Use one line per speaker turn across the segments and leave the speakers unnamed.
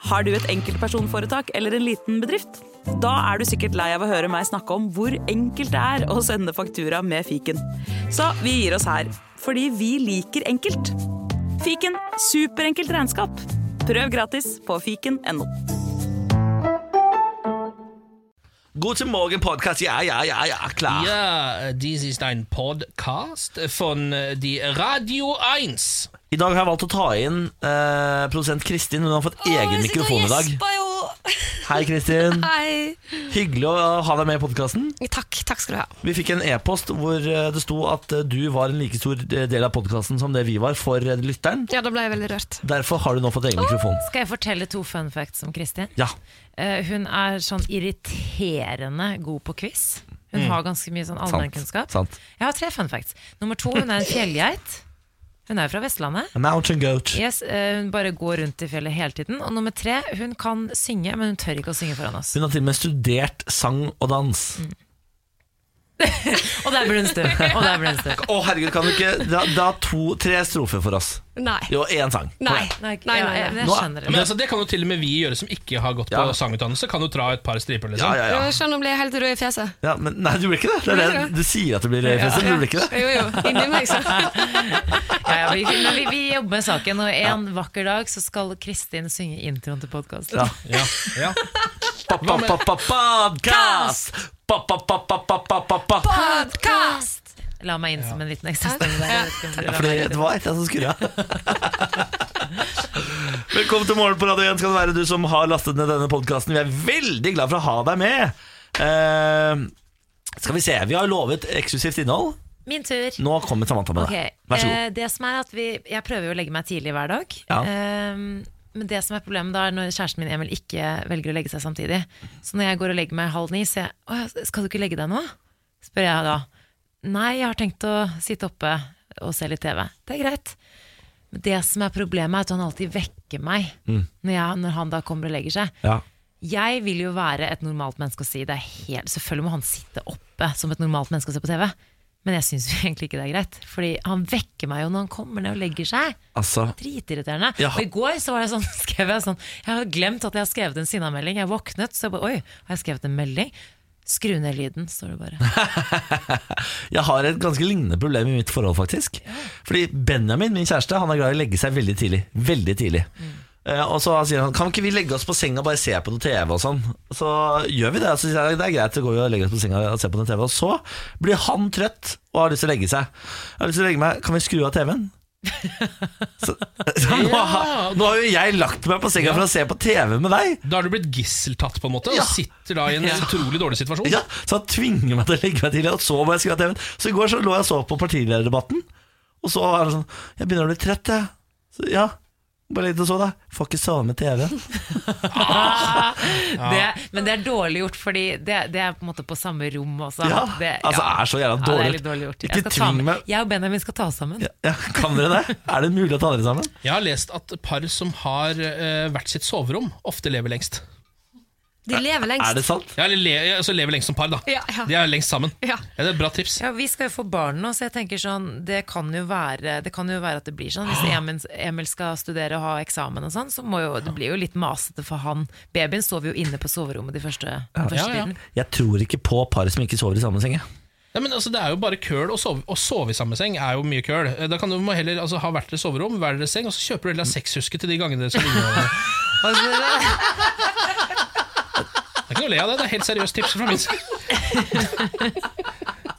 Har du et enkeltpersonforetak eller en liten bedrift? Da er du sikkert lei av å høre meg snakke om hvor enkelt det er å sende faktura med fiken. Så vi gir oss her, fordi vi liker enkelt. Fiken superenkelt regnskap. Prøv gratis på fiken.no.
God til morgen, podkast. Ja, ja, ja, ja, klar.
Ja, dies ist ein Podcast von äh, die Radio 1.
I dag har jeg valgt å ta inn eh, produsent Kristin. Hun har fått egen mikrofon i dag.
Gjespa jo.
Hei, Kristin.
Hei.
Hyggelig å ha deg med i podkasten.
Takk, takk skal du ha.
Vi fikk en e-post hvor eh, det sto at eh, du var en like stor eh, del av podkasten som det vi var for eh, lytteren.
Ja, da ble jeg veldig rørt.
Derfor har du nå fått egen mikrofon.
Skal jeg fortelle to fun facts om Kristin?
Ja.
Eh, hun er sånn irriterende god på quiz. Hun har ganske mye sånn allmennkunnskap.
Mm. sant.
Jeg har tre fun facts. Nummer to, hun er en fjellgeit. Hun er jo fra Vestlandet.
A mountain goat.
Yes, eh, hun bare går rundt i fjellet hele tiden. Og nummer tre, hun kan synge, men hun tør ikke å synge foran oss.
Hun har til og med studert sang og dans. Å,
Og der ble hun stum. Og der ble hun stum.
herregud, kan du ikke Da, da to, tre strofer for oss.
Nei.
Jo, én sang.
Nei.
Nei,
Nei,
ikke-
nei,
ja,
nei.
jeg- jeg
Nå-
skjønner
Men
det.
altså, det kan jo til og med vi gjøre som ikke har gått på
Ja.
sangutdannelse. Kan jo dra et par striper,
Ja,
liksom.
ja,
Jo,
ja.
jeg skjønner, nå blir jeg helt rød i fjeset.
ja men, nei, du blir ikke det. det, er det. Du sier at du blir refresset, men du blir ikke det.
Jo, jo, inni meg, så.
Ja, ja, vi, men vi, vi jobber med saken, og en vakker dag så skal Kristin synge introen til podkasten.
Ja.
Ja, ja.
Podcast!
Podcast!
La meg inn som en liten ekstra stemme der. Jeg
Ja,
vet ikke om du la
fordi
meg inn.
det var et jeg som skurra. Velkommen til Morgen på Radio 1 skal det være du som har lastet ned denne podkasten. Vi er veldig glad for å ha deg med. Eh, skal vi se, vi har lovet eksklusivt innhold.
Min tur.
Nå kommer Samantha med det.
Ok,
Vær så god.
Eh, det som er at vi, jeg prøver jo å legge meg tidlig hver dag.
Ja.
Eh, men det som er problemet da er når kjæresten min Emil ikke velger å legge seg samtidig. Så når jeg går og legger meg halv ni, sier jeg «Å, ja, skal du ikke legge deg nå? Spør jeg da. Nei, jeg har tenkt å sitte oppe og se litt TV. Det er greit. Men det som er problemet, er at han alltid vekker meg
Mm.
når, jeg, når han da kommer og legger seg.
Ja.
Jeg vil jo være et normalt menneske og si det er helt, Selvfølgelig må han sitte oppe som et normalt menneske og se på TV. Men jeg syns egentlig ikke det er greit. Fordi han vekker meg jo når han kommer ned og legger seg.
Altså,
Dritirriterende.
Ja.
Og i går så var det sånn, skrev jeg sånn Jeg har glemt at jeg har skrevet en sinnamelding. Jeg våknet, så jeg bare Oi, har jeg skrevet en melding? Skru ned lyden, står det bare.
jeg har et ganske lignende problem i mitt forhold, faktisk. Fordi Benjamin, min kjæreste, han er glad i å legge seg veldig tidlig. Veldig tidlig. Eh, og så sier han kan ikke vi legge oss på senga og bare se på noe TV og sånn. Så gjør vi det. Så sier jeg det er greit, så går vi og legger oss på senga og ser på noe TV. Og så blir han trøtt og har lyst til å legge seg. Jeg har lyst til å legge meg Kan vi skru av TV-en? Så, så nå, har, nå har jo jeg lagt meg på senga for å se på TV med deg.
Da har du blitt gisseltatt, på en måte, og
Ja.
sitter da i en utrolig dårlig situasjon.
Ja, så han tvinger meg til å legge meg til Og så må jeg skru av TV-en Så i går så lå jeg og så på partilederdebatten Og så var det sånn Jeg begynner å bli trøtt jeg så, Ja Bare litt og så da Får ikke sove med TV
Det, men det er dårlig gjort, fordi det, det er på en måte på samme rom også.
Ja,
det,
altså er så jævla
Ja, det er
dårlig
litt dårlig gjort. Jeg,
Ikke
skal ta
tving
med,
meg
jeg og Benjamin skal ta oss sammen.
ja, ja, Kan dere det? Er det mulig å ta dere sammen?
Jeg har lest at par som har eh, hvert sitt soverom, ofte lever lengst.
De lever
Er
lengst.
det sant?
Ja, eller le, altså lever lengst som par, da.
Ja, ja.
De er lengst sammen.
Ja.
det er et bra tips.
Ja, Vi skal jo få barn nå, så jeg tenker sånn Det kan jo være, det kan jo være at det blir sånn. Hvis Emil, Emil skal studere og ha eksamen og sånn, så må jo, det blir jo litt masete for han. Babyen sover jo inne på soverommet de første, den første
Ja, ja.
tiden.
Jeg tror ikke på par som ikke sover i samme seng jeg.
Nei, men altså, det er jo bare køl. Å sove, å sove i samme seng er jo mye køl. Eh, Da kan du må heller altså, ha hvert deres soverom, hver deres seng, og så kjøper du heller sexhuske til de gangene dere skal ligge med hverandre. Det er ikke noe å le av det, det er helt seriøst tips fra min side.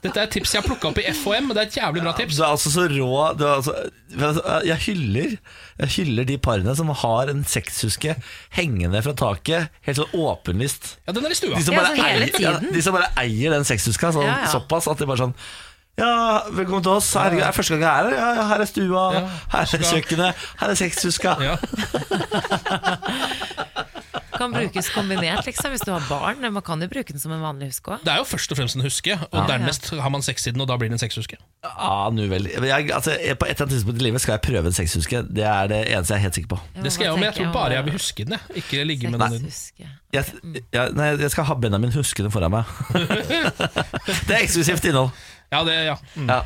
Dette er et tips jeg har plukka opp i FHM, og det er et jævlig bra tips.
Du er altså så rå du er altså, men altså, jeg, hyller, jeg hyller de parene som har en sekshuske Hengende fra taket Helt sånn åpenlyst
Ja, den er i
De
stua.
som
Ja,
bare,
altså hele
eier, ja,
tiden.
de som bare eier den sexhuska sånn,
Ja, ja.
såpass at de bare sånn ja, velkommen til oss. Herregud, det er første gang jeg er her. Ja, ja, her er stua,
Ja,
her er
huska.
kjøkkenet, her er sexhuska.
Ja.
Kan brukes kombinert, liksom, hvis du har barn. Man kan jo bruke den som en vanlig huske òg.
Det er jo først og fremst en huske, og dernest har man sex i den, og da blir det en sexhuske.
Ja, nu vel. Jeg, altså, på et eller annet tidspunkt i livet skal jeg prøve en sexhuske. Det er det eneste jeg er helt sikker på.
Det skal jeg jo, men jeg tror bare jeg vil huske den, jeg. Ikke ligge med den. i den.
Jeg, jeg, nei, jeg skal ha Benjamin huskende foran meg. det er eksklusivt innhold.
Ja, det, ja. Mm.
Ja.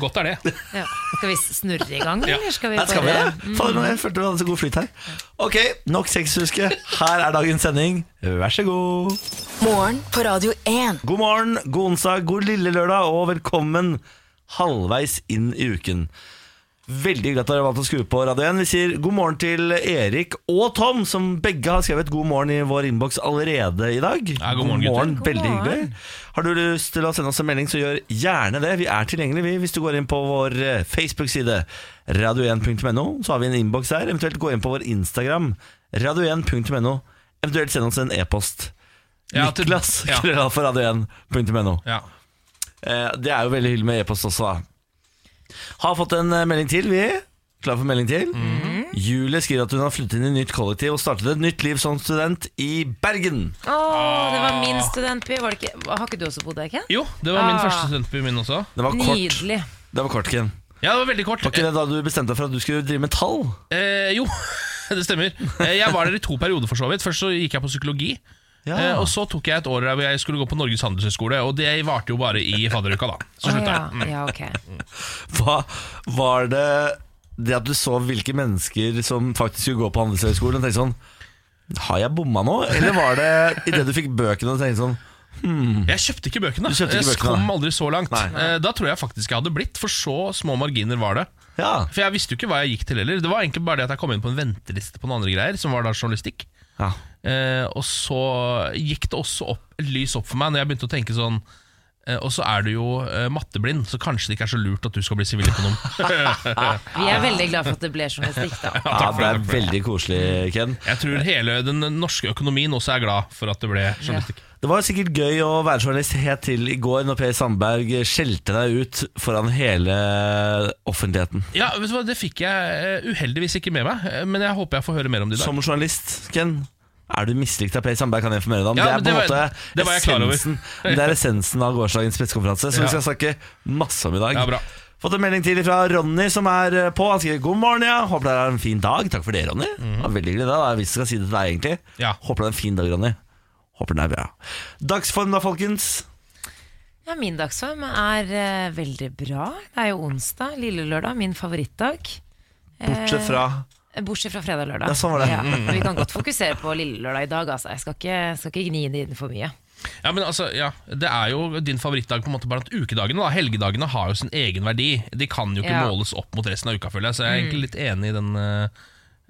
Godt er det.
Ja. Skal vi snurre i gang, eller skal vi
Nei, skal vi
bare
det? Fader, jeg følte vi hadde så god flyt her. Ok, nok sexhuske. Her er dagens sending. Vær så god.
Morgen på Radio 1.
God morgen, god onsdag, god lille lørdag, og velkommen halvveis inn i uken. Veldig hyggelig at dere valgte å skru på Radio 1. Vi sier god morgen til Erik og Tom, som begge har skrevet god morgen i vår innboks allerede i dag.
Ja, god morgen,
gutter.
Veldig
God morgen.
hyggelig. Har du lyst til å sende oss en melding, så gjør gjerne det. Vi er tilgjengelige, vi, hvis du går inn på vår eh, Facebook-side, radio1.no, så har vi en innboks der. Eventuelt gå inn på vår Instagram, radio1.no. Eventuelt send oss en e-post.
Ja, til-
Niklas,
ja.
krølla for radio1.no.
Ja.
Eh, Det er jo veldig hyggelig med e-post også. Da. Har fått en eh, melding til, vi. Klar for melding til?
Mhm.
Julie skriver at hun har flyttet inn i nytt kollektiv og startet et nytt liv som student i Bergen.
Å, det var min studentby. Var det ikke... Har ikke du også bodd der, Ken?
Jo, det var min
Ah.
første studentby min også.
Det var kort,
Nydelig.
det var kort Ken.
Ja, det var veldig kort.
Var ikke det da du bestemte deg for at du skulle drive med tall?
Eh, jo, det stemmer. Eh, Jeg var der i to perioder, for så vidt. Først så gikk jeg på psykologi. Eh, og så tok jeg et år der hvor jeg skulle gå på Norges handelshøyskole, og det varte jo bare i fadderuka, da. Så
Å,
slutta
ja.
jeg.
ja, ok.
Hva var det det at du så hvilke mennesker som faktisk skulle gå på Handelshøyskolen og tenkte sånn Har jeg bomma nå? Eller var det idet du fikk bøkene og tenkte sånn
Jeg kjøpte ikke bøkene.
Du kjøpte ikke
jeg
bøkene,
kom
nei.
aldri så langt.
Nei.
Eh, Da tror jeg faktisk jeg hadde blitt, for så små marginer var det.
Ja.
For jeg visste jo ikke hva jeg gikk til heller. Det var egentlig bare det at jeg kom inn på en venteliste på noen andre greier, som var da journalistikk.
ja.
Eh, og så gikk det også opp, lys opp for meg når jeg begynte å tenke sånn eh, Og så er du jo eh, matteblind, så kanskje det ikke er så lurt at du skal bli siviløkonom.
Vi er veldig glad for at det ble journalistikk, da.
ja, det er veldig koselig, Ken.
jeg tror hele den norske økonomien også er glad for at det ble journalistikk.
Det var sikkert gøy å være journalist helt til i går når Per Sandberg skjelte deg ut foran hele offentligheten.
Ja, vet du hva, Det fikk jeg eh, uheldigvis ikke med meg, eh, men jeg håper jeg får høre mer om det i dag.
Som journalist, Ken, er du mislikt av Per Sandberg, kan jeg informere deg om. det er
Ja,
på en
men det var-
måte
det var jeg klar over.
essensen, det er essensen av gårsdagens pressekonferanse, som
Ja.
vi skal snakke masse om i dag.
Ja, bra.
Fått en melding til fra Ronny, som er eh, på. Han skriver 'God morgen, ja. Håper dere har en fin dag'. Takk for det, Ronny. Det var veldig hyggelig, det. da, Hvis jeg skal si det til deg, egentlig.
Mhm. Ja.
Håper det er en fin dag, Ronny. Håper den er bra. Dagsform, da, folkens.
Ja, min dagsform er eh, veldig bra. Det er jo onsdag, lille lørdag, min favorittdag.
Bortsett fra
Eh, Bortsett fra fredag og lørdag.
Ja, sånn var det.
men vi kan godt fokusere på lille lørdag i dag, altså. Jeg skal ikke, skal ikke gni det inn for mye.
Ja, men altså, ja, Det er jo din favorittdag på en måte blant ukedagene. da Helgedagene har jo sin egen verdi. De kan jo ikke
Ja.
måles opp mot resten av uka, føler jeg. Så jeg er egentlig litt enig i den, eh,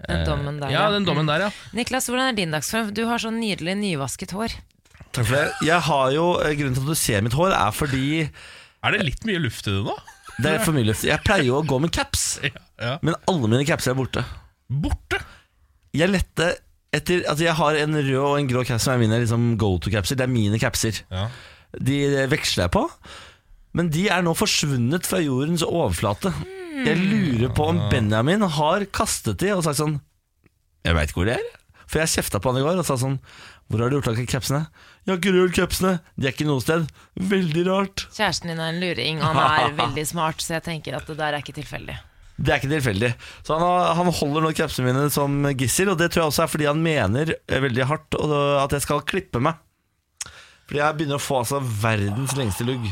Den dommen der,
ja,
ja. Mm.
den dommen der, ja.
Niklas, hvordan er din dagsform? Du har sånn nydelig nyvasket hår.
Takk for det. Jeg har jo, eh, Grunnen til at du ser mitt hår, er fordi
Er det litt mye luft i det nå?
det er for mye luft. Jeg pleier jo å gå med caps,
Ja, ja.
men alle mine capser er borte.
Borte!
Jeg lette etter Altså, jeg har en rød og en grå caps som er mine liksom, go to-capser. Det er mine capser.
Ja.
De eh, veksler jeg på, men de er nå forsvunnet fra jordens overflate. Jeg lurer på om Benjamin har kastet de og sagt sånn Jeg veit ikke hvor de er. For jeg kjefta på han i går og sa sånn Hvor har du gjort av capsene? Jeg har ikke rørt capsene. De er ikke noe sted. Veldig rart.
Kjæresten din er en luring, og han er veldig smart, så jeg tenker at det der er ikke tilfeldig.
Det er ikke tilfeldig. Så han, har, han holder nå krepsene mine som gissel, og det tror jeg også er fordi han mener eh, veldig hardt og, at jeg skal klippe meg. Fordi jeg begynner å få altså verdens lengste lugg.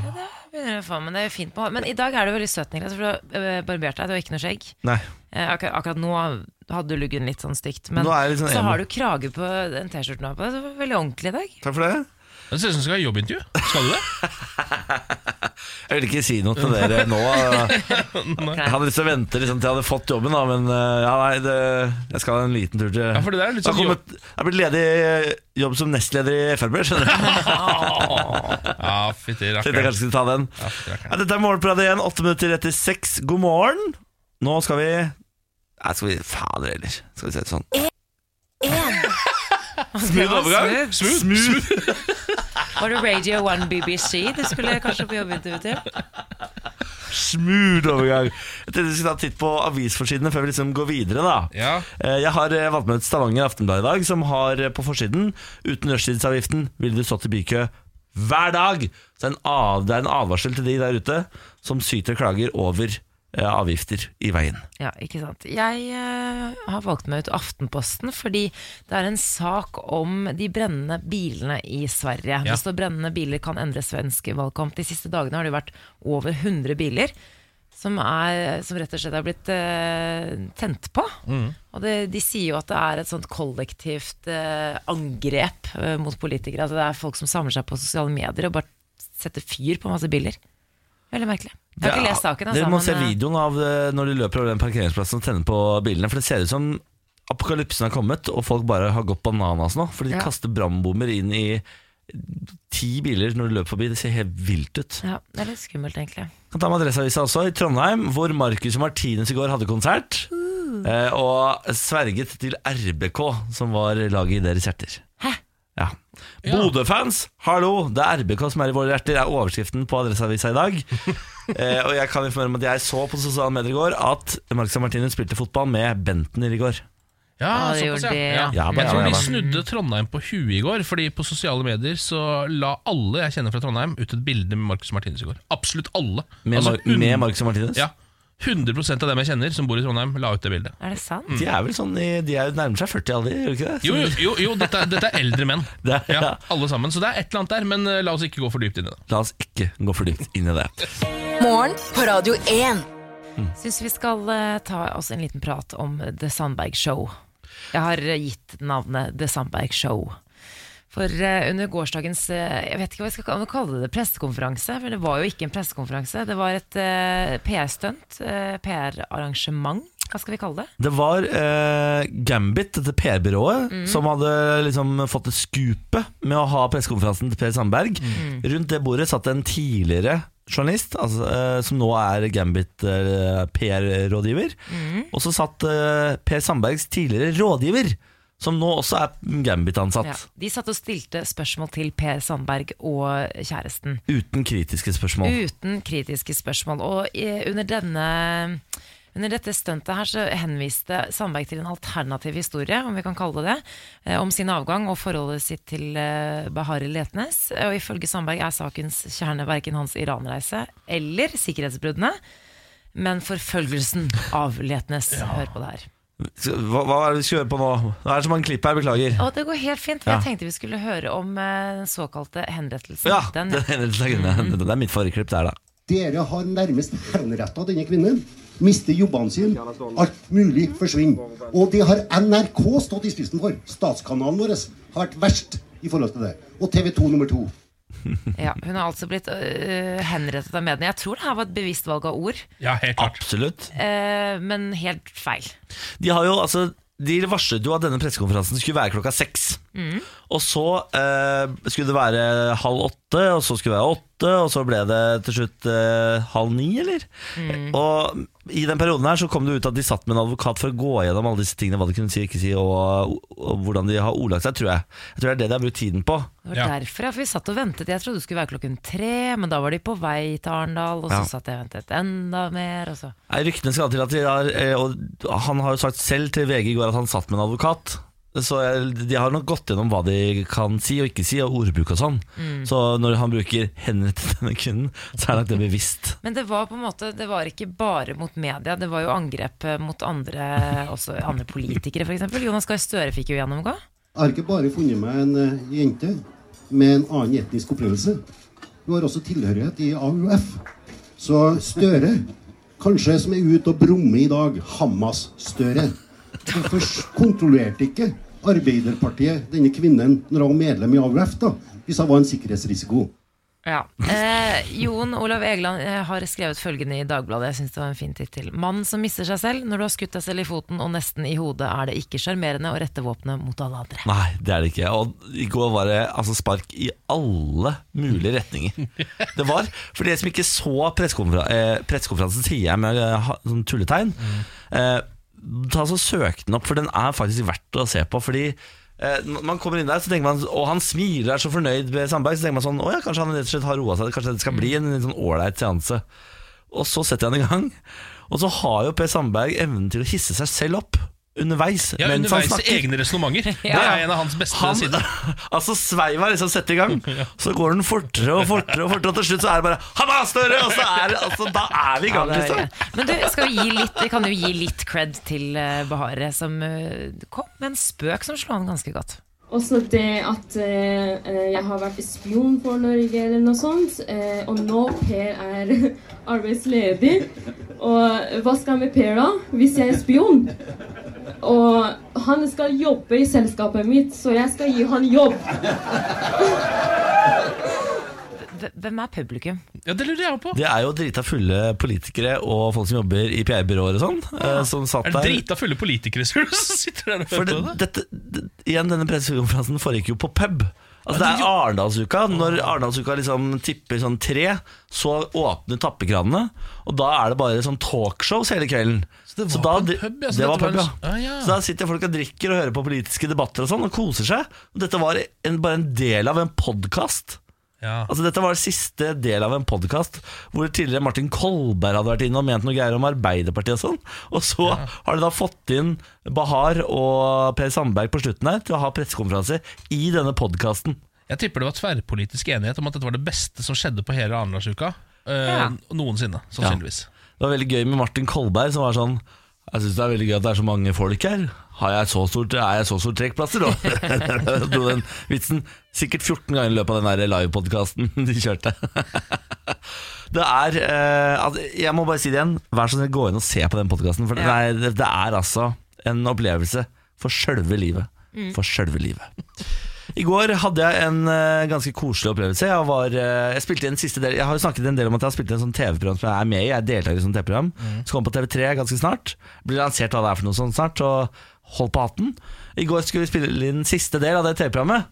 Begynner å få, Men det er jo fint på hår. Men i dag er du veldig søt, Niklas, for du har øh, barbert deg, du har ikke noe skjegg.
Nei.
Eh, akkurat, akkurat nå hadde du luggen litt sånn stygt, men
Nå er jeg litt sånn
så
emo.
har du krage på den T-skjorten du har på. Det var veldig ordentlig i dag.
Takk for det.
Det ser ut som du skal ha jobbintervju. Skal du det?
Jeg vil ikke si noe til dere nå. Jeg hadde lyst til å vente liksom, til jeg hadde fått jobben, da, men eh, ja, nei, det, jeg skal ha en liten tur til
Ja, for det der er litt
Jeg har
sånn
kommet- Jeg har blitt ledig i jobb som nestleder i Frp, skjønner du. Ah.
Ja,
Tenkte
fytti
jeg
rakkeren.
kanskje skulle ta den.
Ja, fytti rakkeren.
Ja, dette er Morgenpratet igjen, åtte minutter etter seks. God morgen. Nå skal vi Nei, skal vi Fader heller. Skal vi se det sånn. Smooth overgang.
Smooth.
Var det Radio 1 BBC du skulle kanskje på jobbintervju til?
Smooth overgang. Jeg tenkte vi skulle ta en titt på avisforsidene før vi liksom går videre, da.
Ja.
Eh, Jeg har eh, valgt med et Stavanger Aftenblad i dag, som har eh, på forsiden Uten rushtidsavgiften ville du stått i bykø hver dag. Så det er en, av, det er en advarsel til de der ute som syter og klager over eh, avgifter i veien.
Ja, ikke sant. Jeg eh, har valgt meg ut Aftenposten fordi det er en sak om de brennende bilene i Sverige.
Ja.
Det står 'brennende biler kan endre svensk valgkamp'. De siste dagene har det jo vært over 100 biler som, er, som rett og slett har blitt eh, tent på.
Mm.
Og det, de sier jo at det er et sånt kollektivt eh, angrep eh, mot politikere. Altså det er folk som samler seg på sosiale medier og bare setter fyr på masse biler. Veldig merkelig. Jeg har ikke lest saken.
Dere må se
eh,
videoen av eh, når de løper over den parkeringsplassen og tenner på bilene. For det ser ut som apokalypsen har kommet, og folk bare har gått bananas nå. Fordi de
Ja.
kaster brannbomber inn i ti biler når de løper forbi. Det ser helt vilt ut.
ja, det er litt skummelt, egentlig.
Kan ta med Adresseavisa også, i Trondheim, hvor Marcus og Martinus i går hadde konsert. eh, Og sverget til RBK, som var laget i deres hjerter.
Hæ?
Ja. Bodø-fans, hallo! Det er RBK som er i våre hjerter, er overskriften på Adresseavisa i dag. eh, og jeg kan informere om at jeg så på sosiale medier i går at Marcus og Martinus spilte fotball med Bentner i går.
Ja,
Ja, Ah,
såpass,
det
ja. ja.
gjorde det, ja.
Ja,
jeg
bare,
tror
ja,
de
bare.
snudde Trondheim på huet i går, Fordi på sosiale medier så la alle jeg kjenner fra Trondheim ut et bilde med Marcus Martinus i går. Absolutt alle.
Med,
Altså,
Mar
un-
med Marcus og Martinus.
Ja, 100 av dem jeg kjenner som bor i Trondheim, la ut det bildet.
Er det sant?
De er vel sånn i, De er jo nærmer seg 40 aldri, gjør de ikke det?
Jo, jo, jo, jo dette, er- dette er eldre menn.
Det er-
Ja,
ja.
alle sammen. Så det er et eller annet der, men eh, la oss ikke gå for dypt inn i det.
La oss ikke gå for dypt inn i det.
Morgen på Radio 1.
Syns vi skal eh, ta oss en liten prat om The Sandberg Show. Jeg har eh, gitt navnet The Sandberg Show. For eh, under gårsdagens eh, jeg vet ikke hva jeg skal kalle- kalle det, pressekonferanse, for det var jo ikke en pressekonferanse, det var et eh, PR-stunt, eh, PR-arrangement, hva skal vi kalle det?
Det var eh, Gambit, dette PR-byrået, som hadde liksom fått et skupe med å ha pressekonferansen til Per Sandberg. Rundt det bordet satt en tidligere journalist, altså, eh, som nå er Gambit eh, PR-rådgiver. Og så satt eh, Per Sandbergs tidligere rådgiver, som nå også er Gambit-ansatt.
Ja. De satt og stilte spørsmål til Per Sandberg og kjæresten.
Uten kritiske spørsmål.
Uten kritiske spørsmål. Og i, under, denne, under dette stuntet her så henviste Sandberg til en alternativ historie, om vi kan kalle det det, eh, om sin avgang og forholdet sitt til eh, Bahareh Letnes. Og ifølge Sandberg er sakens kjerne verken hans Iran-reise eller sikkerhetsbruddene, men forfølgelsen av Letnes. Hør på det her.
Hva, hva er det vi skal gjøre på nå? Det er så mange klipp her, beklager.
Og det går helt fint.
Ja.
Jeg tenkte vi skulle høre om eh, den såkalte henrettelsen.
Ja,
Den-
det, det er mitt forrige klipp der, da.
Dere har nærmest henretta denne kvinnen. Mister jobbene sine. Alt mulig forsvinner. Og det har NRK stått i spissen for. Statskanalen vår har vært verst i forhold til det. Og TV 2 nummer to.
Ja, hun har altså blitt øh, henrettet av mediene. Jeg tror det her var et bevisst valg av ord,
Ja, helt klart.
Absolutt.
øh, men helt feil.
De har jo, altså de varslet jo at denne pressekonferansen skulle være klokka seks. Og så eh, skulle det være halv åtte, og så skulle det være åtte, og så ble det til slutt eh, halv ni, eller? Og i den perioden her så kom det ut at de satt med en advokat for å gå gjennom alle disse tingene, hva de kunne si og ikke si, og, og hvordan de har ordlagt seg, tror jeg. Jeg tror det er det de har brukt tiden på.
Det var
Ja.
derfor ja, for vi satt og ventet. Jeg trodde det skulle være klokken tre, men da var de på vei til Arendal, og så
Ja.
satt jeg og ventet enda mer. Og så.
Nei, Ryktene skal til at de har eh, Og han har jo sagt selv til VG i går at han satt med en advokat. Så jeg- de har nok gått gjennom hva de kan si og ikke si, og ordbruk og sånn. Så når han bruker 'henrettet denne kvinnen', så er nok det bevisst.
Men det var på en måte, det var ikke bare mot media, det var jo angrep øh, mot andre, også andre politikere f.eks. Jonas Gahr Støre fikk jo gjennomgå.
Jeg har ikke bare funnet meg en eh, jente med en annen etnisk opprinnelse. Hun har også tilhørighet i AUF. Så Støre, kanskje som er ute og brummer i dag, Hamas-Støre. Hvorfor s- kontrollerte ikke Arbeiderpartiet denne kvinnen når hun var medlem i AUF, da, hvis hun var en sikkerhetsrisiko?
Ja. Eh, Jon Olav Egeland eh, har skrevet følgende i Dagbladet. Jeg synes det var en fin tittel. 'Mannen som mister seg selv. Når du har skutt deg selv i foten og nesten i hodet, er det ikke sjarmerende å rette våpenet mot alle andre'.
Nei, det er det ikke. Og i går var det altså spark i alle mulige retninger. Det var, For dere som ikke så pressekonfera- eh, pressekonferansen, sier jeg med eh, ha- sånn tulletegn.
Mm.
Eh, ta så Søk den opp, for den er faktisk verdt å se på. Fordi eh, når man kommer inn der, så tenker man Og han smiler og er så fornøyd med Sandberg, så tenker man sånn Å ja, kanskje han rett og slett har roa seg. Kanskje det skal bli en litt sånn ålreit seanse. Og så setter jeg den i gang. Og så har jo Per Sandberg evnen til å hisse seg selv opp. underveis
Ja,
mens han
underveis i
snakker.
egne resonnementer. Det er en av hans beste
Han,
sider.
altså Sveiva liksom setter i gang, så går den fortere og fortere, og fortere Og til slutt så er det bare 'Han er større!' Og så er, det- altså, da er vi i gang, liksom.
Men du, skal vi, gi litt, vi kan jo gi litt cred til eh, Bahare, som eh, kom med en spøk som slo an ganske godt.
Også det at eh, eh, jeg har vært spion for Norge eller noe sånt, eh, og nå Per er arbeidsledig. Og hva skal jeg med Per da, hvis jeg er spion? Og han skal jobbe i selskapet mitt, så jeg skal gi han jobb.
Hv- Hvem er publikum?
Ja, Det lurer jeg også på.
Det er jo drita fulle politikere og folk som jobber i PR-byråer og sånn, eh, som satt
Er
der.
det drita fulle politikere som sitter der og
For
hører
det,
på det?
dette, det, igjen, denne pressekonferansen foregikk jo på pub. Altså Det er Arendalsuka. Når Arendalsuka liksom tipper sånn tre, så åpner tappekranene. Og da er det bare sånn talkshows hele kvelden. Så
det var
da,
på en
dri-
pub, ja, så
det
dette
var
var
pub, ja.
en- Ah, ja.
Så da sitter folk og drikker og hører på politiske debatter og sånn, og koser seg. Og dette var en, bare en del av en podkast.
Ja.
Altså Dette var siste del av en podkast hvor tidligere Martin Kolberg hadde vært inne og ment noe greier om Arbeiderpartiet og sånn. Og så har de da fått inn Bahar og Per Sandberg på slutten her til å ha pressekonferanse i denne podkasten.
Jeg tipper det var tverrpolitisk enighet om at dette var det beste som skjedde på hele Arendalsuka. eh, Noensinne, sannsynligvis.
Det var veldig gøy med Martin Kolberg som var sånn jeg syns det er veldig gøy at det er så mange folk her. Har jeg så stort, er jeg så stor trekkplasser, da? Dro den vitsen sikkert 14 ganger i løpet av den der livepodkasten de kjørte. Det er eh, altså, Jeg må bare si det igjen. Vær så snill, gå inn og se på den podkasten. For det, er, det er altså en opplevelse for sjølve livet. For sjølve livet. I går hadde jeg en eh, ganske koselig opplevelse. Jeg, var, eh, jeg, spilte i en siste del, jeg har jo snakket en del om at jeg har spilt i en sånn TV-program som jeg er med i. Jeg er deltaker i et sånt TV-program.
Mhm.
Skal komme på TV3 ganske snart. Blir lansert hva det er for noe sånt snart. Så hold på hatten. I går skulle vi spille inn siste del av det TV-programmet.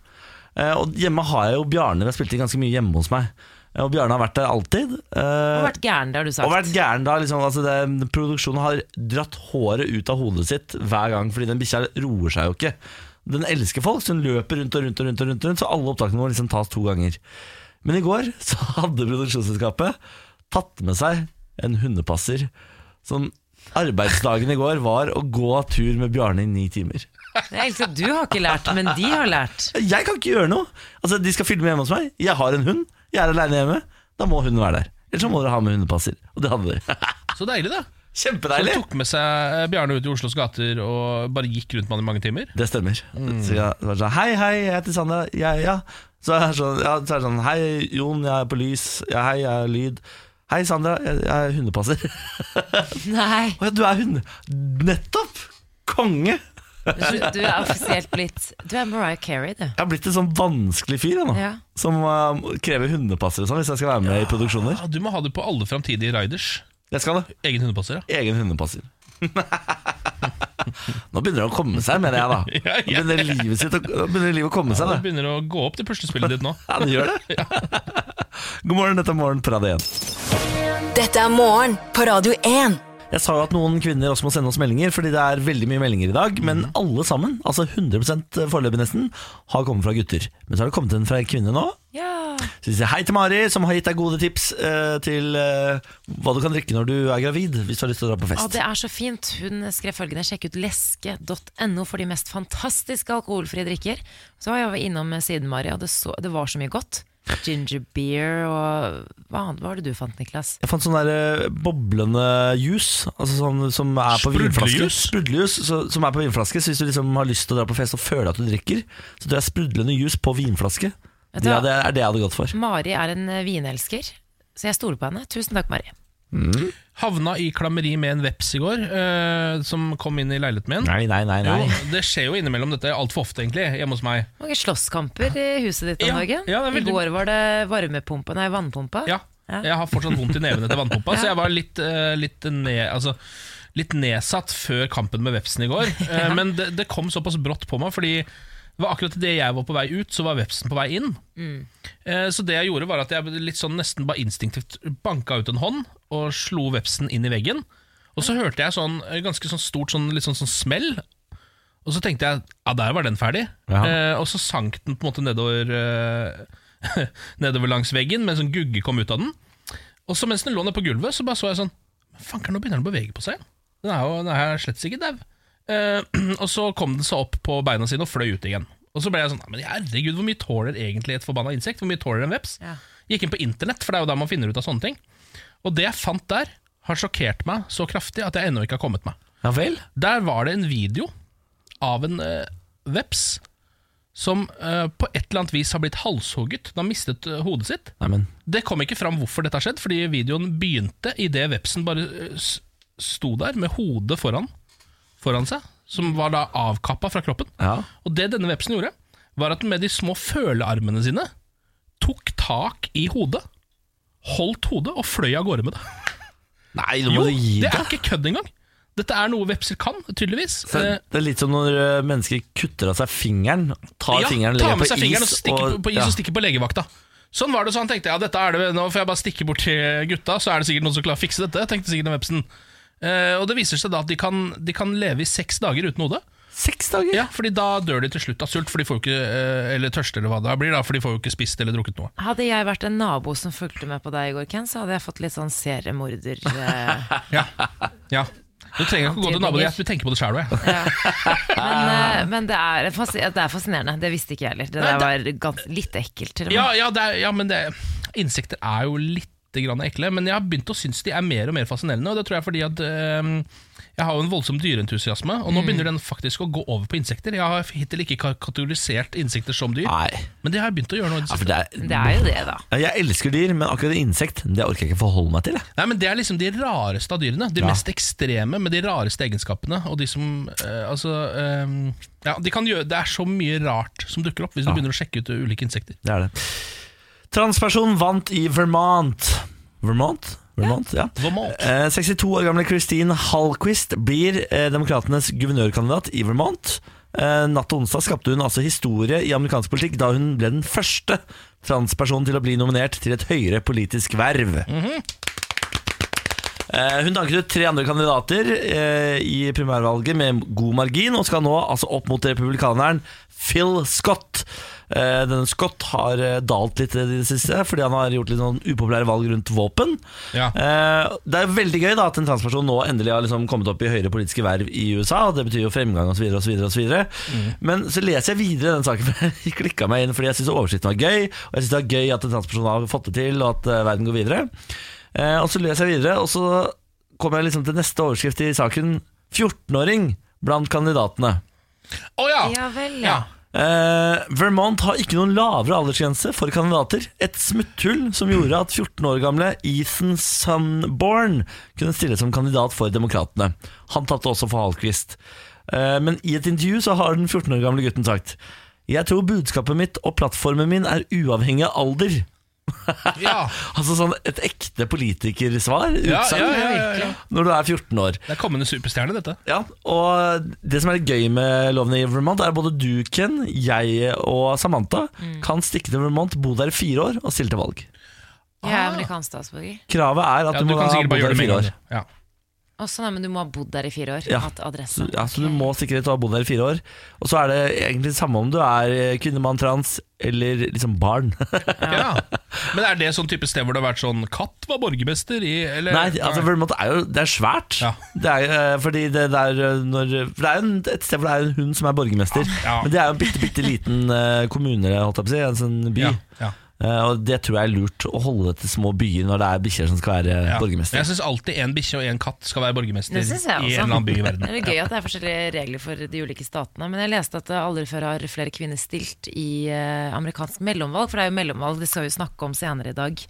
Eh, og hjemme har jeg jo Bjarne. Vi har spilt inn ganske mye hjemme hos meg. Eh, Og Bjarne har vært der alltid.
Du
Eh,
har vært gæren, det har du sagt.
og vært gæren da liksom, altså det, Produksjonen har dratt håret ut av hodet sitt hver gang Fordi den bikkja roer seg jo ikke Den elsker folk, så den løper rundt og rundt og rundt, og rundt, og rundt Så alle opptakene våre liksom tas to ganger Men i går så hadde produksjonsselskapet Tatt med seg en hundepasser Som arbeidsdagen i går var Å gå tur med Bjarne i ni timer
Jeg elsker at du har ikke lært, men de har lært.
Jeg kan ikke gjøre noe Altså de skal filme hjemme hos meg Jeg har en hund, jeg er alene hjemme Da må hunden være der Ellers så må dere ha med hundepasser Og det hadde dere
Så deilig, da. Så
Kjempedeilig
han tok med seg eh, Bjarne ut i Oslos gater og bare gikk rundt med han i mange timer.
Det stemmer. Så jeg var sånn Hei, hei, jeg heter Sandra. Jeg, ja. Så er jeg sånn, ja, så er jeg sånn Hei, Jon, jeg er på lys. Ja, hei, jeg er lyd. Hei, Sandra, jeg, jeg er hundepasser.
Nei,
Å ja, du er hund... Nettopp! Konge!
du, du er offisielt blitt Du er Mariah Carey, du.
Jeg har blitt en sånn vanskelig fyr jeg, nå.
Ja.
Som eh, krever hundepasser og sånn hvis jeg skal være med i produksjoner.
Ja, du må ha det på alle framtidige riders.
Jeg skal det.
Egen hundepasser, ja.
Egen hundepasser. nå begynner det å komme seg, mener jeg, da.
Ja, ja.
Nå begynner livet, sitt, å- nå begynner livet å komme seg.
Det
Da.
begynner å gå opp det puslespillet ditt nå.
Ja, det gjør det. God morgen, dette er Morgen på Radio 1.
Dette er morgen på Radio 1.
Jeg sa jo at noen kvinner også må sende oss meldinger, fordi det er veldig mye meldinger i dag. Men
Mhm.
alle sammen, altså 100 foreløpig nesten, har kommet fra gutter. Men så har det kommet en fra en kvinne nå.
Ja.
Så vi sier hei til Mari, som har gitt deg gode tips eh, til eh, hva du kan drikke når du er gravid, hvis du har lyst til å dra på
Å,
fest.
det er så fint. Hun skrev følgende Sjekk ut leske.no for de mest fantastiske alkoholfrie drikker. Så var jeg innom siden, Mari, og det, så, det var så mye godt. Ginger beer og Hva annet var det du fant, Niklas?
Jeg fant sånn der eh, boblende juice, altså sånn som er på vinflaske.
Sprudlejus?
Sprudlejus. så- Som er på vinflaske. Så hvis du liksom har lyst til å dra på fest og føler at du drikker, så tror jeg sprudlende juice på vinflaske
Vet du
det
hva?
er det er det jeg hadde gått for.
Mari er en eh, vinelsker, så jeg stoler på henne. Tusen takk, Mari.
Havna i klammeri med en veps i går, eh, som kom inn i leiligheten min.
Nei, nei, nei. nei.
Jo, det skjer jo innimellom dette altfor ofte, egentlig, hjemme hos meg.
Mange slåsskamper i huset ditt om
Ja,
dagen.
ja, det er veldig-
I går var det varmepumpa, nei, vannpumpa.
Ja, jeg har fortsatt vondt i neven etter vannpumpa, så jeg var litt, eh, litt, ned, altså, litt nedsatt før kampen med vepsen i går. Eh, Men det, det kom såpass brått på meg, fordi det var akkurat det jeg var på vei ut, så var vepsen på vei inn. Eh, Så det jeg gjorde, var at jeg litt sånn nesten bare instinktivt banka ut en hånd og slo vepsen inn i veggen. Og så hørte jeg sånn eh, ganske sånn stort sånn, litt sånn, sånn smell. Og så tenkte jeg ja, der var den ferdig.
Ja.
Eh, og så sank den på en måte nedover, eh, nedover langs veggen, mens en gugge kom ut av den. Og så mens den lå nede på gulvet, så bare så jeg sånn Fanker, nå begynner den å bevege på seg. Den er jo den er slett ikke dau. Eh, og så kom den seg opp på beina sine og fløy ut igjen. Og så ble jeg sånn, «Nei, men herregud, hvor mye tåler egentlig et forbanna insekt? Hvor mye tåler en veps?
Ja.
Gikk inn på internett, for det er jo der man finner ut av sånne ting. Og det jeg fant der, har sjokkert meg så kraftig at jeg ennå ikke har kommet meg.
Ja vel?
Der var det en video av en eh, veps som eh, på et eller annet vis har blitt halshugget. Den har mistet eh, hodet sitt.
Nei, men
Det kom ikke fram hvorfor dette har skjedd, fordi videoen begynte idet vepsen bare eh, s- sto der med hodet foran, foran seg, som var da avkappa fra kroppen.
Ja.
Og det denne vepsen gjorde, var at den med de små følearmene sine tok tak i hodet, holdt hodet og fløy av gårde med det.
Nei, nå
Jo,
må du gi
det
deg.
er ikke kødd engang! Dette er noe vepser kan, tydeligvis.
Så
Eh,
Det er litt som når ø, mennesker kutter av seg fingeren. Tar
ja,
fingeren,
ta
legger
med seg
på
fingeren og
is
stikker på, på is
ja.
og stikker på legevakta. Sånn var det, så han tenkte ja, dette er det, nå får jeg bare stikke bort til gutta, så er det sikkert noen som klarer å fikse dette, tenkte sikkert den vepsen. Eh, og det viser seg da at de kan, de kan leve i seks dager uten hode.
Seks dager?
Ja, fordi da dør de til slutt av sult, for de får jo ikke, eh, eller tørste eller hva det blir, da, for de får jo ikke spist eller drukket noe.
Hadde jeg vært en nabo som fulgte med på deg i går, Ken, så hadde jeg fått litt sånn seriemorder... Eh,
Ja, ja. Du trenger ikke å gå til naboen, jeg tenker på det sjæl òg.
ja. men, eh, men det, er, fas- det er fascinerende. Det visste ikke jeg heller. Det
Nei,
der var gans, litt ekkelt, til og
Ja,
med.
ja, det er, ja, men det, insekter er jo litt grann ekle, men jeg har begynt å synes de er mer og mer fascinerende. Og det tror jeg er fordi at øhm, jeg har jo en voldsom dyreentusiasme, og
Mm.
nå begynner den faktisk å gå over på insekter. Jeg har hittil ikke ka- kategorisert insekter som dyr,
Nei.
men det har jeg begynt å gjøre nå. i det
Ja, for
siste.
det er,
Det er jo det, da.
Ja, Jeg elsker dyr, men akkurat insekt Det orker jeg ikke forholde meg til. Jeg.
Nei, men Det er liksom de rareste av dyrene. De
Ja.
mest ekstreme med de rareste egenskapene. Og de som øh, Altså øhm, Ja, de kan gjøre Det er så mye rart som dukker opp hvis du begynner å sjekke ut øh, ulike insekter.
Det er det. Transperson vant i Vermont. Vermont? Vermont, ja.
Vermont.
Eh, 62 år gamle Christine Hallquist blir eh, demokratenes guvernørkandidat i Vermont. Eh, natt til onsdag skapte hun altså historie i amerikansk politikk da hun ble den første transpersonen til å bli nominert til et høyere politisk verv. Eh, Hun danket ut tre andre kandidater eh, i primærvalget med god margin, og skal nå altså opp mot republikaneren Phil Scott. Eh, Denne Scott har eh, dalt litt i det siste, fordi han har gjort litt sånn upopulære valg rundt våpen.
Ja.
Eh, Det er veldig gøy da at en transperson nå endelig har liksom kommet opp i høyere politiske verv i USA, og det betyr jo fremgang osv. osv. Mm. Men så leser jeg videre den saken, for jeg klikka meg inn fordi jeg syns oversikten var gøy, og jeg syns det var gøy at en transperson har fått det til, og at eh, verden går videre. Eh, og så leser jeg videre, og så kommer jeg liksom til neste overskrift i saken. 14-åring blant kandidatene.
Å ja!
Ja vel,
ja.
ja.
Eh, Vermont har ikke noen lavere aldersgrense for kandidater. Et smutthull som gjorde at 14 år gamle Ethan Sunborn kunne stille som kandidat for Demokratene. Han tapte også for Hallquist. Eh, men i et intervju så har den 14 år gamle gutten sagt Jeg tror budskapet mitt og plattformen min er uavhengig av alder.
ja.
Altså sånn et ekte politikersvar.
Ja,
utsagn,
ja, ja, ja, ja.
Når du er 14 år.
Det er kommende superstjerne, dette.
Ja, og det som er litt gøy med lovene i Vermont, er at både du, Ken, jeg og Samantha
Mm.
kan stikke til Vermont, bo der i fire år og stille til valg.
Jeg
Ah.
er amerikansk statsborger.
Kravet er at
Ja,
du,
du
må
kan
ha
sikkert
bodd
bare
der i
gjøre det med en
fire
gang.
år.
du. Ja.
Å, sånn, ja, men du må ha bodd der i fire år?
Ja.
Hatt adresse?
Så, ja, så du må sikkerhet ha bodd der i fire år. Og så er det egentlig det samme om du er eh, kvinne, mann, trans eller liksom barn.
Ja. Men er det sånn type sted hvor det har vært sånn Katt var borgermester i eller?
Nei, altså Vermont er jo det er svært.
Eh, Ja.
Det er, eh, fordi det der eh, når, for det er jo en- et sted hvor det er en hund som er borgermester.
Ja.
Men det er jo en bitte, bitte liten eh, kommune, holdt jeg på å si. En sånn by.
Ja, ja,
Eh, Og det tror jeg er lurt å holde det til små byer når det er bikkjer som skal være
ja.
borgermester.
Jeg syns alltid en bikkje og en katt skal være borgermester
Det synes jeg også.
i en eller annen by i verden.
Det er gøy at det er forskjellige regler for de ulike statene. Men jeg leste at det aldri før har flere kvinner stilt i eh, amerikansk mellomvalg. For det er jo mellomvalg det skal vi snakke om senere i dag,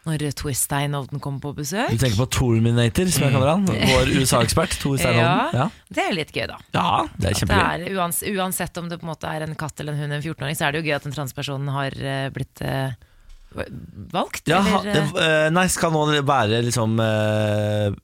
når Tor Steinhovden kommer på
Du
besøk.
tenker på Torminator, som jeg kaller han.
Mm.
Vår USA-ekspert. Tor Steinholden. Ja.
Ja, det er litt gøy, da.
ja, det er
Det
kjempegøy.
er, uans uansett om det på en måte er en katt eller en hund eller en 14-åring, så er det jo gøy at en transperson har eh, blitt eh, valgt.
Ja, ha-
eller, eh,
eh, nei, skal nå være liksom eh,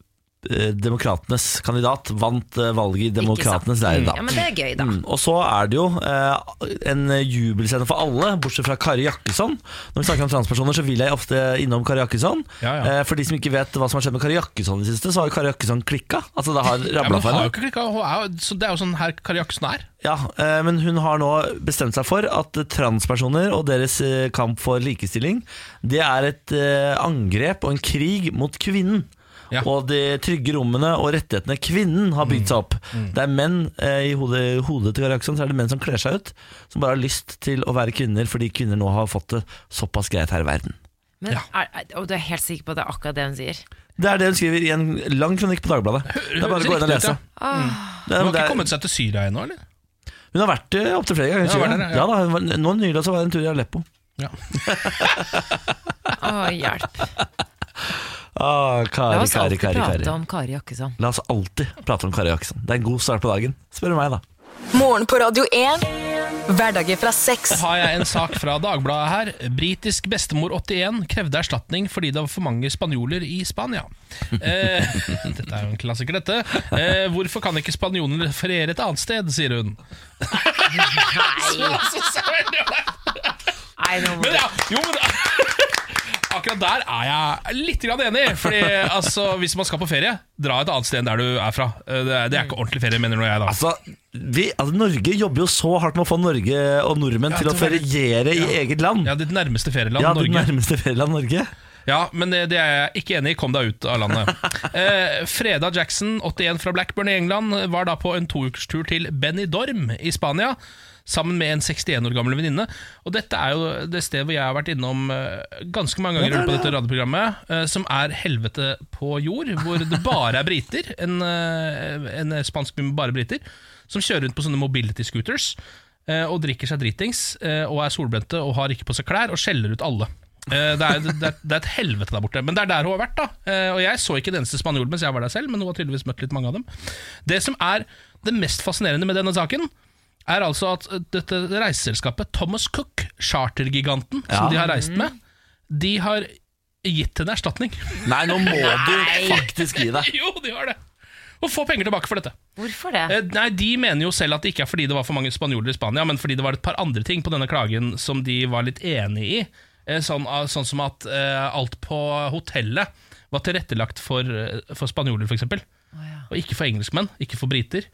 eh, Demokratenes kandidat. Vant eh, valget i Demokratenes leir, da.
ja, men det er gøy, da.
Mm, og så er det jo eh, en jubelscene for alle, bortsett fra Kari Jakkesson. Når vi snakker om transpersoner, så vil jeg ofte innom Kari Jakkesson.
Ja, ja.
Eh, for de som ikke vet hva som har skjedd med Kari Jakkesson i det siste, så har jo Kari Jakkesson klikka. Altså, det har
Ja, men
rabla
hun
for
har jo
henne.
ikke klikka. Hun er jo- så Det er jo sånn her Kari Jakkesen er.
Ja, eh, men hun har nå bestemt seg for at transpersoner og deres eh, kamp for likestilling, det er et eh, angrep og en krig mot kvinnen.
Ja.
og de trygge rommene og rettighetene kvinnen har bygd seg opp.
Mm,
Det er menn eh, i hodet, hodet til Kari Jackson, så er det menn som kler seg ut, som bare har lyst til å være kvinner fordi kvinner nå har fått det såpass greit her i verden.
Men
Ja.
er, er, og du er helt sikker på at det er akkurat det hun sier?
Det er det hun skriver i en lang kronikk på Dagbladet. Det er bare å gå inn og
riktig ut, ja. Ah.
lese. Det
Hun
er, det
har ikke
er,
kommet seg til Syria ennå, eller?
hun har vært eh, opptil flere ganger.
Ja,
sier
vært
hun.
der, ja.
ja. da, hun var, nå nylig så var det en tur i Aleppo.
Å, hjelp.
Ah,
La
Kari,
oss
Kari,
alltid
Kari,
prate
Kari.
om Kari Jakkesson.
La oss alltid prate om Kari Jackson. Det er en god start på dagen, spør du meg, da.
Morgen på Radio 1. Hverdager fra seks.
Har jeg en sak fra Dagbladet her. Britisk bestemor 81 krevde erstatning fordi det var for mange spanjoler i Spania. Eh, dette er jo en klassiker, dette. Eh, hvorfor kan ikke spanjolene feriere et annet sted, sier hun. Så- så-
Nei, nå må
Men ja, jo, men Akkurat der er jeg litt grann enig. Fordi altså, Hvis man skal på ferie, dra et annet sted enn der du er fra. Eh, Det er, det er ikke ordentlig ferie, mener nå jeg. da
Altså, vi, altså, Norge jobber jo så hardt med å få Norge og nordmenn til å
til å være-
feriere i eget land.
Ja, Ditt nærmeste ferieland,
Ja, det
Norge.
nærmeste ferieland Norge.
Ja, men det, det er jeg ikke enig i. Kom deg ut av landet. Eh, Freda Jackson, 81 fra Blackburn i England, var da på en toukerstur til Benidorm i Spania. Sammen med en 61 år gammel venninne. Og dette er jo det stedet hvor jeg har vært innom eh, ganske mange ganger på dette radioprogrammet, eh, som er helvete på jord, hvor det bare er briter. En, eh, en spansk by med bare briter. Som kjører rundt på sånne mobility scooters eh, og drikker seg dritings eh, og er solbrente og har ikke på seg klær og skjeller ut alle. Eh, Det er, det, er, det er et helvete der borte, men det er der hun har vært. da Eh, Og Jeg så ikke den eneste spanjol mens jeg var der selv, men hun har tydeligvis møtt litt mange av dem. Det som er det mest fascinerende med denne saken, er altså at dette reiseselskapet, Thomas Cook, chartergiganten som
Ja.
de har reist med, de har gitt henne erstatning.
Nei, nå må du faktisk gi deg.
jo, de har det! Og få penger tilbake for dette.
Hvorfor det?
Eh, Nei, De mener jo selv at det ikke er fordi det var for mange spanjoler i Spania, men fordi det var et par andre ting på denne klagen som de var litt enig i. Eh, Sånn, ah, sånn som at eh, alt på hotellet var tilrettelagt for, eh, for spanjoler, f.eks. eksempel Og ikke for engelskmenn, ikke for briter.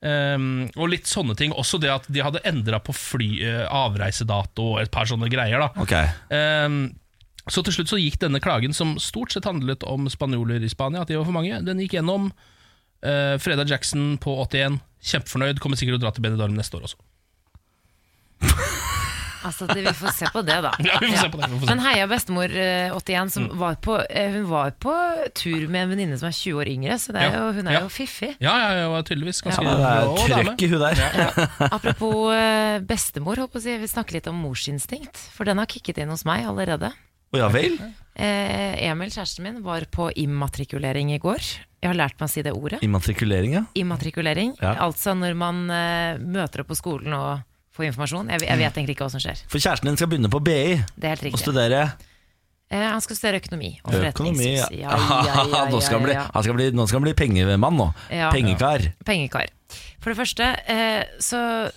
Um, og litt sånne ting. Også det at de hadde endra på fly, eh, avreisedato og et par sånne greier. da
Ok,
Ehm, Så til slutt så gikk denne klagen, som stort sett handlet om spanjoler i Spania, at de var for mange, den gikk gjennom. Uh, Freda Jackson på 81, kjempefornøyd, kommer sikkert til å dra til Benidorm neste år også.
Altså, det, vi får se på det, da.
Ja, vi får se på det, Mm. vi får se.
Men heia bestemor eh, 81, som var på, eh, hun var på tur med en venninne som er 20 år yngre, så det
Ja.
er jo, hun er
Ja.
jo fiffig.
Ja, ja, ja, var tydeligvis ganske
ja, Det er
Å, dame.
trøkk i hun der.
Apropos eh, bestemor, håper jeg å si, vi snakker litt om morsinstinkt, for den har kikket inn hos meg allerede.
Å ja vel?
Eh, Emil, kjæresten min, var på immatrikulering i går. Jeg har lært meg å si det ordet.
Immatrikulering, ja.
Immatrikulering.
Ja.
Altså når man eh, møter opp på skolen og får informasjon. Jeg, jeg vet egentlig ikke hva som skjer.
For kjæresten din skal begynne på BI
Det er helt
og
riktig.
studere
Eh, han skal studere økonomi og
økonomi.
forretningshus.
Ja. Nå skal han bli, han skal bli, nå skal han bli pengemann, nå.
Ja.
Pengekar.
Pengekar. For det første, eh, så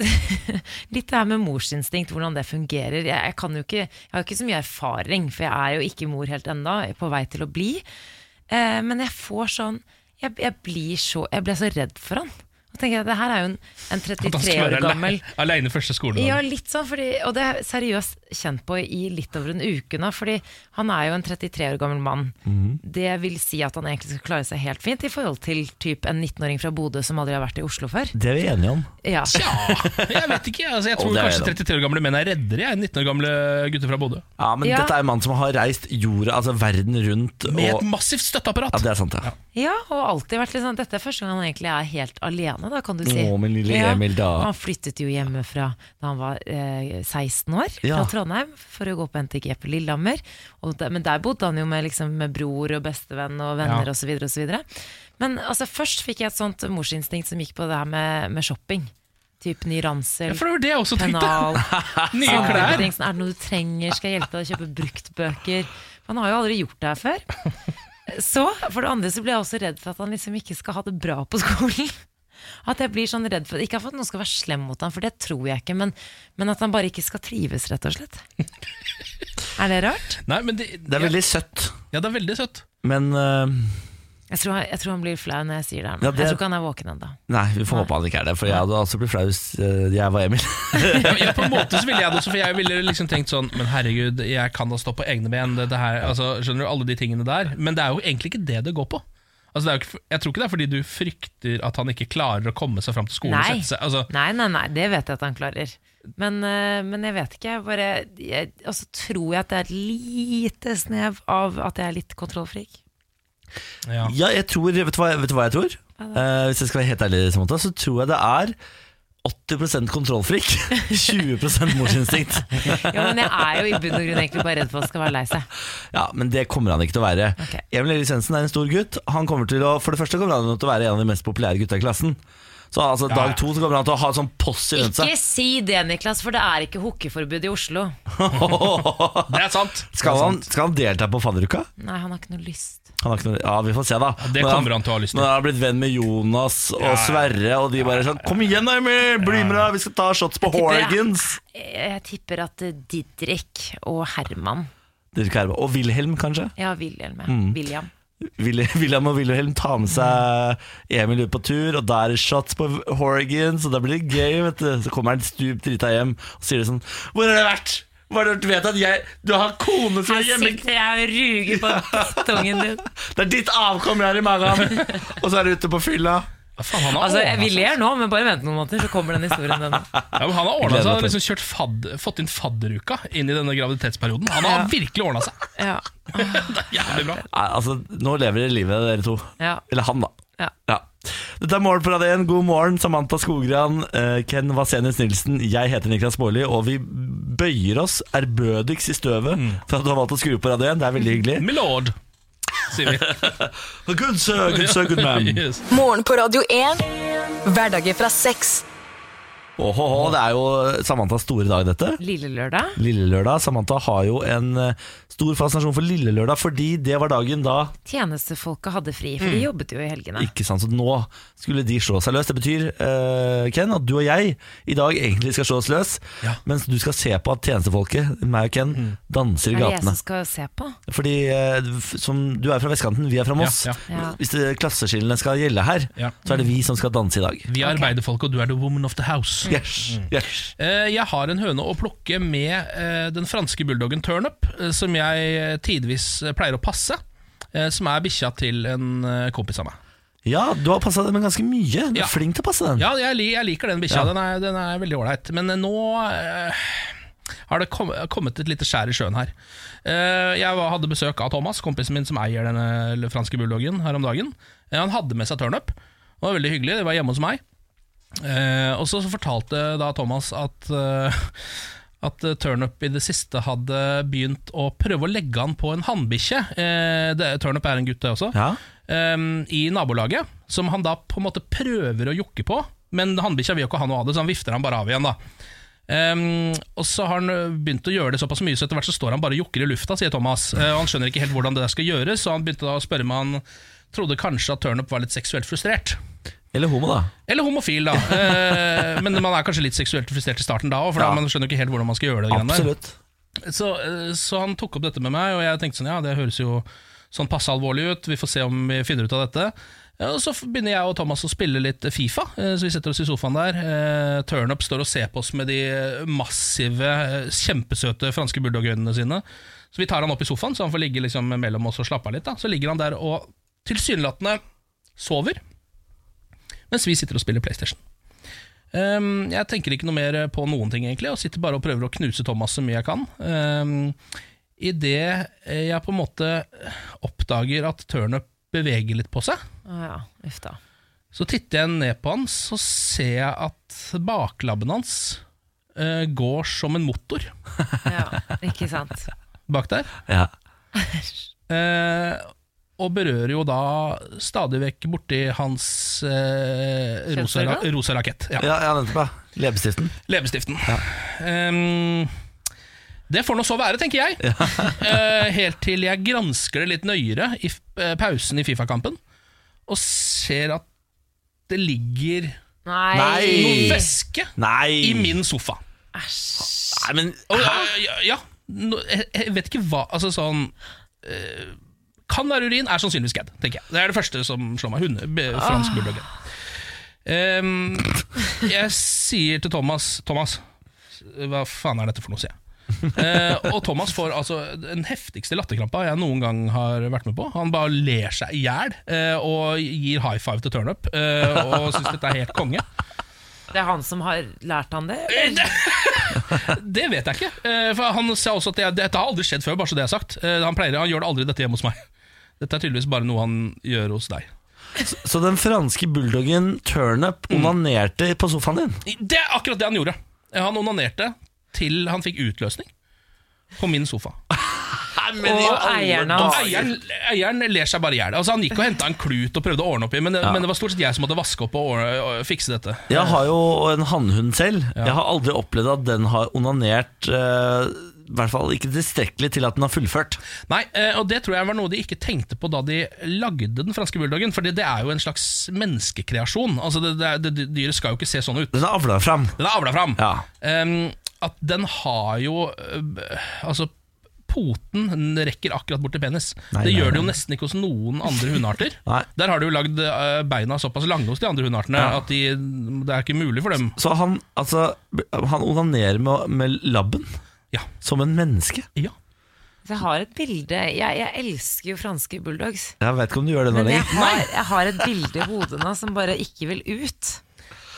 Litt det her med morsinstinkt, hvordan det fungerer. Jeg, jeg, kan jo ikke, jeg har jo ikke så mye erfaring, for jeg er jo ikke mor helt ennå, jeg er på vei til å bli. Eh, men jeg får sånn jeg, jeg blir så Jeg ble så redd for han. Og tenker jeg, Det her er jo en, en
At han
33
skal
år
være
gammel
ale- Alene første skoledag.
Ja, litt sånn, fordi, og det er jeg seriøst kjent på i litt over en uke nå, fordi han er jo en 33 år gammel mann. Det vil si at han egentlig skal klare seg helt fint i forhold til typ en 19-åring fra Bodø som aldri har vært i Oslo før.
Det er vi enige om.
Ja.
Tja, jeg vet ikke. Altså, jeg tror
det er
kanskje
det.
33 år gamle menn er reddere jeg, enn 19 år gamle gutter fra Bodø.
Ja, Men
Ja.
dette er en mann som har reist jorda, altså verden rundt. Og,
Med et
ja,
massivt støtteapparat.
det er sant, ja.
ja, og alltid vært litt sånn Dette er første gang han egentlig er helt alene, da, kan du si.
Å, min lille
Ja.
Emil, da.
Han flyttet jo hjemmefra da han var eh, 16 år,
Ja.
fra Trondheim, for å gå på NTG på Lillehammer. Og der, men der bodde han jo med, liksom, med bror og bestevenn og venner
Ja.
og så videre og så videre Men altså, først fikk jeg et sånt morsinstinkt som gikk på det her med, med shopping. Typ ny ransel,
Ja, for det var det jeg også tenkte.
pennal
Nye
Andre
klær.
ting, sånn, Er det noe du trenger? Skal jeg hjelpe deg å kjøpe bruktbøker? For Han har jo aldri gjort det her før. Så, for det andre så blir jeg også redd for at han liksom ikke skal ha det bra på skolen. At jeg blir sånn redd for Ikke for at noen skal være slem mot han, for det tror jeg ikke, men, men at han bare ikke skal trives, rett og slett. Er det rart?
Nei, men det,
Det er veldig søtt,
ja, det er veldig søtt.
men øh,
Jeg tror, han- jeg tror han blir flau når jeg sier det. her nå.
Ja, det-
Jeg tror ikke han er våken ennå.
Nei, vi får håpe han ikke er det, for jeg hadde også blitt flau hvis eh, jeg var Emil.
Ja, ja, på en måte så ville jeg det også, for jeg ville liksom tenkt sånn Men herregud, jeg kan da stå på egne ben, dette her altså, Skjønner du, alle de tingene der. Men det er jo egentlig ikke det det går på. Altså, det er jo ikke, jeg tror ikke det er fordi du frykter at han ikke klarer å komme seg fram til skolen. og
Nei.
sette Seg, altså,
Nei, nei, nei, det vet jeg at han klarer. Men, eh, men jeg vet ikke. Jeg bare jeg, Og så tror jeg at det er et lite snev av at jeg er litt kontrollfrik.
ja.
Ja, jeg tror, vet du hva, vet du hva jeg tror? Eh, hvis jeg skal være helt ærlig, Samantha, så tror jeg det er 80 kontrollfrik, 20 morsinstinkt.
Jo, men jeg er jo i bunn og grunn egentlig bare redd for at han skal være lei seg.
Ja, Men det kommer han ikke til å være.
Ok.
Emil Elisensen er en stor gutt. Han kommer til å, For det første kommer han til å være en av de mest populære gutta i klassen. Så altså, dag to så kommer han til å ha sånn post rundt seg.
Ikke si det, Niklas, for det er ikke hookeforbud i Oslo.
Det er sant!
Skal
Det er
han,
sant.
skal han delta på fadderuka?
Nei, han har ikke noe lyst.
Han har ikke noe, ja, vi får se, da.
Det
Når
kommer han til å ha lyst
Når
til.
han har blitt venn med Jonas og
ja.
Sverre, og de bare sånn Kom igjen, da, Emil! Bli med, da! Vi skal ta shots på
tipper jeg-
Horgans!
Jeg, jeg tipper at eh, Didrik og Herman
Dere skal herme. Og Wilhelm, kanskje?
Ja, William. ja.
Mm.
William.
Will- William og Wilhelm tar med seg Emil ut på tur, og da er det shots på Horgans, og da blir det gøy, vet du. Så kommer han stup drita hjem og sier det sånn Hvor har du vært? Hvor har du vært? vet at jeg Du har kone som er
Her
hjemme
sitter jeg og ruger på drittungen din.
Det er ditt avkom jeg har i magen! og så er du ute på fylla.
Ja, faen, han har
Altså, jeg
ordnet
vil gjøre nå, men bare vent noen måneder, så kommer den historien. Den.
Ja, men han har ordnet
Gleder
seg, han
meg
har liksom kjørt fadd, fått inn fadderuka inn i denne graviditetsperioden. Han har virkelig ordna seg.
Ja,
Jævlig bra.
Nei, altså, nå lever dere livet, dere to.
ja,
Eller han, da.
ja.
Ja. Dette er Morgen på Radio 1. God morgen, Samantha Skogran, eh, Ken Vasenius Nilsen. Jeg heter Niklas Baarli, og vi bøyer oss ærbødigst i støvet for at du har valgt å skru på Radio 1. Det er veldig hyggelig.
Milord, sier vi.
Good sir, good sir, good man.
Yes.
Morgen på Radio 1. Hverdager fra seks.
Åhå, det er jo Samanthas store dag, dette.
Lille lørdag.
Lille lørdag. Samantha har jo en eh, stor fascinasjon for Lille lørdag, fordi det var dagen da
Tjenestefolka hadde fri, for de jobbet jo i helgene.
Mm. Ikke sant, så nå skulle de slå seg løs. Det betyr, eh, Ken, at du og jeg i dag egentlig skal slå oss løs,
Ja. Mm.
mens du skal se på at tjenestefolket, meg og Ken, danser i
Er det jeg
gatene.
som skal se på?
Fordi eh, f- som du er fra vestkanten, vi er fra Moss.
Ja,
ja.
Hvis det, klasseskillene skal gjelde her,
Ja.
så er det vi som skal danse i dag. Mm.
Vi er arbeiderfolk, og du er the woman of the house.
Yes, yes.
Eh, Jeg har en høne å plukke med eh, den franske bulldoggen Turnup, eh, som jeg tidvis eh, pleier å passe. eh, Som er bikkja til en eh, kompis av meg.
Ja, du har passa den ganske mye. Du er
Ja.
flink til å passe den.
Ja, jeg, li- jeg liker den bikkja.
Ja.
Den, er- den er veldig ålreit. Men eh, nå eh, har det kom, kommet et lite skjær i sjøen her. Eh, jeg var, hadde besøk av Thomas, kompisen min som eier denne l- franske bulldoggen, her om dagen. Eh, han hadde med seg turnup. Det var veldig hyggelig. Det var hjemme hos meg. Eh, og så så fortalte da Thomas at eh, at eh, Turnup i det siste hadde begynt å prøve å legge han på en hannbikkje. Eh, det- Turnup er en gutt, det også
Ja.
um, i nabolaget, som han da på en måte prøver å jokke på. Men hannbikkja vil jo ikke ha noe av det, så han vifter han bare av igjen. da Ehm, Og så har han ø, begynt å gjøre det såpass mye, så etter hvert så står han bare og jokker i lufta, sier Thomas. Eh, og han skjønner ikke helt hvordan det der skal gjøres, så han begynte da å spørre meg han trodde kanskje at turnup var litt seksuelt frustrert.
Eller homo, da.
Eller homofil, da. Eh, men man er kanskje litt seksuelt frustrert i starten da òg, for
Ja.
da man skjønner ikke helt hvordan man skal gjøre det. greiene der.
Absolutt.
Så, eh, så han tok opp dette med meg, og jeg tenkte sånn, ja, det høres jo sånn passe alvorlig ut, vi får se om vi finner ut av dette. Ja, Og så begynner jeg og Thomas å spille litt Fifa, eh, så vi setter oss i sofaen der. Eh, Turnup står og ser på oss med de massive, eh, kjempesøte franske bulldogøynene sine. Så vi tar han opp i sofaen, så han får ligge liksom mellom oss og slappe av litt. Da. Så ligger han der og tilsynelatende sover, mens vi sitter og spiller Playstation. Ehm, jeg tenker ikke noe mer på noen ting, egentlig, og sitter bare og prøver å knuse Thomas så mye jeg kan. Um, Idet eh, jeg på en måte oppdager at turnup beveger litt på seg,
Å ja, uff da.
så titter jeg ned på han, så ser jeg at baklabben hans eh, går som en motor
Ja, ikke sant.
bak der.
Ja.
Eh, og berører jo da stadig vekk borti hans eh, rosa, ra-
Kjønnsorgan?
rosa rakett. Ja.
Ja, ja, nettopp, ja. Leppestiften.
Leppestiften. Ehm, det får nå så være, tenker jeg. Eh, helt til jeg gransker det litt nøyere i f- eh, pausen i Fifa-kampen, og ser at det ligger
Nei!
Nei.
noe væske
Nei!
i min sofa.
Nei, men
Og, eh, ja, ja, no, jeg, jeg vet ikke hva Altså sånn eh, kan være urin, er sannsynligvis gedd. tenker jeg. Det er det første som slår meg. Hunde, be- fransk bulldog. Ehm, jeg sier til Thomas Thomas, hva faen er dette for noe, sier jeg. Eh, og Thomas får altså den heftigste latterkrampa jeg noen gang har vært med på. Han bare ler seg i hjel eh, og gir high five til turnup eh, og syns dette er helt konge.
Det er han som har lært han det?
Det vet jeg ikke. Eh, For han sa også at jeg, dette har aldri skjedd før, bare så det er sagt. Eh, Han, pleier, han gjør det aldri dette hjemme hos meg. Dette er tydeligvis bare noe han gjør hos deg.
Så den franske bulldoggen Turnup
Mm.
onanerte på sofaen din?
Det er akkurat det han gjorde. Eh, Han onanerte til han fikk utløsning på min sofa.
Og eieren
Og
hans.
eieren, eieren ler seg bare i hjel. Altså, han gikk og henta en klut og prøvde å ordne opp i, men, det- men det var stort sett jeg som måtte vaske opp og, ordne, og fikse dette.
Jeg har jo en hannhund selv. Jeg har aldri opplevd at den har onanert eh, I hvert fall ikke tilstrekkelig til at den har fullført.
Nei, eh, og det tror jeg var noe de ikke tenkte på da de lagde den franske bulldoggen, for det er jo en slags menneskekreasjon. Altså, det, det, det, det Dyret skal jo ikke se sånn ut.
Den har avla fram.
Den er avla fram.
Ja.
Ehm, at den har jo øh, b- Altså, poten den rekker akkurat bort til penis.
Nei,
det
nei,
gjør det
nei.
jo nesten ikke hos noen andre hundearter.
Nei.
Der har du jo lagd øh, beina såpass lange hos de andre hundeartene at de, det er ikke mulig for dem.
Så han, altså, han onanerer med, med labben.
Ja.
Som en menneske.
Ja.
Altså, Jeg har et bilde Jeg, jeg elsker jo franske bulldogs.
Jeg vet ikke om du gjør det nå
Men jeg
lenger.
har, jeg har et bilde i hodet nå som bare ikke vil ut.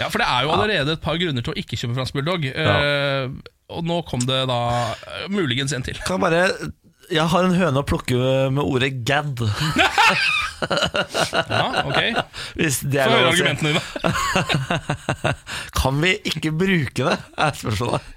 ja, for det er jo allerede et par grunner til å ikke kjøpe fransk bulldog. Eh, og nå kom det da eh, muligens en til.
Kan jeg bare Jeg har en høne å plukke med ordet 'gad'.
Ja, ok
Hvis det er
Få høre
lov å si.
argumentene dine.
Kan vi ikke bruke det? er spørsmålet.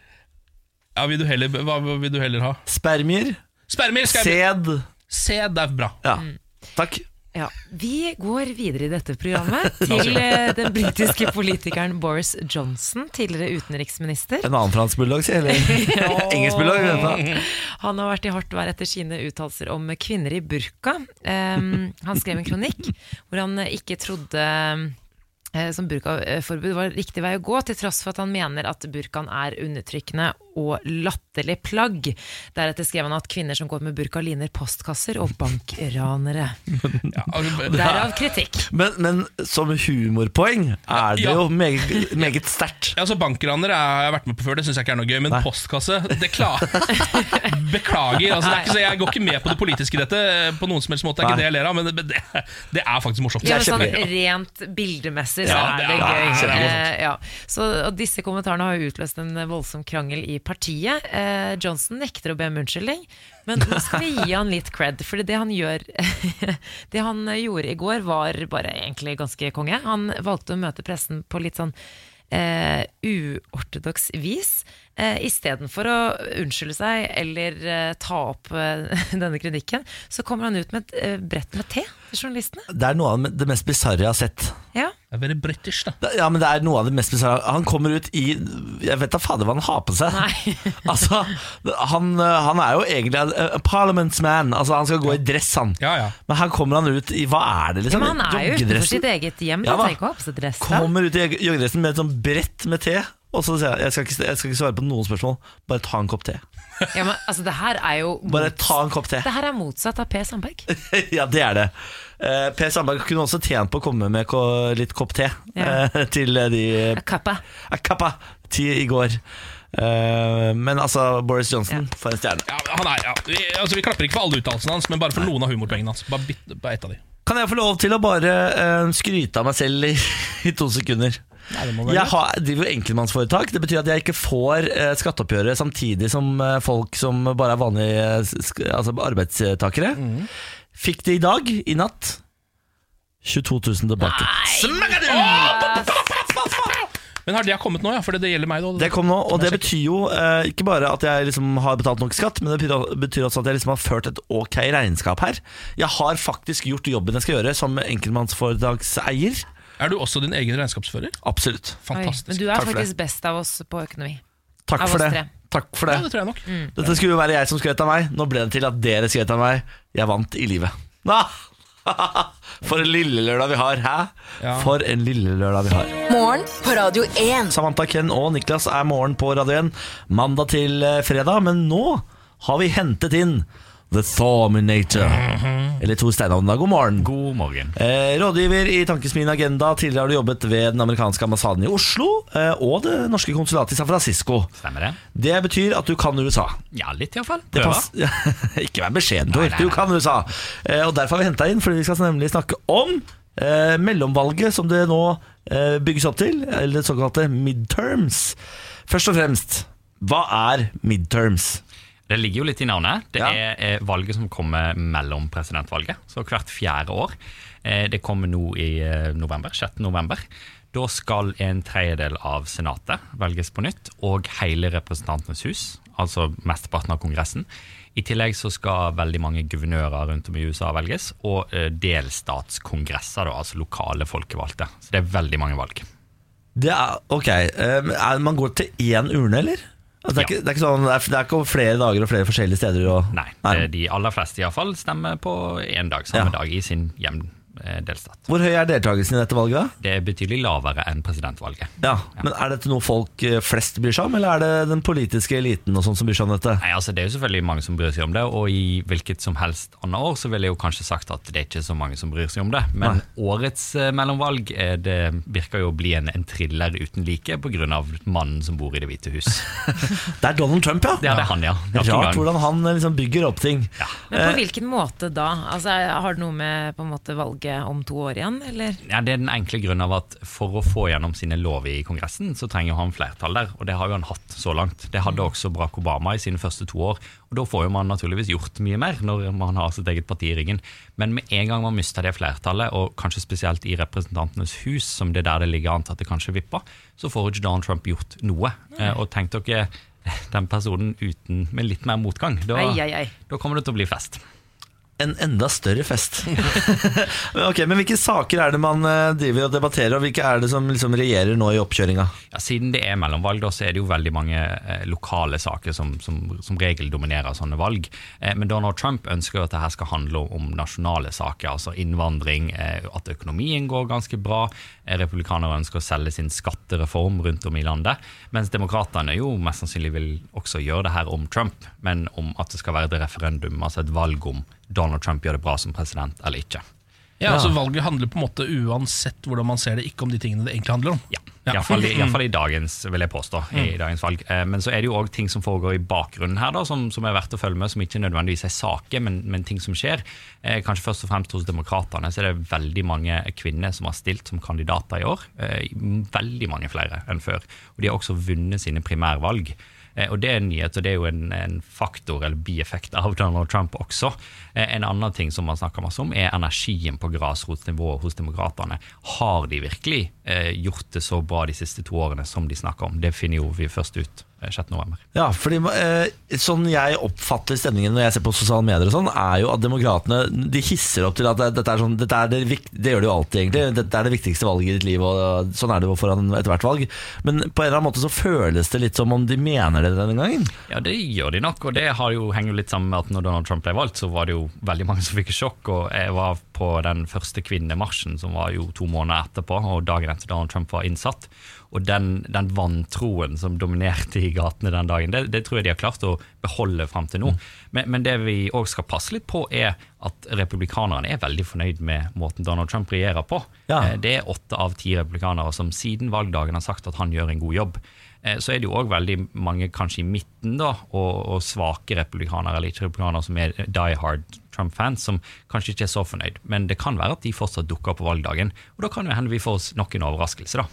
Ja, vil du heller, hva vil du heller ha?
Spermier,
Spermer! Skal jeg
sæd
se, det er bra.
Ja,
Mm.
takk.
Ja, Vi går videre i dette programmet til eh, den britiske politikeren Boris Johnson, tidligere utenriksminister.
En annen fransk bulldog, sier jeg. eller? Engelsk bulldog. vent da.
Han har vært i hardt vær etter sine uttalelser om kvinner i burka. Em, han skrev en kronikk hvor han eh, ikke trodde eh, som burkaforbud var riktig vei å gå, til tross for at han mener at burkaen er undertrykkende og latterlig plagg. Deretter skrev han at kvinner som går med burka, ligner postkasser og bankranere.
Ja, altså,
Derav kritikk.
Men, men som humorpoeng er det
Ja.
jo meget, meget sterkt.
Ja, altså Bankraner har jeg vært med på før, det syns jeg ikke er noe gøy. Men
Nei.
postkasse, det klar... Beklager. Altså, det er ikke, så jeg går ikke med på det politiske i dette, på noen som helst måte. Det
Nei.
er ikke det jeg ler av, men det, det, det er faktisk morsomt.
Ja, men sånn
kjempegøy.
rent bildemessig så
Ja,
er
det er-
det gøy.
det er kjempemorsomt.
Eh, ja. Så, og disse kommentarene har jo utløst en voldsom krangel i partiet. Eh, Johnson nekter å be om unnskyldning, men nå skal vi gi han litt cred. For det han gjør Det han gjorde i går, var bare egentlig ganske konge. Han valgte å møte pressen på litt sånn eh, uortodoks vis. Eh, Istedenfor å unnskylde seg eller eh, ta opp eh, denne kritikken, så kommer han ut med et eh, brett med te til journalistene.
Det er noe av det mest bisarre jeg har sett.
Ja
Det er veldig british, da.
Det- Ja, men det er noe av det mest bisarre. Han kommer ut i Jeg vet da fader hva han har på seg. altså, han, han er jo egentlig en en parliamentsman. Altså, han skal gå i dress, han.
Ja, ja.
Men her kommer han ut i Hva er det, liksom?
Men han er jo utenfor sitt eget hjem.
Ja,
Ja,
hva?
trenger ikke å ha på seg dress. da.
Kommer ut i jogge- joggedressen med et sånn brett med te. Og så sier jeg jeg skal, ikke, jeg skal ikke svare på noen spørsmål, bare ta en kopp te.
Ja, men, altså, det her er jo
Bare ta en kopp te.
Det her er motsatt av Per Sandberg.
ja, det er det. Eh, per Sandberg kunne også tjent på å komme med ko litt kopp te
Ja.
eh, til eh, de eh,
Kappa.
Kappa til i går. Eh, men altså, Boris Johnson, for en stjerne.
Ja, han er, ja. Vi, altså, vi klapper ikke for alle uttalelsene hans, men bare for noen av humorpoengene hans. Bare bit, bare ett av de.
Kan jeg få lov til å bare eh, skryte av meg selv i, i to sekunder? Jeg har, driver jo enkeltmannsforetak. Det betyr at jeg ikke får eh, skatteoppgjøret samtidig som eh, folk som bare er vanlige eh, sk altså arbeidstakere. Fikk det i dag, i natt. 22 000 tilbake.
Men har det kommet nå, ja? For det, det gjelder meg, da.
Det kom nå, og det
jeg
betyr jo eh, ikke bare at jeg liksom har betalt nok skatt, men det betyr- betyr også at jeg liksom har ført et ok regnskap her. Jeg har faktisk gjort jobben jeg skal gjøre som enkeltmannsforetakseier.
Er du også din egen regnskapsfører?
Absolutt.
Oi,
Fantastisk.
men du
Takk
er
for
faktisk best av oss på økonomi.
Takk
Av
for
oss
det.
tre.
Takk for
Ja, det
det.
tror jeg nok.
Dette skulle jo være jeg som skrøt av meg. Nå ble det til at dere skrøt av meg. Jeg vant i livet. Ah! For en lille lørdag vi har, hæ?
Ja.
For en lille lørdag vi har.
Morgen på Radio 1.
Samantha, Ken og Niklas er morgen på Radio 1 mandag til eh, fredag, men nå har vi hentet inn The Thaminator. Eller Tor Steinhovden. God morgen.
God morgen.
Eh, rådgiver i Tankesmien Agenda. Tidligere har du jobbet ved den amerikanske ambassaden i Oslo eh, og det norske konsulatet i San Francisco.
Stemmer det?
Det betyr at du kan USA.
Ja, litt iallfall.
Det
Prøver.
pass- Ikke vær beskjeden, Tor.
Nei, nei,
Du
nei.
kan USA. Eh, og derfor har vi henta inn, fordi vi skal nemlig snakke om eh, mellomvalget som det nå eh, bygges opp til, eller det såkalte midterms. Først og fremst, hva er midterms?
Det ligger jo litt i navnet. Det
Ja.
er eh, valget som kommer mellom presidentvalget, så hvert fjerde år. Eh, Det kommer nå i eh, november, 6. november. Da skal en tredjedel av senatet velges på nytt, og hele Representantenes hus, altså mesteparten av Kongressen. I tillegg så skal veldig mange guvernører rundt om i USA velges, og eh, delstatskongresser, da, altså lokale folkevalgte. Så det er veldig mange valg.
Det er, ok, eh, er, Man går til én urne, eller? Altså, det, er
Ja.
ikke, det, er ikke sånn, det, er, det er ikke over flere dager og flere forskjellige steder? Og,
Nei, eh, de aller fleste iallfall stemmer på én dag,
Ja.
samme dag, i sin hjemdelstat.
Hvor høy er deltakelsen i dette valget? da?
Det er betydelig lavere enn presidentvalget.
Ja, men Er dette noe folk eh, flest bryr seg om, eller er det den politiske eliten og sånn som bryr seg om dette?
Nei, altså Det er jo selvfølgelig mange som bryr seg om det, og i hvilket som helst annet år så ville jeg jo kanskje sagt at det er ikke så mange som bryr seg om det. Men årets eh, mellomvalg eh, det virker jo å bli en, en thriller uten like pga. mannen som bor i Det hvite hus.
Det er Donald Trump, ja!
Det er det han, ja. Nok en
Rart
gang.
hvordan han eh, liksom bygger opp ting.
Men
Eh.
på hvilken måte da? Altså, har det noe med på en måte valget om to år igjen, eller?
Ja, det er den enkle grunnen av at for å få gjennom sine lover i Kongressen, så trenger jo han flertall der, og det har jo han hatt så langt. Det
Mm.
hadde også Barack Obama i sine første to år, og da får jo man naturligvis gjort mye mer når man har sitt eget parti i ryggen. Men med en gang man mister det flertallet, og kanskje spesielt i Representantenes hus, som det er der det ligger an til at det kanskje vipper, så får jo ikke Donald Trump gjort noe. Eh, Og tenk dere den personen uten, med litt mer motgang. Da,
Ai, ai, ai.
da kommer det til å bli fest.
En enda større fest. Men ok, men Hvilke saker er det man eh, driver og debatterer, og hvilke er det som liksom regjerer nå i oppkjøringa?
Ja, siden det er mellomvalg, da, så er det jo veldig mange eh, lokale saker som, som, som regel dominerer sånne valg. Eh, men Donald Trump ønsker jo at det her skal handle om nasjonale saker, altså innvandring, eh, at økonomien går ganske bra. Eh, republikanere ønsker å selge sin skattereform rundt om i landet. Mens demokratene jo mest sannsynlig vil også gjøre det her om Trump, men om at det skal være et referendum, altså et valg om Donald Trump gjør det bra som president eller ikke.
Ja, altså Valget handler på en måte uansett hvordan man ser det, ikke om de tingene det egentlig handler om.
Ja, iallfall
Mm.
i, i, hvert fall i dagens, vil jeg påstå. I dagens valg. Eh, Men så er det jo òg ting som foregår i bakgrunnen her, da, som, som er verdt å følge med, som ikke nødvendigvis er saker, men, men ting som skjer. Eh, Kanskje først og fremst hos demokratene så er det veldig mange kvinner som har stilt som kandidater i år. Eh, Veldig mange flere enn før. Og de har også vunnet sine primærvalg. Eh, Og Det er en nyhet, og det er jo en, en faktor eller bieffekt av Donald Trump også. Eh, En annen ting som man snakker masse om, er energien på grasrotnivå hos demokratene. Har de virkelig eh, gjort det så bra de siste to årene som de snakker om? Det finner jo vi først ut eh, 6. november.
Ja, fordi eh, Sånn jeg oppfatter stemningen når jeg ser på sosiale medier, og sånn er jo at demokratene de hisser opp til at det- dette er sånn dette er det, vik- det gjør de jo alltid, egentlig. Dette er det viktigste valget i ditt liv, og sånn er det jo foran ethvert valg. Men på en eller annen måte så føles det litt som om de mener det denne gangen.
Ja, det gjør de nok, og det har jo, henger jo litt sammen med at når Donald Trump ble valgt, så var det jo veldig mange som fikk sjokk, og jeg var på den første kvinnemarsjen, som var jo to måneder etterpå, og dagen etter Donald Trump var innsatt. Og den, den vantroen som dominerte i gatene den dagen, det, det tror jeg de har klart å beholde frem til nå. Men, men det vi òg skal passe litt på, er at republikanerne er veldig fornøyd med måten Donald Trump regjerer på.
Ja.
Eh, Det er åtte av ti republikanere som siden valgdagen har sagt at han gjør en god jobb. Eh, Så er det jo òg veldig mange kanskje i midten da, og, og svake republikanere eller ikke republikanere som er die hard Trump-fans, som kanskje ikke er så fornøyd. Men det kan være at de fortsatt dukker opp på valgdagen, og da kan det hende vi får oss nok en overraskelse, da.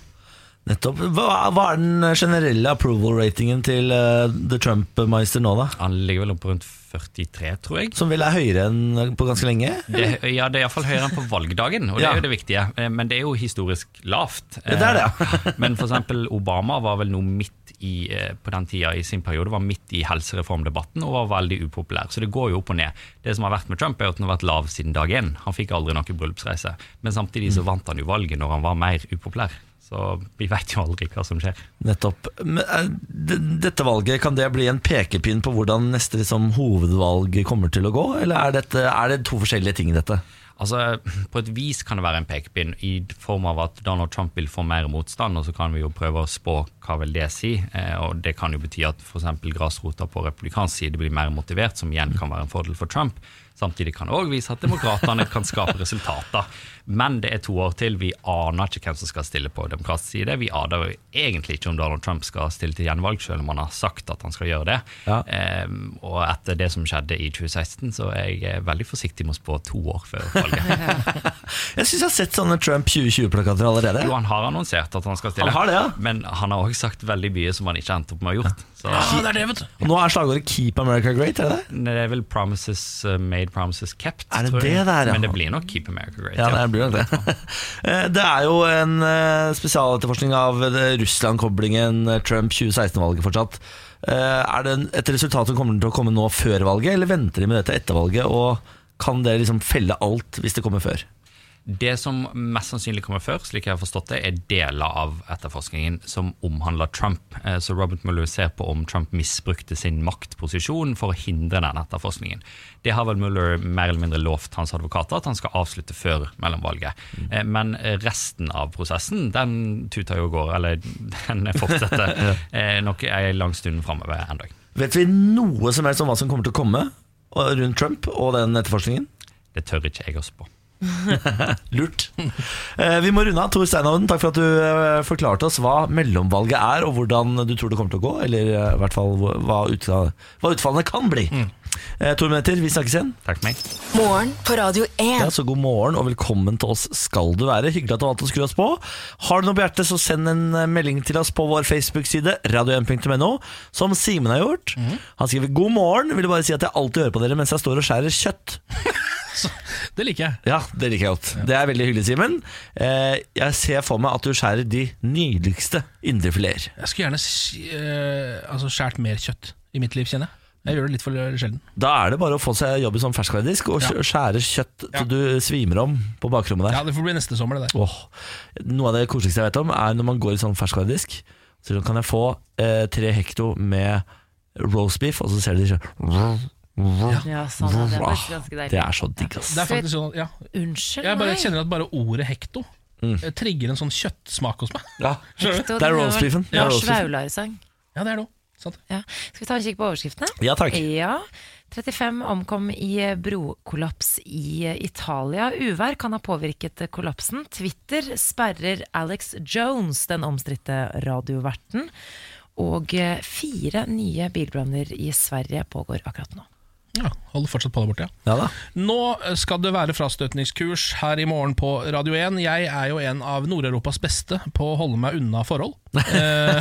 Nettopp. Hva, hva er den generelle approval-ratingen til eh, The Trump-meister nå, da?
Han ligger vel oppe rundt 43, tror jeg.
Som vel er høyere enn eh, på ganske lenge?
Det, ja, det er iallfall høyere enn på valgdagen, og det
Ja.
er jo det viktige. Eh, Men det er jo historisk lavt.
Ja, det er det,
Eh, Men for eksempel Obama var vel nå midt i, eh, på den tida i sin periode, var midt i helsereformdebatten og var veldig upopulær. Så det går jo opp og ned. Det som har vært med Trump, er jo at han har vært lav siden dag én. Han fikk aldri noen bryllupsreise. Men samtidig
Mm.
så vant han jo valget når han var mer upopulær. Så vi veit jo aldri hva som skjer.
Nettopp. Men, eh, d- dette valget, kan det bli en pekepinn på hvordan neste liksom, hovedvalg kommer til å gå? Eller er, dette, er det to forskjellige ting, dette?
Altså, På et vis kan det være en pekepinn i form av at Donald Trump vil få mer motstand, og så kan vi jo prøve å spå hva vil det si. Eh, og Det kan jo bety at f.eks. grasrota på republikansk side blir mer motivert, som igjen kan være en fordel for Trump. Samtidig kan det òg vise at demokratene kan skape resultater. Men det er to år til. Vi aner ikke hvem som skal stille på demokratisk side. Vi aner jo egentlig ikke om Donald Trump skal stille til gjenvalg, selv om han har sagt at han skal gjøre det.
Ja.
Eh, og etter det som skjedde i 2016, så er jeg eh, veldig forsiktig med å spå to år før valget.
Jeg syns jeg har sett sånne Trump 2020-plakater allerede.
Jo, han har annonsert at han skal stille,
Han har det, ja.
men han har òg sagt veldig mye som han ikke endte opp med å ha gjort. Så
Ja, det er det, vet du.
Og nå er slagordet 'Keep America Great'. Er det det?
det er vel 'promises eh, made, promises kept'.
Er det
tror jeg.
det der, ja?
Men det blir nok 'Keep America Great'.
Ja,
ja.
det blir nok det. Eh, Det er jo en eh, spesialetterforskning av det Russland-koblingen eh, Trump 2016-valget fortsatt. Eh, Er det en- et resultat som kommer til å komme nå før valget, eller venter de med det til etter valget? Og kan det liksom felle alt hvis det kommer før?
Det som mest sannsynlig kommer før, slik jeg har forstått det, er deler av etterforskningen som omhandler Trump. Eh, Så Robert Mueller ser på om Trump misbrukte sin maktposisjon for å hindre den etterforskningen. Det har vel Mueller mer eller mindre lovt hans advokater at han skal avslutte før mellomvalget. Eh, Men resten av prosessen, den tuter jo og går, eller den fortsetter eh, nok en lang stund framover en dag.
Vet vi noe som helst om hva som kommer til å komme og- rundt Trump og den etterforskningen?
Det tør ikke jeg å spå.
Lurt. Eh, Vi må runde av. Tor Steinhoven, takk for at du eh, forklarte oss hva mellomvalget er, og hvordan du tror det kommer til å gå, eller eh, i hvert fall hva hva utfall- hva utfallene kan bli. Eh, To minutter, vi snakkes igjen.
Takk for meg.
Morgen på Radio 1.
Ja, så God morgen og velkommen til oss skal du være. Hyggelig at du valgte å skru oss på. Har du noe på hjertet, så send en eh, melding til oss på vår Facebook-side, radio1.no, som Simen har gjort. Han skriver 'God morgen'. Vil bare si at jeg alltid hører på dere mens jeg står og skjærer kjøtt.
Det liker jeg.
Ja, det liker jeg godt. Det er veldig hyggelig, Simen. Eh, jeg ser for meg at du skjærer de nydeligste indrefileter.
Jeg skulle gjerne sk- eh, altså, skjært mer kjøtt i mitt liv, kjenner jeg. Jeg gjør det litt for sjelden.
Da er det bare å få seg jobb som ferskvaredisk og
Ja.
skjære kjøtt
Ja.
til du svimer om på bakrommet der.
Ja, Det får bli neste sommer, det der.
Åh, noe av det koseligste jeg vet om Er når man går i sånn ferskvaredisk Så kan jeg få eh, tre hekto med roast beef Og så ser du de sånn
Ja, sånn, ja, det er faktisk ganske deilig.
Det er så digg ass
Det er faktisk sånn, ja
Unnskyld
Jeg bare
meg.
kjenner at bare ordet hekto eh, trigger en sånn kjøttsmak hos meg.
ja.
Hekto,
Det er
den
roast
vel-
beefen. Det er
Lars
roast beefen.
Vaular-sang.
Ja, det er det òg. Sant?
Ja. Skal vi ta en kikk på overskriftene?
ja takk
Ja. Eh. 35 omkom i brokollaps i Italia. Uvær kan ha påvirket kollapsen. Twitter sperrer Alex Jones, den omstridte radioverten. Og eh, fire nye bilbranner i Sverige pågår akkurat nå.
Ja, Holder fortsatt på der borte, ja.
ja, da.
Nå skal det være frastøtningskurs her i morgen på Radio 1. Jeg er jo en av Nord-Europas beste på å holde meg unna forhold. Eh,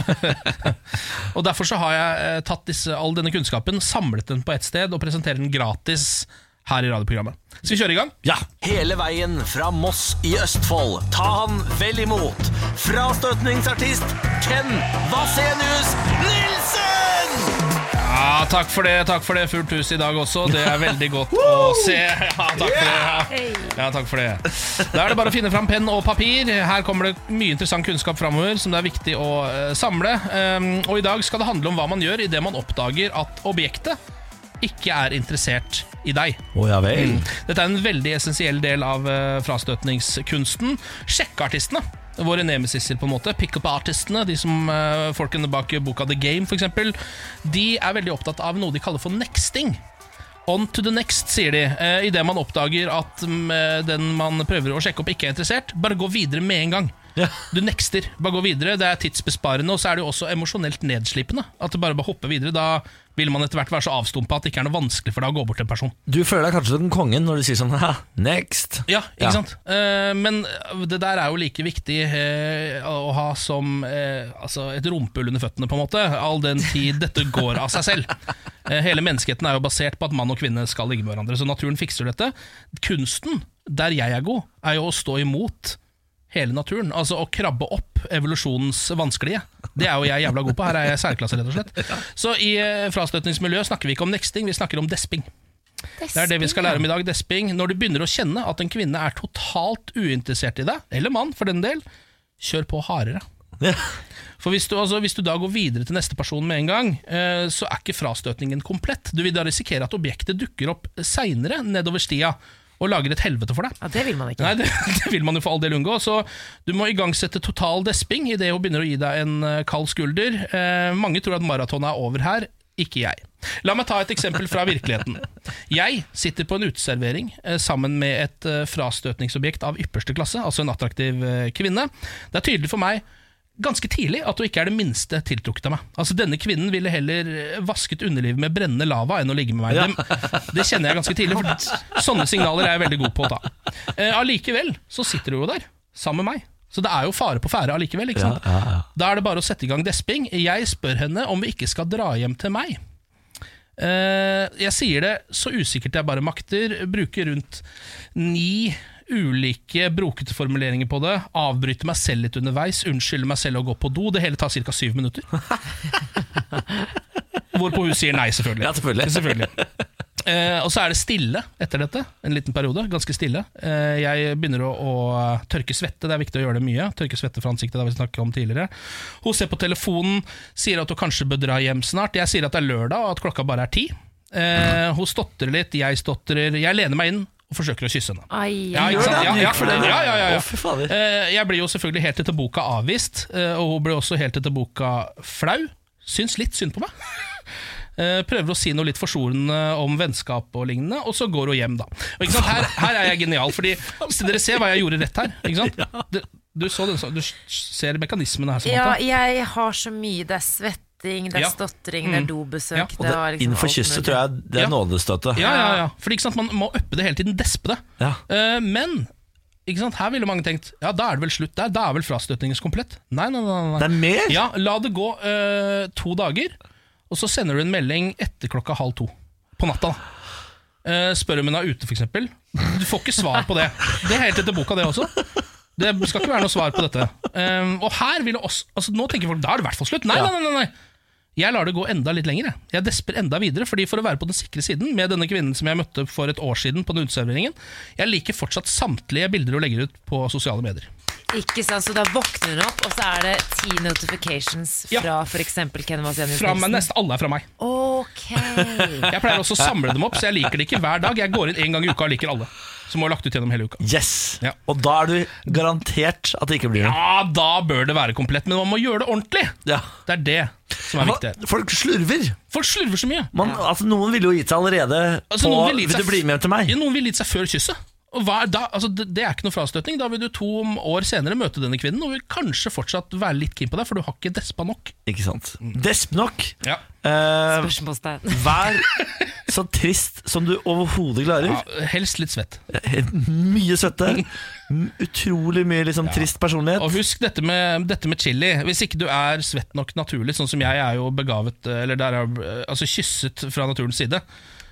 og Derfor så har jeg eh, tatt disse, all denne kunnskapen, samlet den på ett sted og presenterer den gratis her i radioprogrammet. Skal vi kjøre i gang?
ja Hele veien fra Moss i Østfold Ta han vel imot Frastøtningsartist Ken Vasenius Nilsen
Ja, Takk for det. takk for det Fullt hus i dag også. Det er veldig godt å se. Ja, takk for det. Ja. Ja, takk for det. Da er det bare å finne fram penn og papir. Her kommer det mye interessant kunnskap framover som det er viktig å eh, samle. Um, og i dag skal det handle om hva man gjør idet man oppdager at objektet ikke er interessert i deg.
Åja vel
Dette er en veldig essensiell del av eh, frastøtningskunsten. Sjekkeartistene. Våre nemesiser, på en måte. Pickup-artistene, de som eh, folkene bak boka The Game, f.eks. De er veldig opptatt av noe de kaller for nexting. On to the next, sier de. Eh, Idet man oppdager at mm, den man prøver å sjekke opp, ikke er interessert, bare gå videre med en gang.
Ja.
Du nexter. Bare gå videre. Det er tidsbesparende, og så er det jo også emosjonelt nedslipende. At du bare bare hopper videre. Da vil man etter hvert være så avstumpa at det ikke er noe vanskelig for deg å gå bort til en person.
Du føler deg kanskje som kongen når du sier sånn «Haha, Next
Ja, ikke sant? Eh, men det der er jo like viktig eh, å ha som eh, altså et rumpehull under føttene, på en måte. All den tid dette går av seg selv. Eh, hele menneskeheten er jo basert på at mann og kvinne skal ligge med hverandre, så naturen fikser dette. Kunsten, der jeg er god, er jo å stå imot hele naturen. Altså å krabbe opp evolusjonens vanskelige. Det er jo jeg jævla god på. Her er jeg særklasse, rett og slett. Så i eh, frastøtningsmiljøet snakker vi ikke om nexting, vi snakker om desping. Det er det vi skal lære om i dag, desping. Når du begynner å kjenne at en kvinne er totalt uinteressert i deg, eller mann for den del, kjør på hardere.
Ja.
For hvis du, altså, hvis du da går videre til neste person med en gang, eh, så er ikke frastøtningen komplett. Du vil da risikere at objektet dukker opp seinere nedover stia, og lager et helvete for deg.
Ja, det vil man ikke.
Nei, det, det vil man jo for all del unngå. Så du må igangsette total desping idet hun begynner å gi deg en eh, kald skulder. Eh, mange tror at maratonet er over her. Ikke jeg. La meg ta et eksempel fra virkeligheten. Jeg sitter på en uteservering eh, sammen med et eh, frastøtningsobjekt av ypperste klasse, altså en attraktiv eh, kvinne. Det er tydelig for meg ganske tidlig at hun ikke er det minste tiltrukket av meg. Altså Denne kvinnen ville heller vasket underlivet med brennende lava enn å ligge med meg. Det, det kjenner jeg ganske tidlig, for sånne signaler er jeg veldig god på å ta. Eh, Allikevel så sitter hun jo der, sammen med meg. Så det er jo fare på ferde allikevel. ikke sant? Da er det bare å sette i gang desping. Jeg spør henne om vi ikke skal dra hjem til meg. Eh, jeg sier det så usikkert jeg bare makter. Bruker rundt ni ulike brokete formuleringer på det. Avbryter meg selv litt underveis. Unnskylder meg selv og går på do. Det hele tar ca. syv minutter. Hvorpå hun sier nei, selvfølgelig.
Ja, selvfølgelig.
Eh, og så er det stille etter dette, en liten periode. Ganske stille. Eh, jeg begynner å, å tørke svette, det er viktig å gjøre det mye. Tørke svette fra ansiktet, det har vi snakket om tidligere. Hun ser på telefonen, sier at hun kanskje bør dra hjem snart. Jeg sier at det er lørdag, og at klokka bare er ti. Eh, hun stotrer litt, jeg stotrer. Jeg lener meg inn og forsøker å kysse henne.
Ai,
Ja, ikke sant? Ja, ja, ja, ja, ja,
Sånn, Å, fy fader.
ja. Eh, Jeg blir jo selvfølgelig helt etter boka avvist, eh, og hun ble også helt etter boka flau. Syns litt synd på meg. Eh, Prøver å si noe litt forsonende om vennskap og lignende, og så går hun hjem, da. Og ikke sant? Her, her er jeg genial, Fordi så dere ser hva jeg gjorde rett her. Ikke sant? Du, du, så den, så- du ser mekanismene her. Samantha.
Ja, jeg har så mye. Det er svetting, det er
Ja. Mm.
stottring, det er dobesøk.
Ja.
Og det,
var liksom
innenfor
alt
kysset
mulig.
tror jeg det
Ja.
er nådestøtet.
Ja, ja, ja. Fordi ikke sant, Man må uppe det hele tiden, despe det.
Ja.
Eh, men ikke sant, her ville mange tenkt Ja, da er det vel slutt der. Da er vel frastøtningen komplett. Nei, nei, nei, nei.
Det er mer!
Ja, la det gå eh, to dager, og så sender du en melding etter klokka halv to på natta. da. Eh, spør om hun er ute, f.eks. Du får ikke svar på det. Det er helt etter boka, det også. Det skal ikke være noe svar på dette. Eh, og her vil det også, altså Nå tenker folk da er det i hvert fall slutt. Nei,
Ja.
nei, nei, nei. Jeg lar det gå enda litt lenger. jeg. Jeg desper enda videre, fordi For å være på den sikre siden med denne kvinnen som jeg møtte for et år siden på den uteserveringen Jeg liker fortsatt samtlige bilder hun legger ut på sosiale medier.
Ikke sant, Så da våkner hun opp, og så er det ti notifications
Ja.
fra f.eks. Ken Vasenius
Fra meg,
Nilsen.
nesten alle er fra meg.
Ok.
Jeg pleier også å samle dem opp, så jeg liker det ikke hver dag. Jeg går inn en gang i uka og liker alle. Som har lagt ut gjennom hele uka.
Yes!
Ja.
Og da er du garantert at det ikke blir noe.
Ja, da bør det være komplett, men man må gjøre det ordentlig.
Ja.
Det er det som er viktig. her.
Folk slurver!
Folk slurver så mye.
Man, altså, noen ville jo gitt seg allerede
Altså,
på
noen ville
vil,
gitt seg-
du bli med til meg?
Ja, Noen vil gitt seg før kysset. Og hva er da? Altså, det, det er ikke noe frastøtning. Da vil du to år senere møte denne kvinnen og vil kanskje fortsatt være litt keen på deg, for du har ikke despa nok.
Ikke sant? Desp nok.
Mm. Ja.
Eh,
Spørsmålstegn.
vær så trist som du overhodet klarer.
helst litt svett.
Mye svette. m- Utrolig mye liksom, trist personlighet.
Og husk dette med, dette med chili. Hvis ikke du er svett nok naturlig, sånn som jeg er jo begavet Eller der er, eh, altså kysset fra naturens side.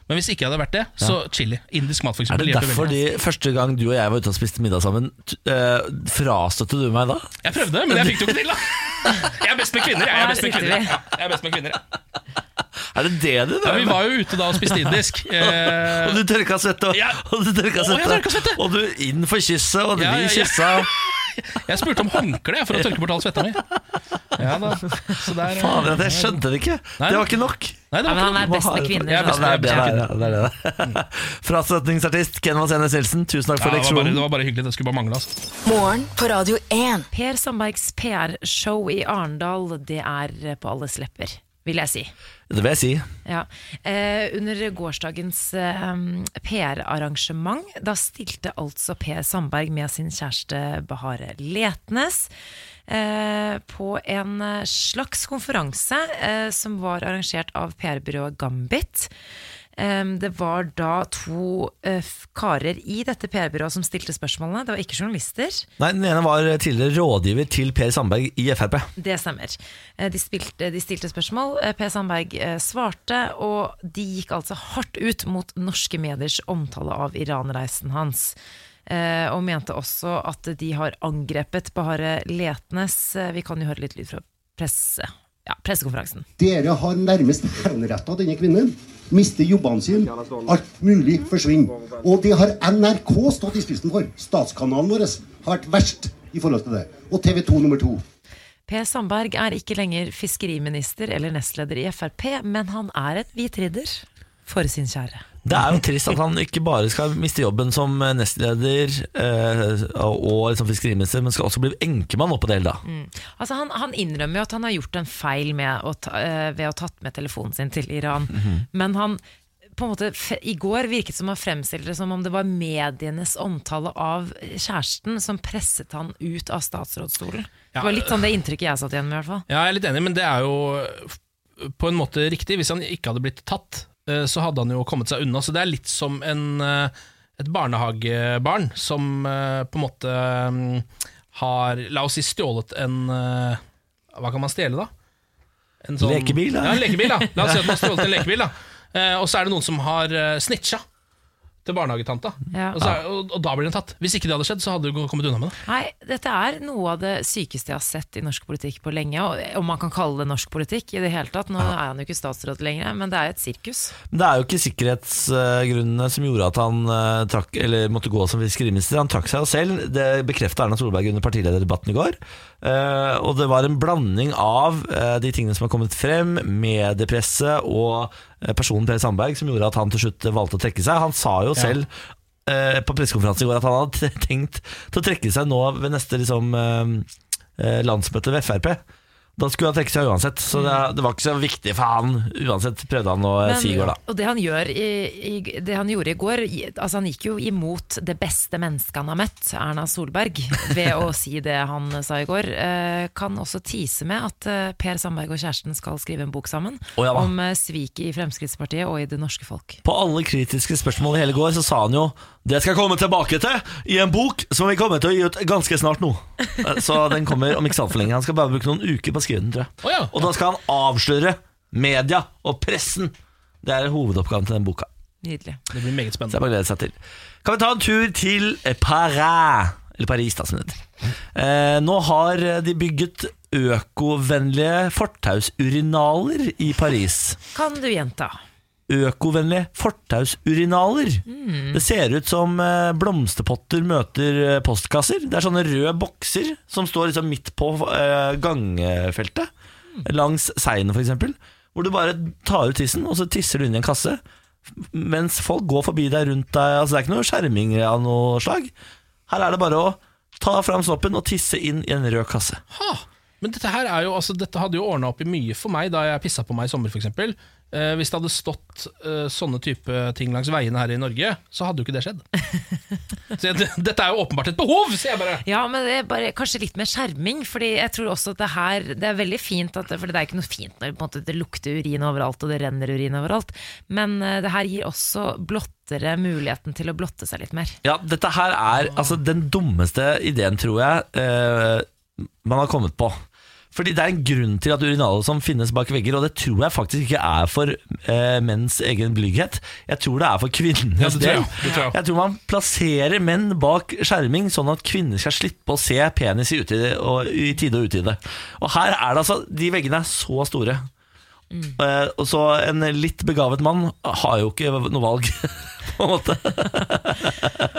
Men hvis ikke jeg hadde vært det, så chili. Indisk mat, for
Er
eksempel.
det
hjelper
derfor
veldig.
de første gang du og jeg var ute og spiste middag sammen, t- eh, frastøtte du meg da?
Jeg prøvde, men jeg fikk det jo ikke til, da. Jeg er best med kvinner, jeg. jeg er best med
Her sitter
kvinner.
vi.
Ja, Jeg er best med kvinner. jeg.
Er det det du
Ja,
drev
vi
med?
var jo ute da og spiste indisk. Eh,
Og du tørka svette, og,
Ja.
og du tørka
Å, jeg tørka
svette,
svette.
og du inn for kysset, og
Ja, ja,
vi
ja.
kyssa.
jeg spurte om håndkle jeg, for å tørke bort all svetta mi. Ja da, så der eh,
Fader, jeg skjønte det ikke!
Nei,
Det var ikke nok.
Nei, det
Ja, men
var
han er
Du må
best
ha-
med kvinner.
Jeg er
Ja,
best
det er
med-
det,
best
det er det. det er det. Frastøtningsartist Ken Vasenes Nilsen, tusen takk for
ikke, ja, det, var bare, det
leksjonen.
var bare hyggelig, det skulle bare mangle. Altså.
Morgen på Radio 1.
Per Sandbergs PR-show i Arendal, det er på alles lepper, vil jeg si.
Det vil jeg si.
Ja. Eh, under gårsdagens eh, PR-arrangement, da stilte altså Per Sandberg med sin kjæreste Bahare Letnes eh, på en eh, slags konferanse eh, som var arrangert av PR-byrået Gambit. Eh, det var da to eh, f- karer i dette PR-byrået som stilte spørsmålene. Det var ikke journalister.
Nei, Den ene var tidligere rådgiver til Per Sandberg i Frp.
Det stemmer. Eh, De, spilte, de stilte spørsmål, eh, Per Sandberg eh, svarte, og de gikk altså hardt ut mot norske mediers omtale av Iran-reisen hans. Eh, Og mente også at de har angrepet Bahare Letnes. Eh, Vi kan jo høre litt lyd fra presse, ja, pressekonferansen.
Dere har nærmest henretta denne kvinnen. Mister jobbene sine. Alt mulig forsvinner. Og det har NRK stått i spissen for. Statskanalen vår har vært verst i forhold til det. Og TV 2 nummer to.
Per Sandberg er ikke lenger fiskeriminister eller nestleder i Frp, men han er et hvitridder. for sin kjære.
Det er
Mhm.
jo trist at han ikke bare skal miste jobben som nestleder eh, og liksom fiskeriminister, men skal også bli enkemann oppå det hele, da.
Altså han, han innrømmer jo at han har gjort en feil med å ta, eh, ved å ha tatt med telefonen sin til Iran.
Mhm.
Men han på en måte, f- I går virket som han fremstilte det som om det var medienes omtale av kjæresten som presset han ut av statsrådsstolen. Det var litt sånn det inntrykket jeg satt igjen med. i hvert fall
Ja, jeg er litt enig, men det er jo f- på en måte riktig. Hvis han ikke hadde blitt tatt, eh, så hadde han jo kommet seg unna. Så det er litt som en, eh, et barnehagebarn som eh, på en måte mm, har, la oss si, stjålet en eh, Hva kan man stjele, da? En sånn-
Lekebil, da?
Ja, en lekebil, da. La oss si at man har stjålet en lekebil, da. Eh, Og så er det noen som har eh, snitcha. Til barnehagetanta.
Ja.
Og, så er, og, og da blir den tatt. Hvis ikke det hadde skjedd, så hadde du kommet unna med det.
Nei, dette er noe av det sykeste jeg har sett i norsk politikk på lenge. og- Om man kan kalle det norsk politikk i det hele tatt. Nå er han jo ikke statsråd lenger, men det er et sirkus.
Men det er jo ikke sikkerhetsgrunnene som gjorde at han eh, trakk, eller måtte gå som fiskeriminister. Han trakk seg jo selv. Det bekrefta Erna Solberg under partilederdebatten i går. Eh, og det var en blanding av eh, de tingene som har kommet frem, mediepresset og eh, personen Per Sandberg, som gjorde at han til slutt valgte å trekke seg. Han sa jo selv eh, på pressekonferansen i går at han hadde t- tenkt til å trekke seg nå ved neste liksom, eh, eh, landsmøte ved Frp. Da skulle han trekke seg uansett, så det, det var ikke så viktig for han. Uansett prøvde han å eh,
Men-
si i går, da.
Og det han, gjør i, i, det han gjorde i går i- altså Han gikk jo imot det beste mennesket han har møtt, Erna Solberg, ved å si det han sa i går. Eh, kan også tise med at eh, Per Sandberg og kjæresten skal skrive en bok sammen
Å, ja da.
om eh, svik i Fremskrittspartiet og i det norske folk.
På alle kritiske spørsmål i hele går så sa han jo Det skal jeg komme tilbake til i en bok som vi kommer til å gi ut ganske snart nå. Eh, Så den kommer om ikke så altfor lenge. Han skal bare bruke noen uker på å skrive den, tror jeg.
Å ja.
Og da skal han avsløre media og pressen. Det er hovedoppgaven til den boka.
Nydelig.
Det blir meget
Så
spennende.
jeg bare gleder seg til. Kan vi ta en tur til eh, Paris? Eller Paris, da, som det heter. Eh, nå har de bygget økovennlige fortausurinaler i Paris
Kan du gjenta?
økovennlige fortausurinaler. Det ser ut som eh, blomsterpotter møter eh, postkasser. Det er sånne røde bokser som står liksom midt på eh, gangfeltet, langs seien f.eks., hvor du bare tar ut tissen, og så tisser du inn i en kasse. f- Mens folk går forbi deg rundt deg. Altså Det er ikke noe skjerming av noe slag. Her er det bare å ta fram snoppen og tisse inn i en rød kasse.
Ha! Ah, Men dette her er jo, altså, dette hadde jo ordna opp i mye for meg da jeg pissa på meg i sommer, f.eks. Eh, hvis det hadde stått eh, sånne type ting langs veiene her i Norge, så hadde jo ikke det skjedd. så jeg, dette er jo åpenbart et behov, sier jeg bare.
Ja, men det er bare kanskje litt mer skjerming. Fordi jeg tror også at det her Det er veldig fint, at, for det er ikke noe fint når det, på en måte, det lukter urin overalt og det renner urin overalt. Men eh, det her gir også blottere muligheten til å blotte seg litt mer.
Ja, dette her er altså, den dummeste ideen, tror jeg, eh, man har kommet på. Fordi det er en grunn til at urinaler som finnes bak vegger, og det tror jeg faktisk ikke er for eh, menns egen blyghet. Jeg tror det er for
Ja,
kvinnenes
det tror
del.
jeg. Det tror jeg.
Jeg tror man plasserer menn bak skjerming, sånn at kvinner skal slippe å se penis i, utide, og, i tide og utide. Og her er det altså De veggene er så store. Eh, og så en litt begavet mann har jo ikke noe valg, på en måte.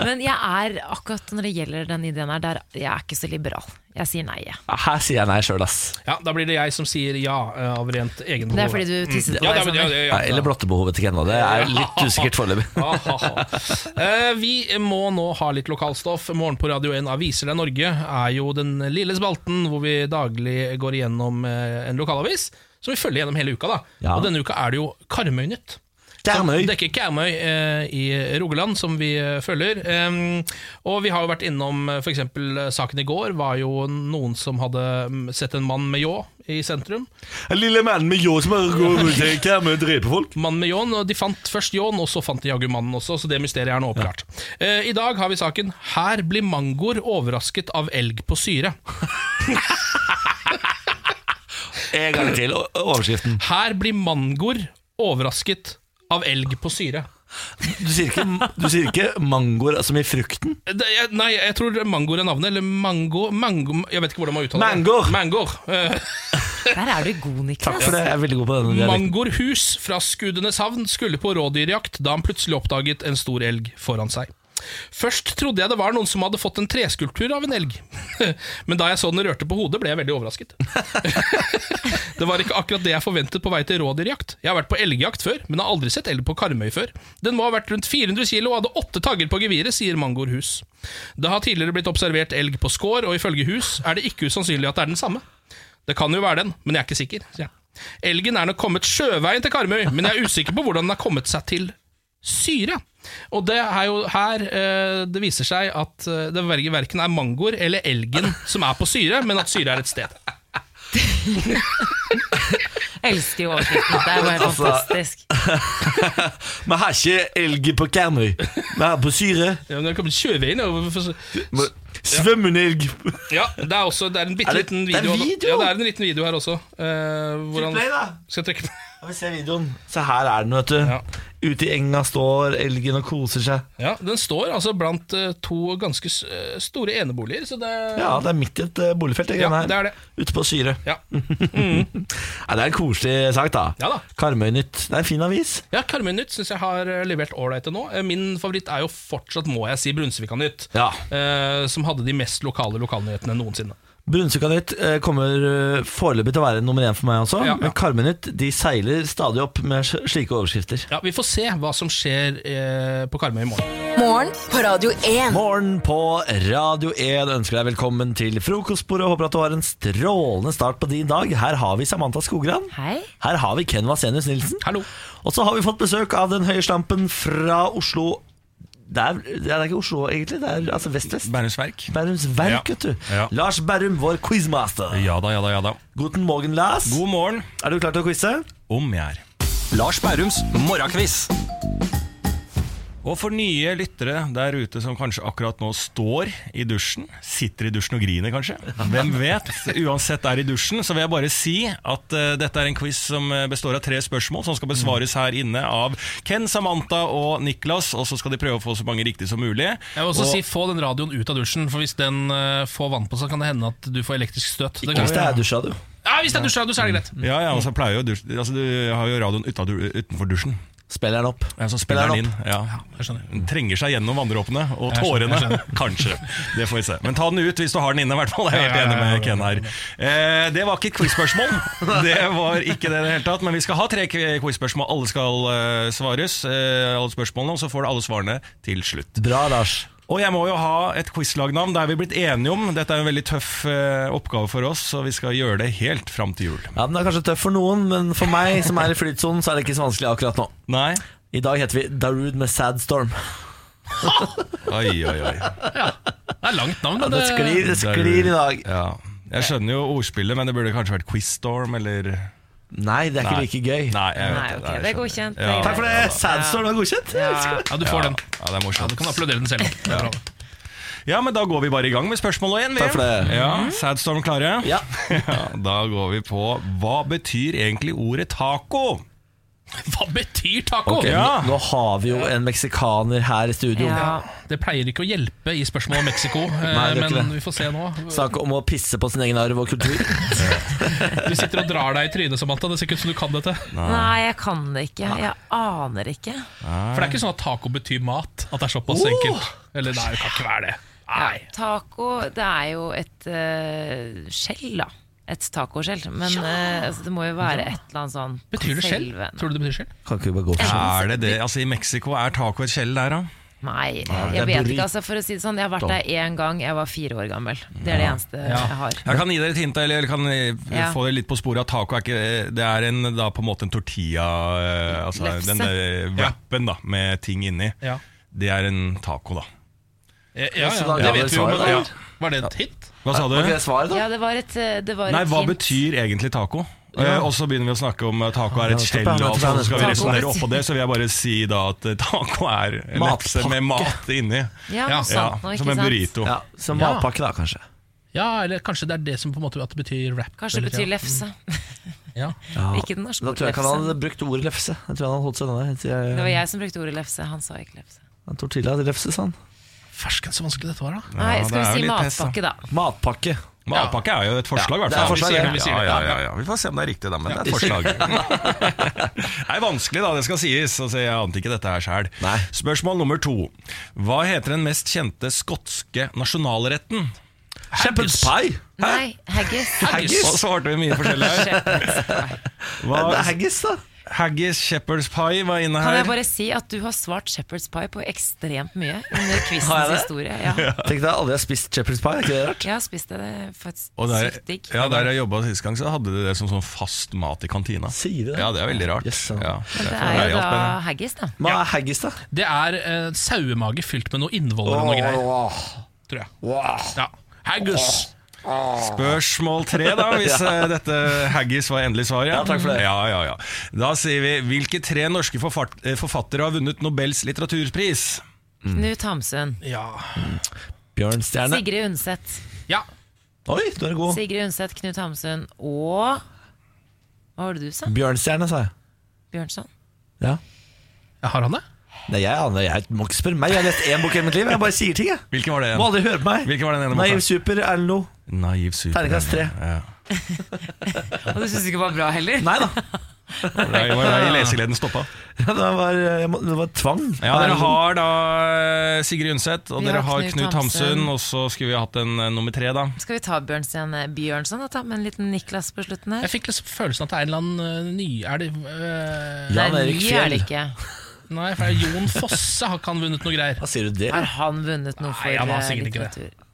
Men jeg er akkurat når det gjelder den ideen her, der jeg er ikke så liberal. Jeg sier nei. jeg.
Her sier jeg nei sjøl, ass.
Ja, Da blir det jeg som sier ja eh, av rent egen Mm.
Det er fordi du tisset på
ja, det er-
deg i
ja,
sommer.
det- ja,
Ja, eller blottebehovet til Kenna. Det er litt usikkert foreløpig.
Ah, ah, ah. Eh, Vi må nå ha litt lokalstoff. Morgen på Radio 1 Aviser deg Norge er jo den lille spalten hvor vi daglig går igjennom eh, en lokalavis, som vi følger gjennom hele uka. da
Ja.
Og denne uka er det jo Karmøy-nytt.
Karmøy.
Som dekker Karmøy eh, i Rogaland, som vi eh, følger. Em, og vi har jo vært innom eh, for eksempel eh, saken i går, var jo noen som hadde mm, sett en mann med ljå i sentrum.
En lille mann med ljå som går rundt i Karmøy og dreper folk.
Mannen med ljåen, og de fant først ljåen, og så fant de jaggu mannen også, så det mysteriet er nå oppklart. Eh, I dag har vi saken 'Her blir mangoer overrasket av elg på syre'.
En gang til, o- overskriften.
Her blir mangoer overrasket av elg på syre.
Du sier ikke, du sier ikke mangoer som i frukten?
Eh, Det, jeg, nei, jeg tror mangoer er navnet, eller mango, mango Jeg vet ikke hvordan man uttaler
Mangoer.
det. Mangoer. Eh,
Der er du god,
Takk
Niklas.
for det, jeg er veldig god på denne dialekten.
Mangorhus fra Skudeneshavn skulle på rådyrjakt da han plutselig oppdaget en stor elg foran seg. Først trodde jeg det var noen som hadde fått en treskulptur av en elg. Men da jeg så den rørte på hodet, ble jeg veldig overrasket. Det var ikke akkurat det jeg forventet på vei til rådyrjakt. Jeg har vært på elgjakt før, men har aldri sett elg på Karmøy før. Den må ha vært rundt 400 kilo og hadde åtte tagger på geviret, sier Mangor Hus. Det har tidligere blitt observert elg på Skår, og ifølge Hus er det ikke usannsynlig at det er den samme. Det kan jo være den, men jeg er ikke sikker, sier jeg. Elgen er nok kommet sjøveien til Karmøy, men jeg er usikker på hvordan den har kommet seg til syre. Og det er jo her eh, det viser seg at eh, det verken verken er mangoer eller elgen som er på syre, men at syre er et sted.
Elsker jo overskriften. Det er bare helt
Altså-
fantastisk.
Vi har ikke elg på Karmøy. Vi har på Syre.
Ja, men det kommer sjøveien over for-
Men- Svømmende elg.
Ja, det er også Det er en bitte
Er det-
liten
det er
video.
video?
Ja, det er en liten video her også. eh, hvor han
Play, da.
skal trekke den
Ja, Vi ser videoen. Se, her er den, vet du.
Ja.
Ute i enga står elgen og koser seg.
Ja, den står altså blant eh, to ganske s- eh, store eneboliger, så det
Ja, det er midt i et eh, boligfelt.
Ja,
greiene her.
det er det.
Ute på Syre.
Ja.
Ja, det er en koselig sak, da.
Ja da.
Karmøy Nytt. Det er en fin avis.
Ja, Karmøy Nytt syns jeg har eh, levert ålreite nå. Eh, Min favoritt er jo fortsatt, må jeg si, Brunsvika Nytt.
Ja.
eh, som hadde de mest lokale lokalnyhetene noensinne.
Brunsvika Nytt eh, kommer eh, foreløpig til å være nummer én for meg også.
Ja, ja.
Men Karmøy Nytt de seiler stadig opp med sl- slike overskrifter.
Ja, Vi får se hva som skjer eh, på Karmøy i morgen.
Morgen på Radio 1.
Morgen på Radio 1 ønsker deg velkommen til frokostbordet. Håper at du har en strålende start på din dag. Her har vi Samantha Skogran.
Hei.
Her har vi Ken Vasenius Nilsen.
Hallo.
Og så har vi fått besøk av den høye slampen fra Oslo det er, det er ikke Oslo, egentlig. Det er altså vest-vest.
Bærums Verk.
Bærums verk,
Ja.
vet du.
Ja.
Lars Berrum, vår quizmaster.
Ja da, ja da, ja da.
Guten morgen, Lars.
God morgen.
Er du klar til å quize?
Om jeg er. Lars Bærums morgenkviss. Og for nye lyttere der ute som kanskje akkurat nå står i dusjen, sitter i dusjen og griner kanskje, hvem vet, uansett er i dusjen, så vil jeg bare si at eh, dette er en quiz som eh, består av tre spørsmål som skal besvares her inne av Ken, Samantha og Niklas, og så skal de prøve å få så mange riktig som mulig.
Jeg vil også
og,
si Få den radioen ut av dusjen, for hvis den eh, får vann på seg, kan det hende at du får elektrisk støt. Det kan-
Hvis det er dusja, du.
ja, hvis det er dusjradio, så er det greit.
Ja, ja, og så pleier jo dusj, altså, du har jo radioen uta- utenfor dusjen.
Spill den opp.
Ja, så
Spiller
spiller
den
den inn. Ja.
Jeg skjønner.
Den trenger seg gjennom vanndråpene og
Jeg skjønner,
tårene.
jeg
Kanskje. Det får vi se. Men ta den ut hvis du har den inne, i hvert fall. Jeg er helt
Ja, ja,
enig
ja,
med
ja,
Ken her. Eh, det var ikke et quiz-spørsmål. Det var ikke det i det hele tatt. Men vi skal ha tre quiz-spørsmål. Alle skal eh, svares, eh, alle spørsmålene, og så får du alle svarene til slutt.
Bra, Lars.
Og jeg må jo ha et quizlagnavn. Det er vi blitt enige om. Dette er en veldig tøff eh, oppgave for oss, så vi skal gjøre det helt fram til jul.
Ja, Den er kanskje tøff for noen, men for meg som er i flytsonen, så er det ikke så vanskelig akkurat nå.
Nei?
I dag heter vi Darude med Sad Storm.
Oi, oi, oi.
Det er langt navn,
Ja,
men
det sklir, det sklir i dag.
Ja. Jeg skjønner jo ordspillet, men det burde kanskje vært Quizstorm eller
Nei, det er ikke like gøy.
Nei, jeg vet
Nei, ok,
jeg
det er
skjønner.
godkjent.
Ja.
Det er
Takk for det. Sad Storm var godkjent.
Ja, du får den.
Ja, det er
Ja,
morsomt.
du kan applaudere den selv. Det er bra.
Ja, men da går vi bare i gang med spørsmål én.
Takk for det.
Ja,
Mm,
Sadstorm klare?
Ja.
Ja, Da går vi på Hva betyr egentlig ordet taco?
Hva betyr taco?
Ok,
Ja.
nå, nå har vi jo en meksikaner her i studio.
Ja.
Det pleier ikke å hjelpe i spørsmål om Mexico, eh,
Nei, det gjør ikke
men
det.
vi får se nå.
Snakk om å pisse på sin egen arv og kultur.
Du sitter og drar deg i trynet, Samantha. Det ser ikke ut som du kan dette.
Nei, jeg kan det ikke. Jeg aner ikke.
For det er ikke sånn at taco betyr mat. At det er såpass enkelt.
Oh!
Eller nei, det kan ikke være det. Nei.
Taco, det er jo et eh, skjell, da. Et tacoskjell. Men eh, altså, det må jo være et eller annet sånn
Betyr det skjell?
selve-
Tror du det betyr skjell?
Kan ikke vi bare gå for sånn?
Er det det? Altså, I Mexico er taco et skjell der, da?
Nei,
det er
jeg vet
burrito.
ikke. altså For å si det sånn, jeg har vært der én gang, jeg var fire år gammel. Det er det eneste jeg har.
Jeg kan gi dere et hint, eller kan eh,
Ja.
få dere litt på sporet at taco er ikke eh, Det er en, da, på en måte en tortilla eh, Altså
Lefse.
den der wrappen da, med ting inni.
Ja.
Det er en taco, da.
Ja, ja,
Så da-
det
ja,
vet
det
vi jo.
svaret
Men,
der.
Var det et hit?
Hva sa du?
Var ikke det svaret, da?
Ja, det var et, eh, det var
Nei,
et
hva
hint.
betyr egentlig taco? Eh, og så begynner vi å snakke om at taco er
Ja,
et
nettopp,
skjell,
ja,
og
nettopp, ja,
så skal vi liksom
nettopp.
resonnere oppå det. Så vil jeg bare si da at eh, taco er en lefse
Matpakke. Sånn,
med mat inni.
Ja,
Ja,
noe
Ja,
sånt nå, ikke
som en
sant?
burrito.
Ja, Som matpakke, da, kanskje.
Ja, eller kanskje det er det som på en måte at det betyr rap.
Kanskje det betyr lefse.
Ja.
Ikke den norske
Da tror jeg ikke han
lefse.
hadde brukt ordet lefse. Jeg tror han hadde holdt seg unna det. Jeg-
Det var jeg som brukte ordet lefse, han sa ikke lefse.
En Tortilla til lefse, sa han.
Fersken, så vanskelig dette var, da.
Nei,
det
skal
er jo
vi si
litt pest, da.
matpakke, da.
Matpakke.
Men avpakke er jo et forslag, i hvert
det er
fall.
et forslag,
Vi sier-
ja.
vi sier
Ja,
det.
ja, ja, ja. Vi får se om det er riktig, da. Men det er et forslag.
Det er vanskelig, da, det skal sies. Altså, jeg ante ikke dette her sjæl.
Nei.
Spørsmål nummer to. Hva heter den mest kjente skotske nasjonalretten?
Shepherd's pie!
Nei, haggis.
Haggis! Og svarte vi mye forskjellig her.
Det er
Hva,
haggis, da.
haggis Shepherd's pie var inne
Kan
her.
jeg bare si at du har svart Shepherd's pie på ekstremt mye under
Har jeg
quizens
det?
historie. Ja.
Tenk deg, alle har spist shepherd's pie. Er ikke det rart?
Jeg har spist det, det er faktisk
Og der,
sykt digg.
ja, der jeg jobba sist gang, så hadde de det som sånn fast mat i kantina.
Sier de det?
Ja, det er veldig rart.
Yes, ja.
ja,
Men det
derfor
er
jeg
jo da
alt med det.
haggis, da.
Hva er haggis, da?
Det er eh, sauemage fylt med noe innvoller og noe greier, tror jeg. Ja. Haggis!
Spørsmål tre, da, hvis eh, dette haggis var endelig svar. Ja.
takk for det.
Ja, ja, ja. Da sier vi hvilke tre norske forfart- eh, forfattere har vunnet Nobels litteraturpris?
Knut Hamsun.
Ja.
Bjørnstjerne.
Sigrid Undset.
ja.
Oi, du er god.
Sigrid Undset, Knut Hamsun og Hva var det du sa?
Bjørnstjerne, sa jeg.
Bjørnson?
Ja.
Har han det?
Nei, jeg aner Jeg må ikke spørre meg. Jeg har lest én bok i mitt liv. Jeg bare sier ting, jeg.
Hvilken var det
Må
igjen?
aldri høre på meg.
Hvilken var den ene boka?
Naiv super, Erlend Loe.
Naiv super.
Terningkast tre.
Ja.
Og du syns ikke det var bra heller?
Nei da.
Nei, det var der lesegleden stoppa.
Det var, jeg må, det var tvang.
Ja, dere har da eh, Sigrid Undset, og
Vi
dere
har
har
Knut
Knut Hamsun,
Hamsun.
og så skulle vi hatt en eh, nummer tre, da.
Skal vi ta Bjørnsen Bjørnson og ta med en liten Niklas på slutten her?
Jeg fikk liksom følelsen at det er en eller annen eh, ny... Er det eh,
Jan
Nei,
Erik
vi
Fjell.
er det ikke.
Nei, for det er Jon Fosse har ikke han vunnet noe greier.
Hva sier du det?
Har han vunnet noe for
Nei, han har
eh,
sikkert ikke det.
litteratur?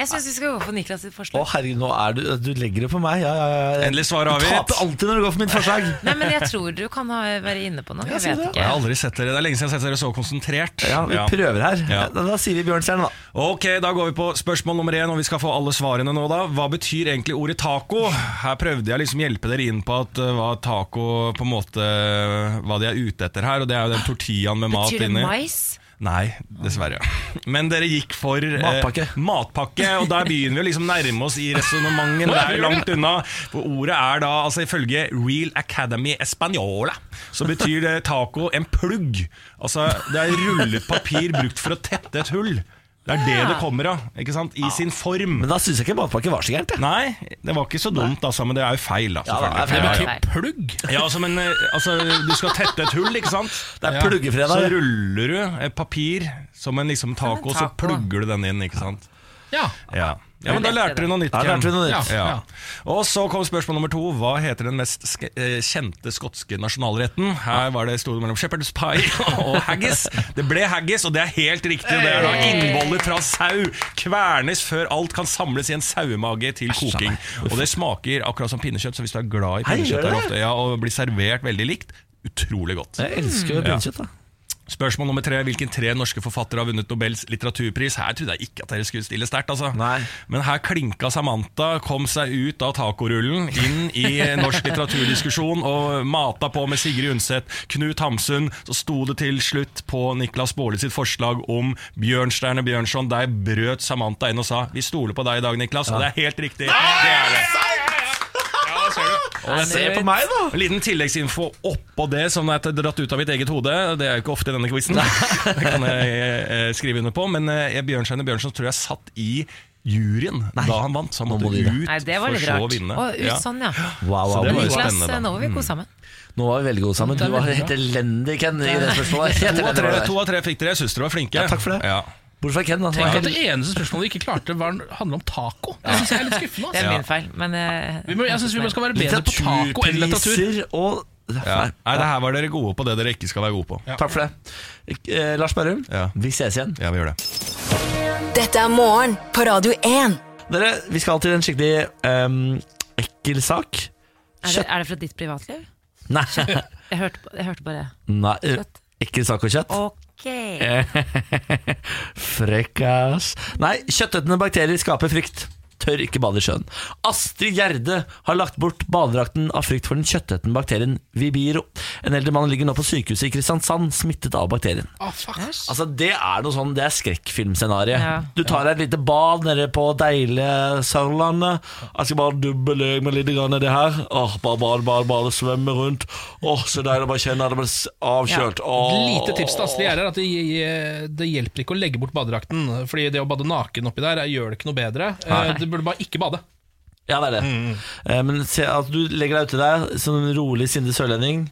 Jeg syns vi skal gå for Niklas sitt
Å
forslag.
herregud, nå er du Du legger det på meg. Ja, ja, ja.
Endelig
Du
svar avgitt.
taper alltid når du går for mitt forslag.
Nei, men jeg tror du kan ha, være inne på noe. Jeg
sier
vet
Jeg har
ikke.
aldri sett dere, Det er lenge siden jeg har sett dere så konsentrert.
Ja, vi
Ja.
prøver her.
Ja.
Da, da sier vi Bjørnstjerne, da.
Ok, Da går vi på spørsmål nummer én, og vi skal få alle svarene nå. da Hva betyr egentlig ordet taco? Her prøvde jeg liksom hjelpe dere inn på at eh, hva taco på en måte eh, Hva de er ute etter her, og det er jo den tortillaen med mat
Betyr det
inni.
mais?
Nei, dessverre. Men dere gikk for eh,
Matpakke.
matpakke, og der begynner vi å liksom nærme oss i resonnementet. Det er langt unna. For ordet er da, altså ifølge Real Academy Española, så betyr det Eh, taco en plugg. Altså, det er rullet papir brukt for å tette et hull. Det er det det kommer av, ikke sant? I sin form.
Men da syns jeg ikke matpakke var så gærent. jeg.
Nei, det var ikke så dumt, altså, men det er jo feil, da,
Ja, det er
selvfølgelig.
feil.
Det
Ja,
betyr
ja.
plugg.
Ja, altså, men eh, altså, du skal tette et hull, ikke sant?
Det er
Ja.
Så
pluggefredag.
ruller du eh, papir som en liksom taco, og så
taco.
plugger du den inn, ikke sant?
Ja.
Ja, ja men da
lærte
lærte
det.
du noe nytt.
Da
Ken.
lærte vi noe
Ja.
nytt.
Ja.
Ja.
Og så kom spørsmål nummer to. Hva heter den mest ske eh, kjente skotske nasjonalretten? Her var det sto det mellom shepherd's pie og haggis. Det ble haggis, og det er helt riktig. Det er da innvoller fra sau. Kvernes før alt kan samles i en sauemage til koking. Og det smaker akkurat som pinnekjøtt, så hvis du er glad i
Hei, gjør
pinnekjøtt
det?
er det ofte, ja, og blir servert veldig likt, utrolig godt.
Jeg elsker
Mm.
jo pinnekjøtt, da.
Spørsmål nummer tre. Hvilken tre norske forfattere har vunnet Nobels litteraturpris? Her trodde jeg ikke at dere skulle stille sterkt. altså.
Nei.
Men her klinka Samantha, kom seg ut av tacorullen, inn i norsk litteraturdiskusjon og mata på med Sigrid Undset, Knut Hamsun. Så sto det til slutt på Niklas Baarli sitt forslag om Bjørnstjerne Bjørnson. Der brøt Samantha inn og sa 'Vi stoler på deg i dag, Niklas', og det er helt riktig. Det er det. Ja, det ser du.
Se på meg, da!
En liten tilleggsinfo oppå det som er dratt ut av mitt eget hode. Det er jo ikke ofte i denne quizen. Det kan jeg eh, skrive under på. Men eh, Bjørnstjerne Bjørnson tror jeg satt i juryen da han vant, så han
Nå må du
måtte
gi deg.
ut
Nei, det var litt
for så å
rart.
vinne.
Å, ut
Ja.
sånn, ja.
Wow,
Så
wow,
det var
wow.
jo
Niklas,
spennende, da. Mm.
nå var vi gode sammen.
Nå var vi veldig gode sammen. Du var helt elendig, Ken, i det spørsmålet. Helt
To av tre,
elendig.
to av tre fikk dere. Jeg syns dere var flinke.
Ja, takk for det.
Ja.
Bortsett fra Ken, da.
Tenk at
Ken-
det eneste spørsmålet vi ikke klarte, var, handler om taco. Det synes jeg er litt skuffende.
Det
Altså.
er min feil, men eh,
Vi må, jeg syns vi må skal være bedre på taco enn litteratur.
Litteraturpriser og
Ja.
Nei.
Nei, det her var dere gode på det dere ikke skal være gode på.
Takk for det. Eh, Lars Berrum,
Ja.
vi ses igjen.
Ja, vi gjør det.
Dette er morgen på Radio 1.
Dere, vi skal til en skikkelig ehm, ekkel sak.
er, det, er det fra ditt privatliv?
Nei,
Jeg hørte, på- jeg hørte bare
Nei eh, ekkel sak og kjøtt.
Ok.
Frekkas. Nei, kjøttetende bakterier skaper frykt. Tør ikke bade i sjøen. Astrid Gjerde har lagt bort badedrakten av frykt for den kjøttetende bakterien Vibiro. En eldre mann ligger nå på sykehuset i Kristiansand, smittet av bakterien.
Ah, fuck.
Altså Det er noe sånn, det er skrekkfilmscenario.
Ja.
Du tar deg et lite bad nede på deilige Sørlandet. Jeg skal bare dubbe meg litt grann i det her. Åh, Bare bade, bade, bade, svømme rundt. Åh, Så deilig å bare kjenne at det blir s- avkjølt. Åh.
Lite tips til Astrid Gjerder at det, det hjelper ikke å legge bort badedrakten. Fordi det å bade naken oppi der gjør det ikke noe bedre. Eh, Det burde bare ikke bade.
Ja, det er det. Eh, Men se, at du legger deg uti der som en rolig, sindig sørlending.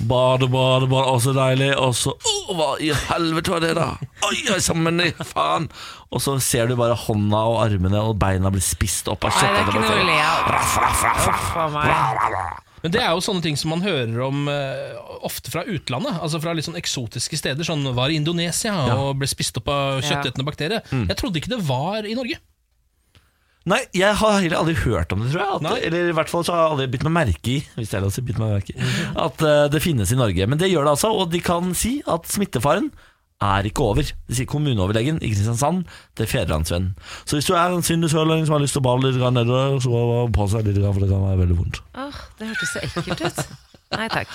Bade, bade, bade, å så deilig. Og så «Å, Hva i helvete var det, da? Oi, oi, sammen, i faen! Og så ser du bare hånda og armene og beina blir spist opp av
Nei, det er ikke noe å le
kjøttet.
av. Uff a meg.
Men det er jo sånne ting som man hører om eh, ofte fra utlandet. Altså fra litt sånn eksotiske steder. Sånn var i Indonesia og ble spist opp av
Ja.
kjøttetende bakterier.
Mm.
Jeg trodde ikke det var i Norge.
Nei, jeg har heller aldri hørt om det, tror jeg. At,
Nei.
eller i hvert fall så har jeg aldri bitt meg merke i Hvis det er lov å si, bitt meg merke i at eh, det finnes i Norge. Men det gjør det altså, og de kan si at smittefaren er ikke over. Det sier kommuneoverlegen i Kristiansand til Fedrelandsvennen. Så hvis du er en sindig sørlending som har lyst til å bade litt grann nedover, så pass deg litt, grann, for det kan være veldig vondt.
Åh, det hørtes så ekkelt ut. Nei takk.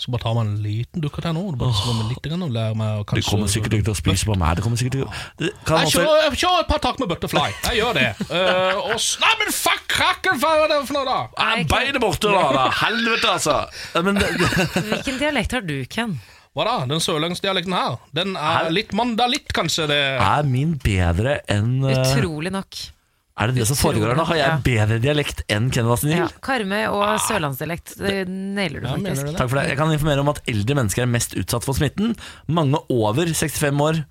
Så bare tar man en liten dukkert her nå. og Bare slår med litt grann, og lærer meg å
Du
kanskje
kommer sikkert ikke til å spise på meg. Du kommer sikkert til å Det kan
Jeg
også,
kjører, jeg kjører et par tak med butterfly. Jeg gjør det. Eh, og s- Nei, men fuck krakker, hva er det for noe, da?
Ah, Beinet borte, da! da. Helvete, altså! Ja, Men det, det,
Hvilken dialekt har du, Ken?
Hva da? Den sørlandsdialekten her, den er litt mandalitt, kanskje? det
er min bedre enn eh,
Utrolig nok.
Er det det som foregår her nå? Har jeg bedre dialekt enn Kenvas Niel?
Ja. Karmøy og sørlandsdialekt, det nailer du
Ja, mener
faktisk.
du det?
Takk for det. Jeg kan informere om at eldre mennesker er mest utsatt for smitten. Mange over 65 år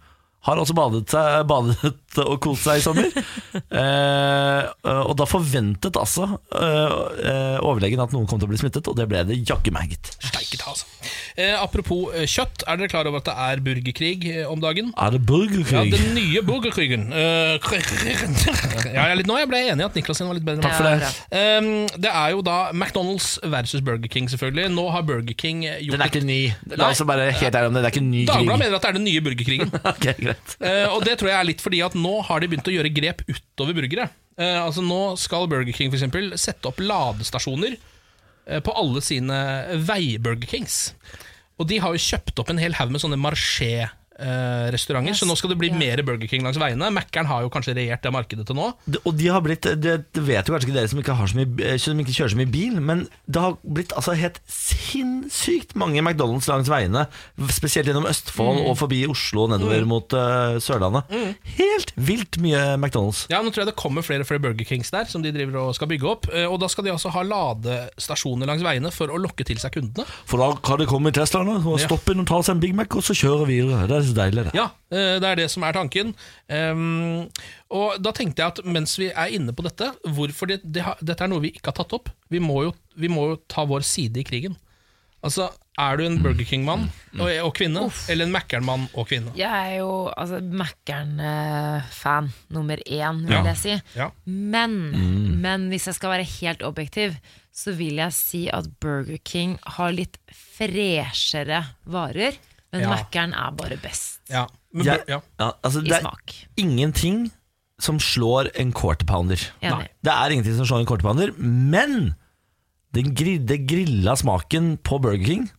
har også badet, seg, badet og kost seg i sommer. eh, og da forventet altså eh, eh, overlegen at noen kom til å bli smittet, og det ble det jaggu meg, gitt.
Steike ta, altså. Eh, apropos eh, kjøtt, er dere klar over at det er burgerkrig eh, om dagen?
Er det
Ja,
burgerkrig?
den nye burgerkrigen. Eh, krig- ja, jeg er litt, nå er jeg ble enig i at Niklas sin var litt bedre.
Takk for det.
Um, det er jo da McDonald's versus Burger King, selvfølgelig. Nå har Burger King eh, gjort
Den er ikke ny. La oss være helt ærlige om det. Det er ikke en ny
Dagbladet
krig.
mener at det er den nye burgerkrigen.
Ok, greit.
Eh, og det tror jeg er litt fordi at nå har de begynt å gjøre grep utover burgere. Eh, altså Nå skal Burger King for eksempel, sette opp ladestasjoner eh, på alle sine vei-Burger Kings. Og de har jo kjøpt opp en hel haug med sånne marché-restauranter, så nå skal det bli mer Burger King langs veiene. Mækkern har jo kanskje regjert det markedet til nå.
Det- Og de har blitt, det det vet jo kanskje ikke dere som ikke, har så mye, eh, som ikke kjører så mye bil, men det har blitt altså helt sinnssykt mange McDonald's langs veiene, spesielt gjennom Østfold
Mm.
og forbi Oslo og nedover mot eh, Sørlandet. Helt vilt mye McDonald's.
Ja, nå tror jeg det kommer flere og flere Burger Kings der, som de driver og skal bygge opp. Eh, og da skal de altså ha ladestasjoner langs veiene for å lokke til seg kundene.
For da kan det komme i Teslaene, og
Ja.
stoppe inn og ta seg en Big Mac, og så kjøre videre. Det er så deilig, det.
Ja, eh, det er det som er tanken. Ehm, og da tenkte jeg at mens vi er inne på dette, hvorfor det, det har, dette er noe vi ikke har tatt opp. Vi må, jo, vi må jo ta vår side i krigen. Altså, er du en Burger King-mann
Mm.
og, og kvinne, eller en Mækkern-mann og kvinne?
Jeg er jo altså, Mækkern-fan nummer én, vil
Ja.
jeg si.
Ja. Mm.
Men, men hvis jeg skal være helt objektiv, så vil jeg si at Burger King har litt freshere varer, men
Ja.
Mækkern er bare best
Ja. Men,
Jeg-
bur- ja.
Ja, altså,
i
det er
smak.
ingenting som slår en quarter pounder.
Enig.
Det er ingenting som slår en quarter pounder, men den gridde grilla smaken på Burger King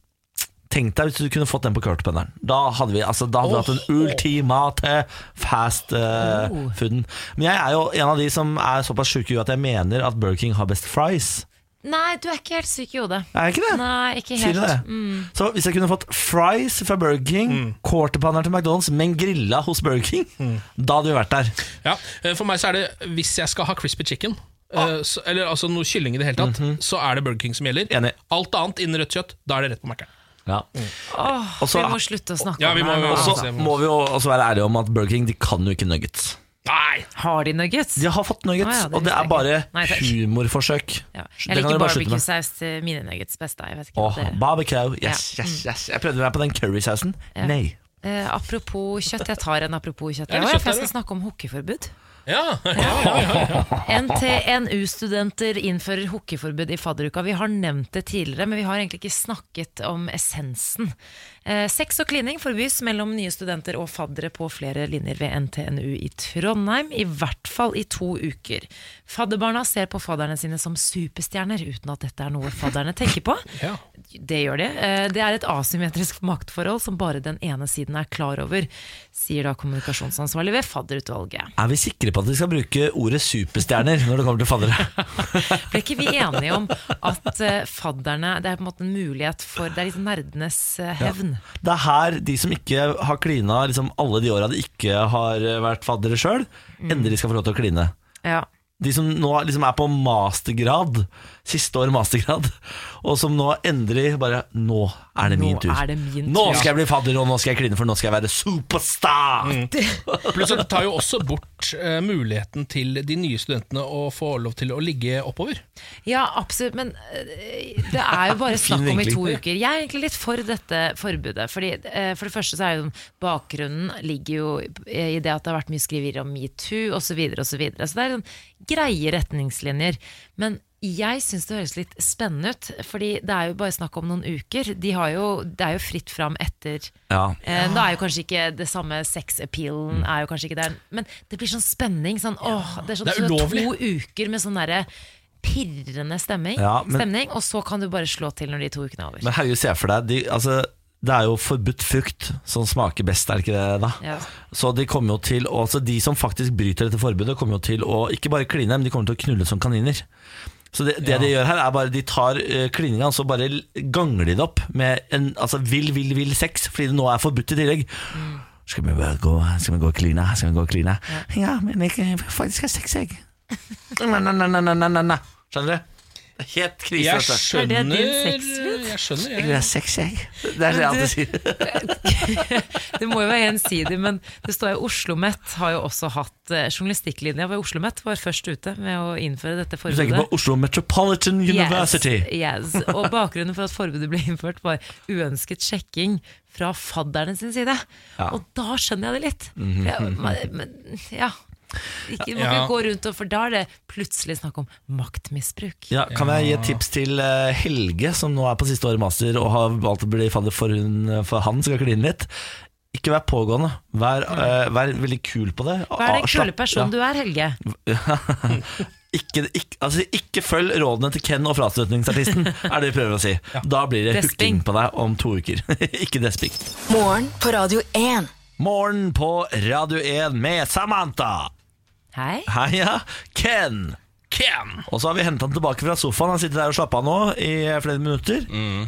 Tenk deg hvis du kunne fått den på quarter pounderen. Da hadde vi, altså, da hadde vi hatt den ultimate fast eh,
Oh.
fooden. Men jeg er jo en av de som er såpass sjuk i huet at jeg mener at Burger King har best fries.
Nei, du er ikke helt syk i hodet.
Er jeg ikke det?
Nei, ikke
Sier
helt. Mm.
du det? Så hvis jeg kunne fått fries fra Burger King, quarter pounder til McDonald's, men grilla hos Burger King, da hadde vi vært der.
Ja, eh, For meg så er det hvis jeg skal ha crispy chicken,
Ah.
eh, så, eller altså noe kylling i det hele tatt, så er det Burger King som gjelder.
Mhm. Enig.
Alt annet innen rødt kjøtt, da er det rett på Mækkern.
Ja.
Åh,
Og så-
vi må slutte å snakke
Ja, vi
om
må-
det. her
Og
nå.
så
Ja.
må vi jo også være ærlige om at Burger King de kan jo ikke nuggets.
Nei!
Har de nuggets?
De har fått nuggets,
Å ja, det
og det
visste
er
jeg
bare
ikke. Nei, takk.
humorforsøk.
Ja.
Det kan
Jeg
dere
liker
bare slutte med.
barbecue-saus til mine nuggets best. Da. Jeg vet ikke
Åh,
hva dere-
barbecue, yes, yes, yes. Jeg prøvde meg på den currysausen.
mm. Ja.
Nei.
Eh, apropos kjøtt, jeg tar en apropos kjøtt.
Ja,
Jeg,
kjøtt
for jeg
er
skal
det.
snakke om hokkeforbud.
Ja, ja, ja, ja, ja.
NTNU-studenter innfører hokkeforbud i fadderuka. Vi har nevnt det tidligere, men vi har egentlig ikke snakket om essensen. Eh, sex og klining forbys mellom nye studenter og faddere på flere linjer ved NTNU i Trondheim, i hvert fall i to uker. Fadderbarna ser på fadderne sine som superstjerner, uten at dette er noe fadderne tenker på.
Ja.
Det gjør de. Eh, Det er et asymmetrisk maktforhold som bare den ene siden er klar over, sier da kommunikasjonsansvarlig ved fadderutvalget.
Er vi sikre på at vi skal bruke ordet superstjerner når det kommer til faddere?
Ble ikke vi enige om at eh, fadderne Det er på en måte en mulighet for Det er litt nerdenes eh, hevn.
Det er her de som ikke har klina
Mm.
liksom alle de åra de ikke har vært faddere sjøl, endelig skal få lov til å kline.
Ja.
de som nå liksom er på mastergrad, siste år mastergrad, og som nå endelig bare Nå er det
Nå
min tur.
er det min
Nå
tur.
skal jeg bli fadder, og nå skal jeg kline, for nå skal jeg være superstar!
Mm.
Pluss at det tar jo også bort eh, muligheten til de nye studentene å få lov til å ligge oppover.
Ja, absolutt, men øh, det er jo bare snakk om i
vinkling.
to uker. Jeg er egentlig litt for dette forbudet. Fordi, eh, for det første så er jo bakgrunnen ligger jo i det at det har vært mye skriverier om metoo osv. Så, videre, og så, videre. så det er sånn greie retningslinjer. Men jeg syns det høres litt spennende ut, fordi det er jo bare snakk om noen uker. De har jo, det er jo fritt fram etter
Ja.
Eh, Da er jo kanskje ikke det samme sex-appealen er jo kanskje ikke der. Men det blir sånn spenning. Sånn, åh, det er, sånn,
Det er
sånn
ulovlig.
To uker med sånn derre pirrende stemming,
Ja, men-
stemning, og så kan du bare slå til når de to ukene er over.
Men Hauge, se for deg de, altså, Det er jo forbudt frukt som smaker best, er det ikke det? da?
Ja.
Så de kommer jo til å- altså De som faktisk bryter dette forbudet, kommer jo til å ikke bare kline, men de kommer til å knulle som kaniner. Så det, det de gjør her, er bare de tar eh, klininga og så bare l- ganger de det opp med en altså, vill, vill, vill sex, fordi det nå er forbudt i tillegg. Skal vi bare gå Skal vi gå og kline? Skal vi gå og kline? Ja, men jeg jeg faktisk har sex, jeg. Nei, nei, nei, nei, nei, nei, nei. Skjønner du? Det er Helt krise.
Jeg
dette.
Er
skjønner
det din sexlyd?
Jeg skjønner,
Jeg
jeg.
vil ha sex, jeg. Det er det jeg alltid sier.
Det må jo være gjensidig, men det står jo OsloMet har jo også hatt eh, Journalistikklinja ved OsloMet var først ute med å innføre
Du
dette
tenker
forbudet.
på Oslo Metropolitan University.
Yes, yes. Og bakgrunnen for at forbudet ble innført, var uønsket sjekking fra fadderne sin side. Og da skjønner jeg det litt. ja, men- men, ja. Ikke, man kan
Ja.
ikke gå rundt og For da er det plutselig snakk om maktmisbruk.
Ja, kan jeg gi et tips til eh, Helge, som nå er på siste året master og har valgt å bli fadder for, hun, for han skal kline litt? Ikke vær pågående. Vær, eh, vær veldig kul på det.
Hva er
Ah,
den
slapp-
kule personen du er, Helge?
ikke, ikke, altså, ikke følg rådene til Ken og frastøtningsartisten, er det vi prøver å si. Da blir det
Desping.
hooking på deg om to uker. ikke desping.
Morgen på Radio 1.
Morgen på Radio 1 med Samantha.
Hei.
Heia Ken.
Ken!
Og så har vi hentet han tilbake fra sofaen. Han sitter der og slapper av nå i flere minutter.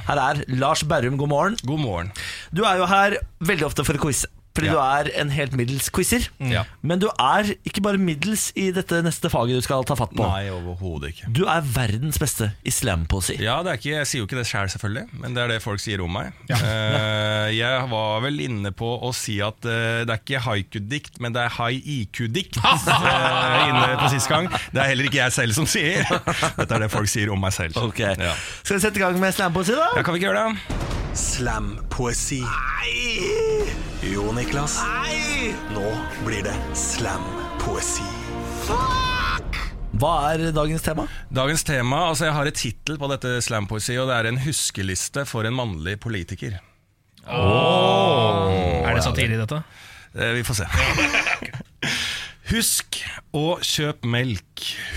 Her er Lars Berrum, god morgen.
Mm. God morgen.
Du er jo her veldig ofte for å quize. Fordi
Ja. Mm.
du er en helt middels quizer.
Ja.
Men du er ikke bare middels i dette neste faget du skal ta fatt på.
Nei, overhodet ikke.
Du er verdens beste i slampoesi.
Ja, det er ikke, Jeg sier jo ikke det sjøl, selv, selvfølgelig, men det er det folk sier om meg. Eh, jeg var vel inne på å si at eh, det er ikke haiku-dikt, men det er high IQ-dikt. eh, inne på sist gang Det er heller ikke jeg selv som sier. Dette er det folk sier om meg selv.
Ok.
Ja.
Skal vi sette i gang med slampoesi, da?
Ja, kan vi ikke gjøre det?
Slampoesi. Jo, Niklas. Nå blir det slampoesi.
Hva er dagens tema?
Dagens tema, altså Jeg har et tittel på dette slampoesi, og det er en huskeliste for en mannlig politiker.
Er det satire i dette?
Eh, Vi får se. Husk å kjøp melk.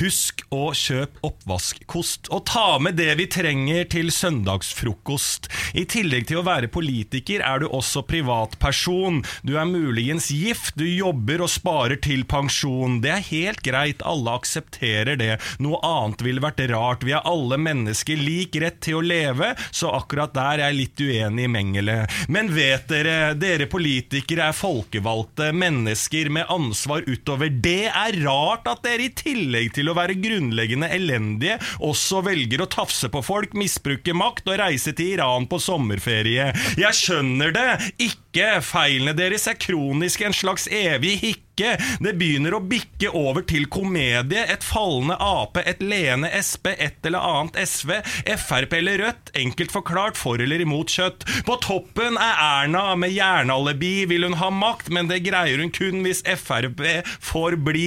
Husk å kjøp oppvaskkost. Og ta med det vi trenger til søndagsfrokost. I tillegg til å være politiker er du også privatperson. Du er muligens gift, du jobber og sparer til pensjon. Det er helt greit, alle aksepterer det. Noe annet ville vært rart. Vi er alle mennesker, lik rett til å leve, så akkurat der er jeg litt uenig i Mengele. Men vet dere, dere politikere er folkevalgte mennesker med ansvar utover. Det er rart at dere i tillegg til å være grunnleggende elendige, også velger å tafse på folk, misbruke makt og reise til Iran på sommerferie. Jeg skjønner det! Ikke! Feilene deres er kroniske, en slags evig hikke ikke. Det begynner å bikke over til komedie. Et fallende Ap, et leende Sp, et eller annet SV, Frp eller Rødt. Enkelt forklart for eller imot kjøtt. På toppen er Erna med jernalibi. Vil hun ha makt, men det greier hun kun hvis Frp får bli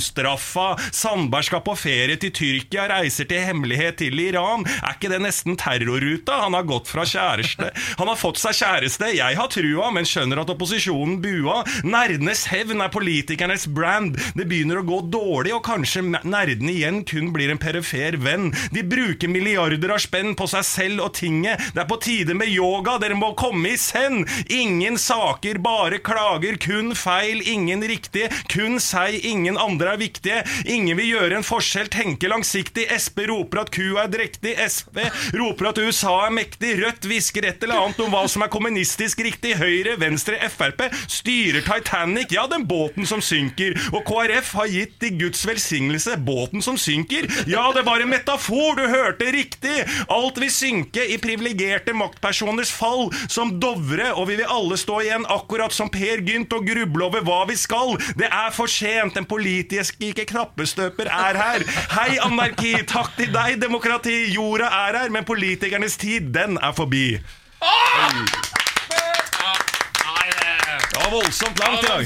ustraffa. Sandberg skal på ferie til Tyrkia, reiser til hemmelighet til Iran. Er ikke det nesten terrorruta? Han har gått fra kjæreste Han har fått seg kjæreste. Jeg har trua, men skjønner at opposisjonen bua. Nerdenes hevn er politikernes brand. Det begynner å gå dårlig, og kanskje me- nerdene igjen kun blir en perifer venn. De bruker milliarder av spenn på seg selv og tinget. Det er på tide med yoga, dere må komme i send! Ingen saker, bare klager. Kun feil, ingen riktig. Kun seg, ingen andre er viktige. Ingen vil gjøre en forskjell, tenke langsiktig. Sp roper at kua er drektig. Sp roper at USA er mektig. Rødt hvisker et eller annet om hva som er kommunistisk riktig. Høyre, Venstre, Frp styrer Titanic. Ja, den båten båten som synker. Og KrF har gitt de Guds velsignelse båten som synker. Ja, det var en metafor, du hørte riktig! Alt vil synke i privilegerte maktpersoners fall, som Dovre, og vi vil alle stå igjen akkurat som Per Gynt og gruble over hva vi skal. Det er for sent, den politiske knappestøper er her. Hei, anarki, takk til deg, demokrati, jorda er her, men politikernes tid, den er forbi. Det var voldsomt langt i dag.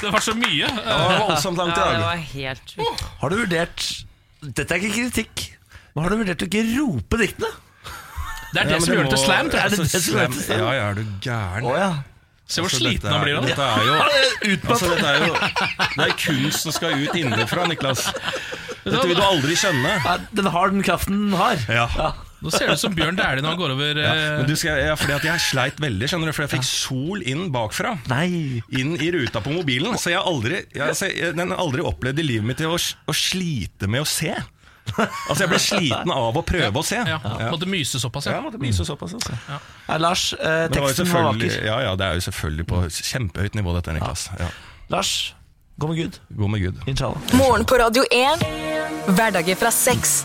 Det var så mye.
Det var voldsomt langt i
Ja, det
dag.
var helt sjukt.
Har du vurdert Dette er ikke kritikk, men har du vurdert å ikke rope diktene?
Det er det
Ja, men
som gjør det
må-
til slam. tror
Er
jeg.
det det som gjør det til
slam?
slam?
Altså, Ja, ja, er du gæren?
Å ja.
Se hvor
Altså,
sliten
dette
han
er-
blir av det.
Dette er jo,
Utmatt.
altså, dette er jo Det er kunst som skal ut innenfra, Niklas. Dette vil du aldri skjønne.
Ja, den har den kraften den har.
Ja.
Nå ser det ut som Bjørn Dæhlie når han går over
Men
eh,
du skal, ja, fordi at jeg sleit veldig, skjønner du, for jeg fikk sol inn bakfra.
Nei.
Inn i ruta på mobilen. Så jeg har aldri, jeg, altså, jeg, den har aldri opplevd i livet mitt til å, s- å slite med å se. Altså, jeg ble sliten av å prøve å se.
ja,
Ja.
Måtte myse såpass,
Ja,
ja.
måtte myse såpass, altså.
Ja, Lars, eh,
Men det var jo
teksten var
selvfølgelig-
vakker.
Ja, ja, det er jo selvfølgelig på kjempehøyt nivå, dette, Niklas. Ja.
Lars, gå med Gud.
Gå med Gud.
Inshallah.
Morgen på Radio 1. Hverdager fra seks.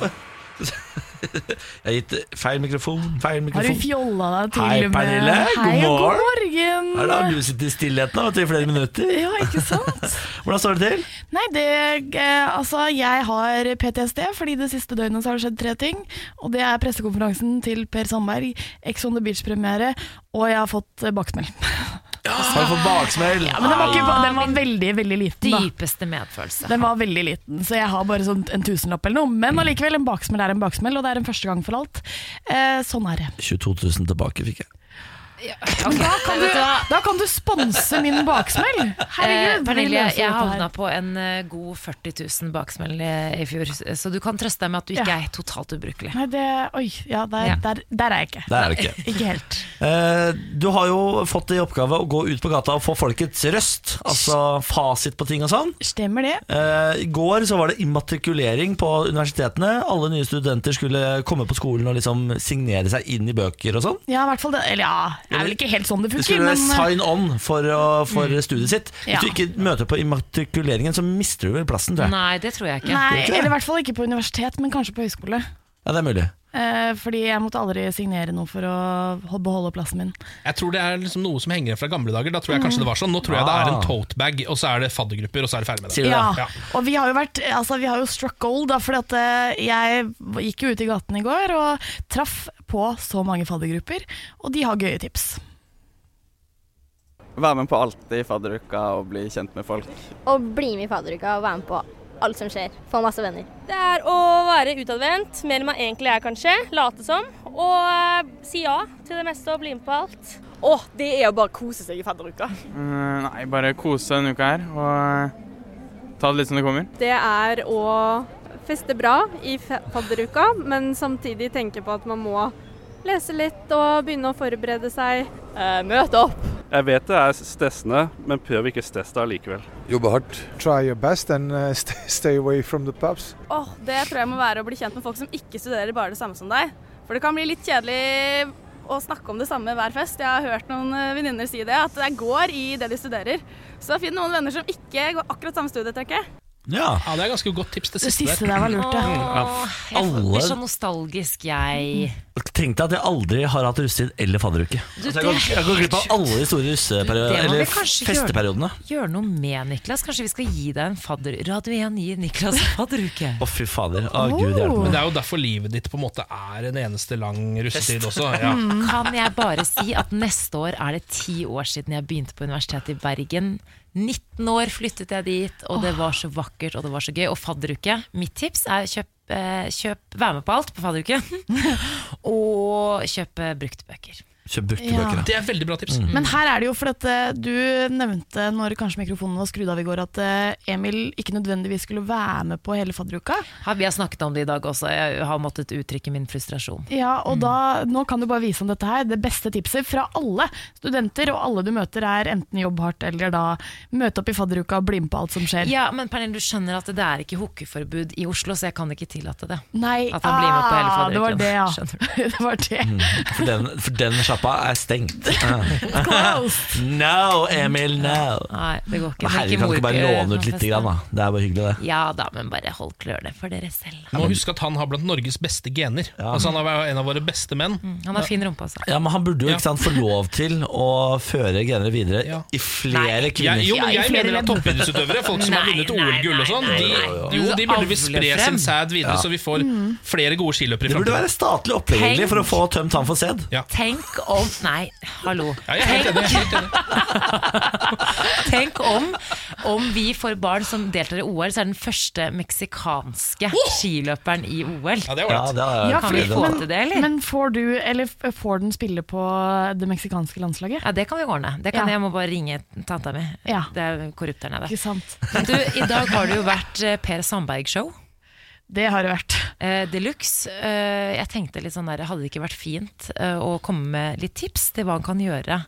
Jeg har gitt eh, feil mikrofon, feil
Har du
mikrofon.
fjolla deg til
Hei,
med
Pernille. God
Hei, og god morgen.
Her har du sittet i stillheten da, vet du, i flere minutter.
Ja, ikke sant?
Hvordan står det til?
Nei, det eh, Altså, jeg har PTSD, fordi det siste døgnet så har det skjedd tre ting. Og det er pressekonferansen til Per Sandberg, Ex on the Beach-premiere, og jeg har fått eh, baksmell.
Har du fått baksmell?
Ja, men den var, ikke, den var veldig, veldig liten, da.
Dypeste medfølelse.
Den var veldig liten, så jeg har bare sånn en tusenlapp eller noe. Men allikevel, en baksmell er en baksmell, og det er en første gang for alt. Eh, sånn er det.
22 000 tilbake fikk jeg.
Da kan du, da kan du sponse min baksmell!
Eh,
Herregud, vi
Pernille,
løser
jeg
dette her.
havna på en eh, god 40 000 baksmell eh, i fjor, så du kan trøste deg med at du ikke
Ja.
er totalt ubrukelig.
Nei, det Oi, ja, der,
Ja.
Der, der er jeg ikke.
Det er det ikke.
Ikke helt.
Eh, Du har jo fått i oppgave å gå ut på gata og få folkets røst, altså fasit på ting og sånn.
Stemmer det?
Eh, I går så var det immatrikulering på universitetene. Alle nye studenter skulle komme på skolen og liksom signere seg inn i bøker og sånn.
Ja, i hvert fall det. Eller ja, det er vel ikke helt sånn det
De
funker,
skulle
men
eh,
sign on for, å, for
Mm.
studiet sitt. Hvis
Ja.
du ikke møter på immatrikuleringen, så mister du vel plassen, tror jeg.
Nei, det tror jeg ikke.
eh, Nei,
ikke det.
eller i hvert fall ikke på universitet, men kanskje på høyskole.
Ja, det er mulig.
Eh, fordi jeg måtte aldri signere noe for å hol- beholde plassen min.
Jeg tror det er liksom noe som henger igjen fra gamle dager. Da tror jeg kanskje det var sånn Nå tror jeg det
Ah.
er en totebag, og så er det faddergrupper, og så er det ferdig med det.
Sier du
Ja,
det?
Ja.
og vi har jo vært Altså, vi har jo struck gold, da, fordi at eh, jeg gikk jo ut i gaten i går og traff på så mange faddergrupper, og de har gøye tips.
Være med på alt i fadderuka og bli kjent med folk.
og bli med i fadderuka og være med på alt som skjer. Få masse venner.
Det er å være utadvendt, mer enn man egentlig er kanskje, late som, og eh, si ja til det meste og bli med på alt. Å, det er å bare kose seg i fadderuka.
nei, bare kose denne uka her og ta det litt som det kommer.
Det er å feste bra i fe- fadderuka, men samtidig tenke på at man må lese litt og begynne å forberede seg. Eh, møte opp.
Jeg vet det er stressende, men prøv ikke stress deg likevel. Jobbe hardt.
Try your best and uh, stay, stay away from the pubs.
Åh, det tror jeg må være å bli kjent med folk som ikke studerer bare det samme som deg. For det kan bli litt kjedelig å snakke om det samme hver fest. Jeg har hørt noen eh, venninner si det, at det går i det de studerer. Så finn noen venner som ikke går akkurat samme studie, tenker jeg.
Ja.
Ja, det er ganske godt tips, det
Det
siste.
siste der var lurt, ja.
Åh, jeg
Alle-
blir så nostalgisk, jeg.
Tenk deg at jeg aldri har hatt russetid eller fadderuke.
Du,
Altså, jeg, går,
det er
jeg går glipp av
helt
alle de store russeperiodene,
Det må vi
eller
kanskje gjøre.
festeperiodene.
Gjør noe med Niklas. Kanskje vi skal gi deg en fadder... Radio 1 gir Niklas en fadderuke.
Å, fy fader. Å, Gud hjelpe
Men
meg.
det er jo derfor livet ditt på en måte er en eneste lang russetid også. Ja.
Kan jeg bare si at neste år er det ti år siden jeg begynte på Universitetet i Bergen. 19 år flyttet jeg dit, og det var så vakkert og det var så gøy. Og fadderuke, mitt tips er kjøp, eh, kjøp Vær med på alt på fadderuke. og kjøp eh, brukte bøker.
Kjøp brukte
Ja.
bøker. da.
Det er veldig bra
Mm.
tips.
Men her er det jo for at eh, du nevnte når kanskje mikrofonen var skrudd av i går, at eh, Emil ikke nødvendigvis skulle være med på hele fadderuka.
Her, vi har snakket om det i dag også. Jeg har måttet uttrykke min frustrasjon.
Ja, og da, nå kan du bare vise om dette her. Det beste tipset fra alle studenter og alle du møter, er enten jobb hardt eller da møte opp i fadderuka og bli med på alt som skjer.
Ja, men Pernille, du skjønner at det er ikke hookieforbud i Oslo, så jeg kan ikke tillate det.
Nei,
At han blir med på hele
ah, det var
fadderuken.
det, ja.
Skjønner
det var det.
For den, for den Sjappa er stengt. no, Emil, no.
Nei, det går ikke.
Men herregud,
Ikke
kan du ikke bare
morkø-
låne ut litt?
feste.
Grann, da? Det er bare hyggelig, det.
Ja da, men bare hold klørne for dere selv.
Må huske at han har blant Norges beste gener. Altså Han er en av våre beste menn.
Han har fin rumpe, altså.
Ja, men Han burde jo ikke sant, få lov til å føre genene videre i flere kvinner.
Jeg, jo, men jeg mener at toppidrettsutøvere, folk som har
Nei,
vunnet
nei,
OL-gull og sånn,
nei,
de,
nei, nei.
jo, de burde vi
Avle
spre
frem.
sin sæd videre,
Ja.
så vi får
Mm.
flere gode skiløpere i
Det burde
fremtiden.
være statlig opplegg egentlig, for å få tømt han for sæd.
Tenk om Nei, hallo.
jeg er helt enig, jeg
Tenk, Tenk om, om vi får barn som deltar i OL, så er den første meksikanske skiløperen i OL.
Ja, det
er ålreit. Ja, det er
kan vi
fordi-
få
men-
til det, eller?
Men får du, eller f- får den spille på det meksikanske landslaget?
Ja, det kan vi ordne. Det kan
Ja.
Jeg må bare ringe tanta mi. Det er korrupt der nede.
Ikke sant.
Men du, I dag har det jo vært eh, Per Sandberg-show.
Det har det vært.
Eh, Deluxe. Eh, jeg tenkte litt sånn der, hadde det ikke vært fint eh, å komme med litt tips til hva han kan gjøre?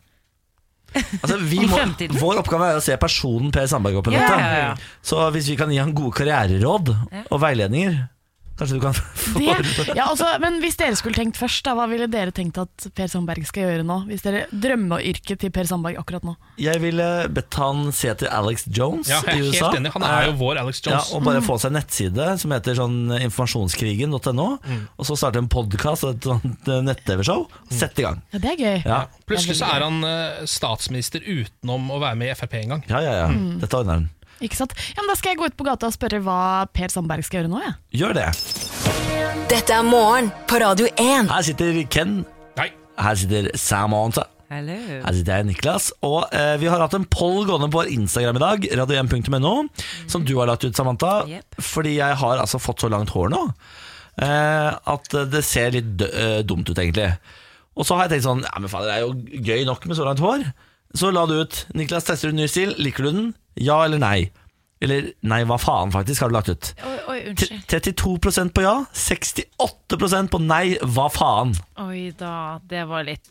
Altså, vi
I
må,
fremtiden.
vår oppgave er å se personen Per Sandberg opp i
Ja,
dette.
ja, ja.
Så hvis vi kan gi han gode karriereråd og veiledninger Kanskje du kan få
Det, ja, altså, men hvis dere skulle tenkt først, da, hva ville dere tenkt at Per Sandberg skal gjøre nå? Hvis dere drømmeyrket til Per Sandberg akkurat nå?
Jeg ville bedt han se til Alex Jones
Ja, jeg er
i
helt
USA.
enig. Han er jo vår Alex Jones.
Ja, og bare
Mm.
få seg en nettside som heter sånn informasjonskrigen.no,
Mm.
og så starte en podkast og et sånt eh, nett-TV-show. Sett i gang.
Ja, det er gøy.
Ja.
Plutselig så er han eh, statsminister utenom å være med i Frp en gang.
Ja, ja, ja.
Mm.
Dette ordner han.
Ikke sant? Ja, men da skal jeg gå ut på gata og spørre hva Per Sandberg skal gjøre nå, jeg.
Gjør det.
Dette er morgen på Radio 1.
Her sitter Ken. Her sitter Samantha. Her sitter jeg, Niklas. Og eh, vi har hatt en poll gående på vår Instagram i dag, radio1.no, som du har lagt ut, Samantha. Fordi jeg har altså fått så langt hår nå eh, at det ser litt dø- eh, dumt ut, egentlig. Og så har jeg tenkt sånn Ja, men faen, det er jo gøy nok med så langt hår. Så la du ut Niklas, tester du en ny stil? Liker du den? Ja eller nei? Eller nei, hva faen, faktisk, har du lagt ut.
Oi, oi, unnskyld.
32 på ja, 68 på nei, hva faen?
Oi da, det var litt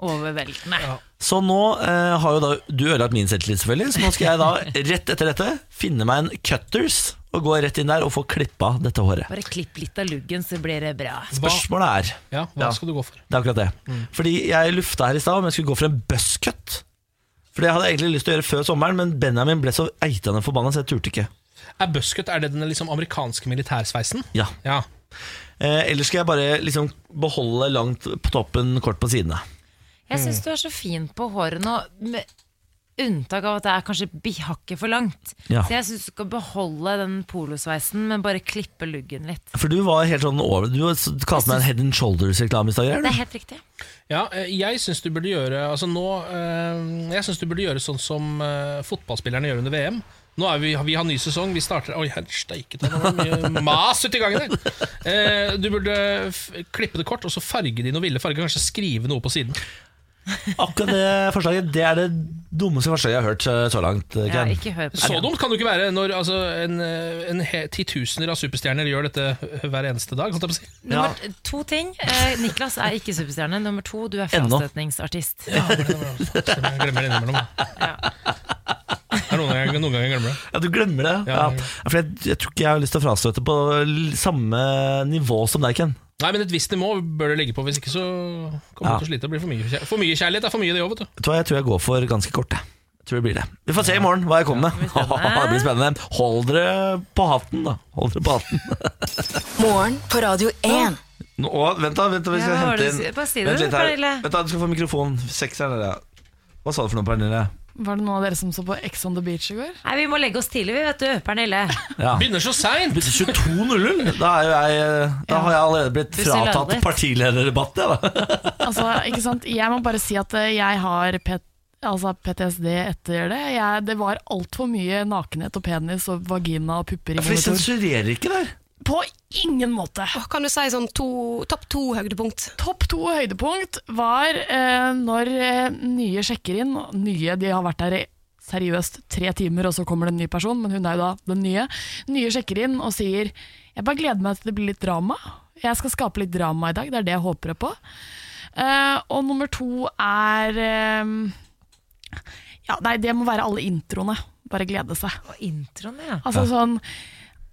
overveldende.
Så nå eh, har jo da du ødelagt min selvtillit, selvfølgelig. Så nå skal jeg da rett etter dette finne meg en cutters og gå rett inn der og få klippa dette håret.
Bare klipp litt av luggen, så blir det bra.
Spørsmålet er
Ja, hva skal du gå for?
Det er akkurat det. Fordi jeg lufta her i stad om jeg skulle gå for en buzzcut. For det hadde jeg egentlig lyst til å gjøre før sommeren, men Benjamin ble så eitende forbanna, så jeg turte ikke.
Er buscut er det den liksom amerikanske militærsveisen?
Ja. Eh, Eller skal jeg bare liksom beholde langt på toppen, kort på sidene.
Jeg
Mm.
syns du er så fin på håret nå, med unntak av at det er kanskje bihakket for langt.
Ja.
Så jeg syns du skal beholde den polosveisen, men bare klippe luggen litt.
For du var helt sånn over Du kalte meg en Head and Shoulders-reklame i stad. gjør du?
Det er helt riktig.
Ja, eh, jeg syns du burde gjøre Altså nå eh, Jeg synes du burde gjøre sånn som eh, fotballspillerne gjør under VM. Nå er vi, vi har ny sesong, vi starter Oi, her steiket det var mye mas uti gangen her! Eh, du burde f klippe det kort, og så farge det i noen ville farger. Kanskje skrive noe på siden.
Akkurat det forslaget Det er det dummeste forslaget jeg har hørt eh, så langt. eh, Ken.
Så dumt kan det ikke være når altså, en, eh, en he- titusener av superstjerner gjør dette hver eneste dag. Holdt jeg på å si.
Nummer t- to ting. Eh, Niklas er ikke superstjerne. Nummer to, du er
Ennå.
frastøtningsartist.
Ja, det var det, det var det. Fuck, stemmer, jeg glemmer det innimellom. Det er noen ganger jeg- noen ganger jeg glemmer det.
Ja, du glemmer det. Ja, for jeg, jeg tror ikke jeg har lyst til å frastøte på l- samme nivå som deg, Ken.
Nei, men et visst nivå bør det ligge på, hvis ikke så
Ja.
kommer du til å slite. Det blir for mye, kjær- for mye kjærlighet. Det er for mye det òg, vet du.
Vet du hva, jeg tror jeg går for ganske kort. jeg. Jeg tror det blir det. Vi får se i morgen hva jeg kommer med. det blir spennende. Hold dere på hatten, da. Hold dere på hatten.
Morgen på Radio 1.
Nå, å, vent, da. Vent, da vi skal
Ja, hva var
hente
det du
inn
sier? Bare si det,
Vent
du,
litt her.
Pernille.
Vent da, Du skal få mikrofon. Sekseren der, ja. Hva sa du for noe, Pernille?
Var det noen av dere som så på Ex on the Beach i går?
Nei, vi må legge oss tidlig, vi, vet du. Pernille.
Ja.
Begynner så seint!
22.00. Da, er jo jeg, eh, da har jeg allerede blitt
Du sier
fratatt
landet.
partilederdebatt, jeg, da.
Altså, ikke sant? Jeg må bare si at eh, jeg har P altså PTSD etter det. Jeg, det var altfor mye nakenhet og penis og vagina og pupper i
For de
monitor.
sensurerer ikke der.
På ingen måte.
kan du si sånn to, topp to høydepunkt?
Topp to høydepunkt var eh, når eh, nye sjekker inn. Nye, de har vært der i seriøst tre timer, og så kommer det en ny person, men hun er jo da den nye. Nye sjekker inn og sier Jeg bare gleder meg til det blir litt drama. Jeg skal skape litt drama i dag, det er det jeg håper på. Eh, og nummer to er eh, Ja, nei, det må være alle introene. Bare glede seg.
Introen, ja.
Altså sånn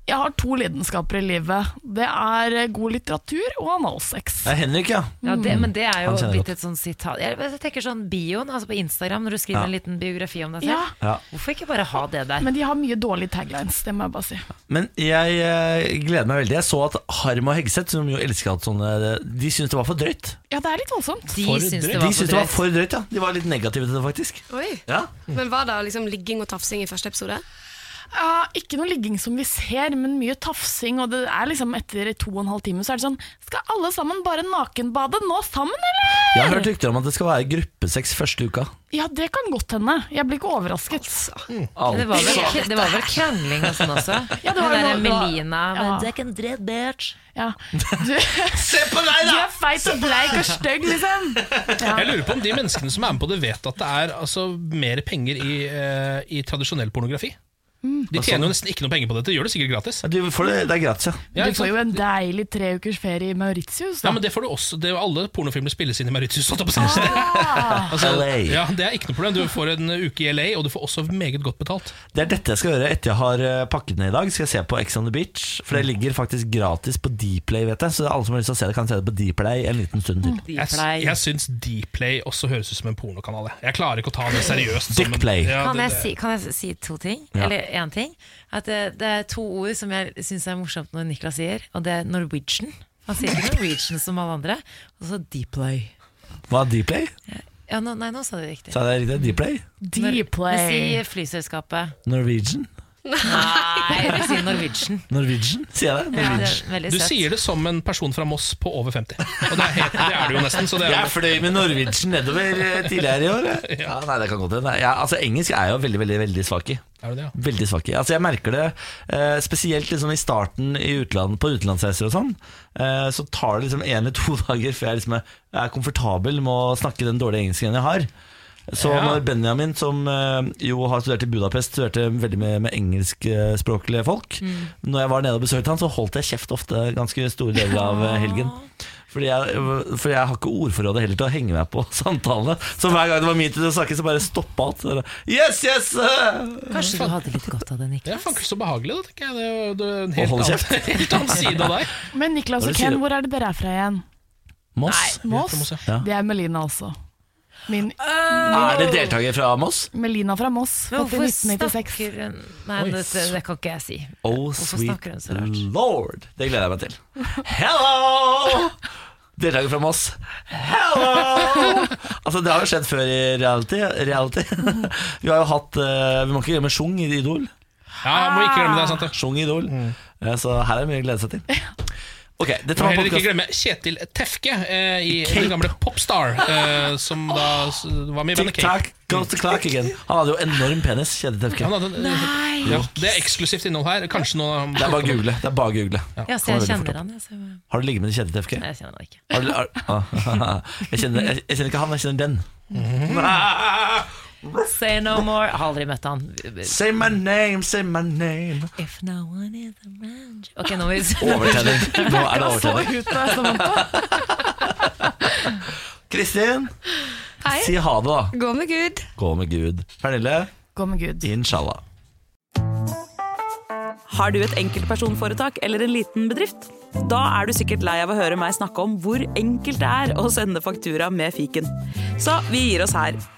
Jeg har to lidenskaper i livet. Det er eh, god litteratur og analsex.
Det er Henrik, ja.
Ja, det, men det er jo
mm. Han kjenner
blitt
godt.
et sånn sitat jeg, jeg tenker sånn bioen, altså på Instagram Når du skriver
Ja.
en liten biografi om deg
Ja.
selv Hvorfor ikke bare ha det der?
Men de har mye dårlige taglines, det må jeg bare si.
Men jeg eh, gleder meg veldig. Jeg så at Harm og Hegseth, som jo elsker at sånne De syntes det var for drøyt.
Ja, det er litt voldsomt.
For drøyt. de syntes det var for drøyt, ja. De var litt negative til det, faktisk.
Oi.
Ja.
Men var det liksom ligging og tafsing i første episode?
Ja, ikke noe ligging som vi ser, men mye tafsing. Og det er liksom etter to og en halv time så er det sånn Skal alle sammen bare nakenbade nå sammen, eller?
Jeg har hørt rykter om at det skal være gruppesex første uka.
Ja, det kan godt hende. Jeg blir ikke overrasket.
Men
det var vel- det var vel krangling og sånn også?
Ja, det
Hun
var noe-
der
det var-
Melina, men det er ikke en dread bitch.
Se
på deg,
da! Du er feit og bleik og stygg, liksom. Ja.
Jeg lurer på om de menneskene som er med på det, vet at det er altså, mer penger i, eh, i tradisjonell pornografi. De
Hva sa du?
tjener jo nesten ikke noe penger på dette, gjør det sikkert gratis.
Du får det, det er gratis, ja.
Ja,
du
ikke
får
sant?
jo en deilig tre ukers ferie i Mauritius.
Ja,
Da.
men det får du også det er jo Alle pornofilmer spilles inn i Mauritius. holdt jeg på å si. Altså, ja, det er ikke noe problem. Du får en uke i LA, og du får også meget godt betalt.
Det er dette jeg skal gjøre etter jeg har eh, pakket ned i dag. Skal jeg se på Ex on the Beach. For det ligger faktisk gratis på Dplay, vet jeg. Så alle som har lyst til å se det, kan se det på Dplay en liten stund til.
Jeg, jeg syns Dplay også høres ut som en pornokanal. jeg. Jeg klarer ikke å ta det seriøst. som en-
Dickplay.
Ja,
kan,
det-
jeg
det-
si, kan jeg si to ting?
Ja.
Eller én ting? At eh, det, det er to ord som jeg syns er morsomt når Niklas sier, og det er Norwegian. Han sier ikke Norwegian som alle andre. Og så Dplay.
Hva er Dplay?
Ja, nå, nei, nå sa du det riktig.
Sa jeg det riktig? Dplay?
Dplay.
Men si flyselskapet.
Norwegian?
Nei, jeg sier Norwegian.
Norwegian, sier jeg det?
Ja,
Norwegian.
det er veldig
Du
søtt.
sier det som en person fra Moss på over 50. Og det er, helt, det er du jo nesten. Så det er
jeg fløy med Norwegian nedover eh, tidligere i år. jeg. Ja, nei, det kan godt hende. Ja, altså, engelsk er jeg jo veldig, veldig, veldig svak i.
Er du det, ja?
Veldig svak i. Altså, jeg merker det eh, spesielt liksom i starten i utlandet, på utenlandsreiser og sånn. Eh, så tar det liksom en eller to dager før jeg liksom er, er komfortabel med å snakke den dårlige engelsken jeg har. Så
Ja.
når Benjamin, som eh, jo har studert i Budapest, studerte veldig med, med engelskspråklige folk Når jeg var nede og besøkte han, så holdt jeg kjeft ofte ganske store deler av eh, helgen. Fordi jeg, fordi jeg har ikke ordforrådet heller til å henge meg på samtalene. Så hver gang det var min tur til å snakke, så bare stoppa alt. Så bare, Yes, yes!
Kanskje du hadde litt godt av det, Niklas.
Det er faktisk så behagelig, da, tenker jeg. Det er jo det er en
Å
helt,
holde
annen, helt annen side av deg.
Men Niklas
Hva er
og
det du sier?
Ken, hvor er det dere er fra igjen?
Moss?
Moss?
Ja.
Det er Melina også. Min
Er det deltaker fra Moss?
Mm.
Melina fra Moss,
Men
født i
hvorfor
1996.
Nei,
Oi.
det, det kan ikke jeg si.
Oh,
Hvorfor
sweet
snakker hun så rart?
lord. Det gleder jeg meg til. Hello! Deltaker fra Moss. Hello! Altså, det har jo skjedd før i reality. reality. Vi har jo hatt eh, Vi må ikke glemme Sjung i Idol.
Ja, må ikke glemme det, sant det?
Sjung i Idol.
Mm.
Eh, Så her er det mye å glede seg til. Ok, dette
Må
var
heller ikke
podcast-
glemme Kjetil Tefke eh, i den gamle Popstar, eh, som da s- var med i bandet Cake.
Tick-tack, goes the clock again. Han hadde jo enorm penis, Kjetil Tefke.
Han hadde-
Nei.
Ja, det er eksklusivt innhold her. Kanskje noe
Det er bare å google. Det er bare å google.
Ja, så jeg kjenner han. Jeg, så...
Har du ligget med Kjetil Tefke?
Nei, jeg kjenner han ikke.
Har du- har- Ah, Jeg kjenner, jeg, jeg kjenner ikke han, jeg kjenner den.
Say no more. Jeg har aldri møtt han.
Say my name, say my name.
If no one is around you. Ok, nå må vi
Overtenning. Nå er det overtenning.
ut da, Samantha.
Kristin,
Hei.
si ha det, da.
Gå med Gud.
Gå med Gud. Pernille,
Gå med Gud.
inshallah.
Har du et enkeltpersonforetak eller en liten bedrift? Da er du sikkert lei av å høre meg snakke om hvor enkelt det er å sende faktura med fiken. Så vi gir oss her,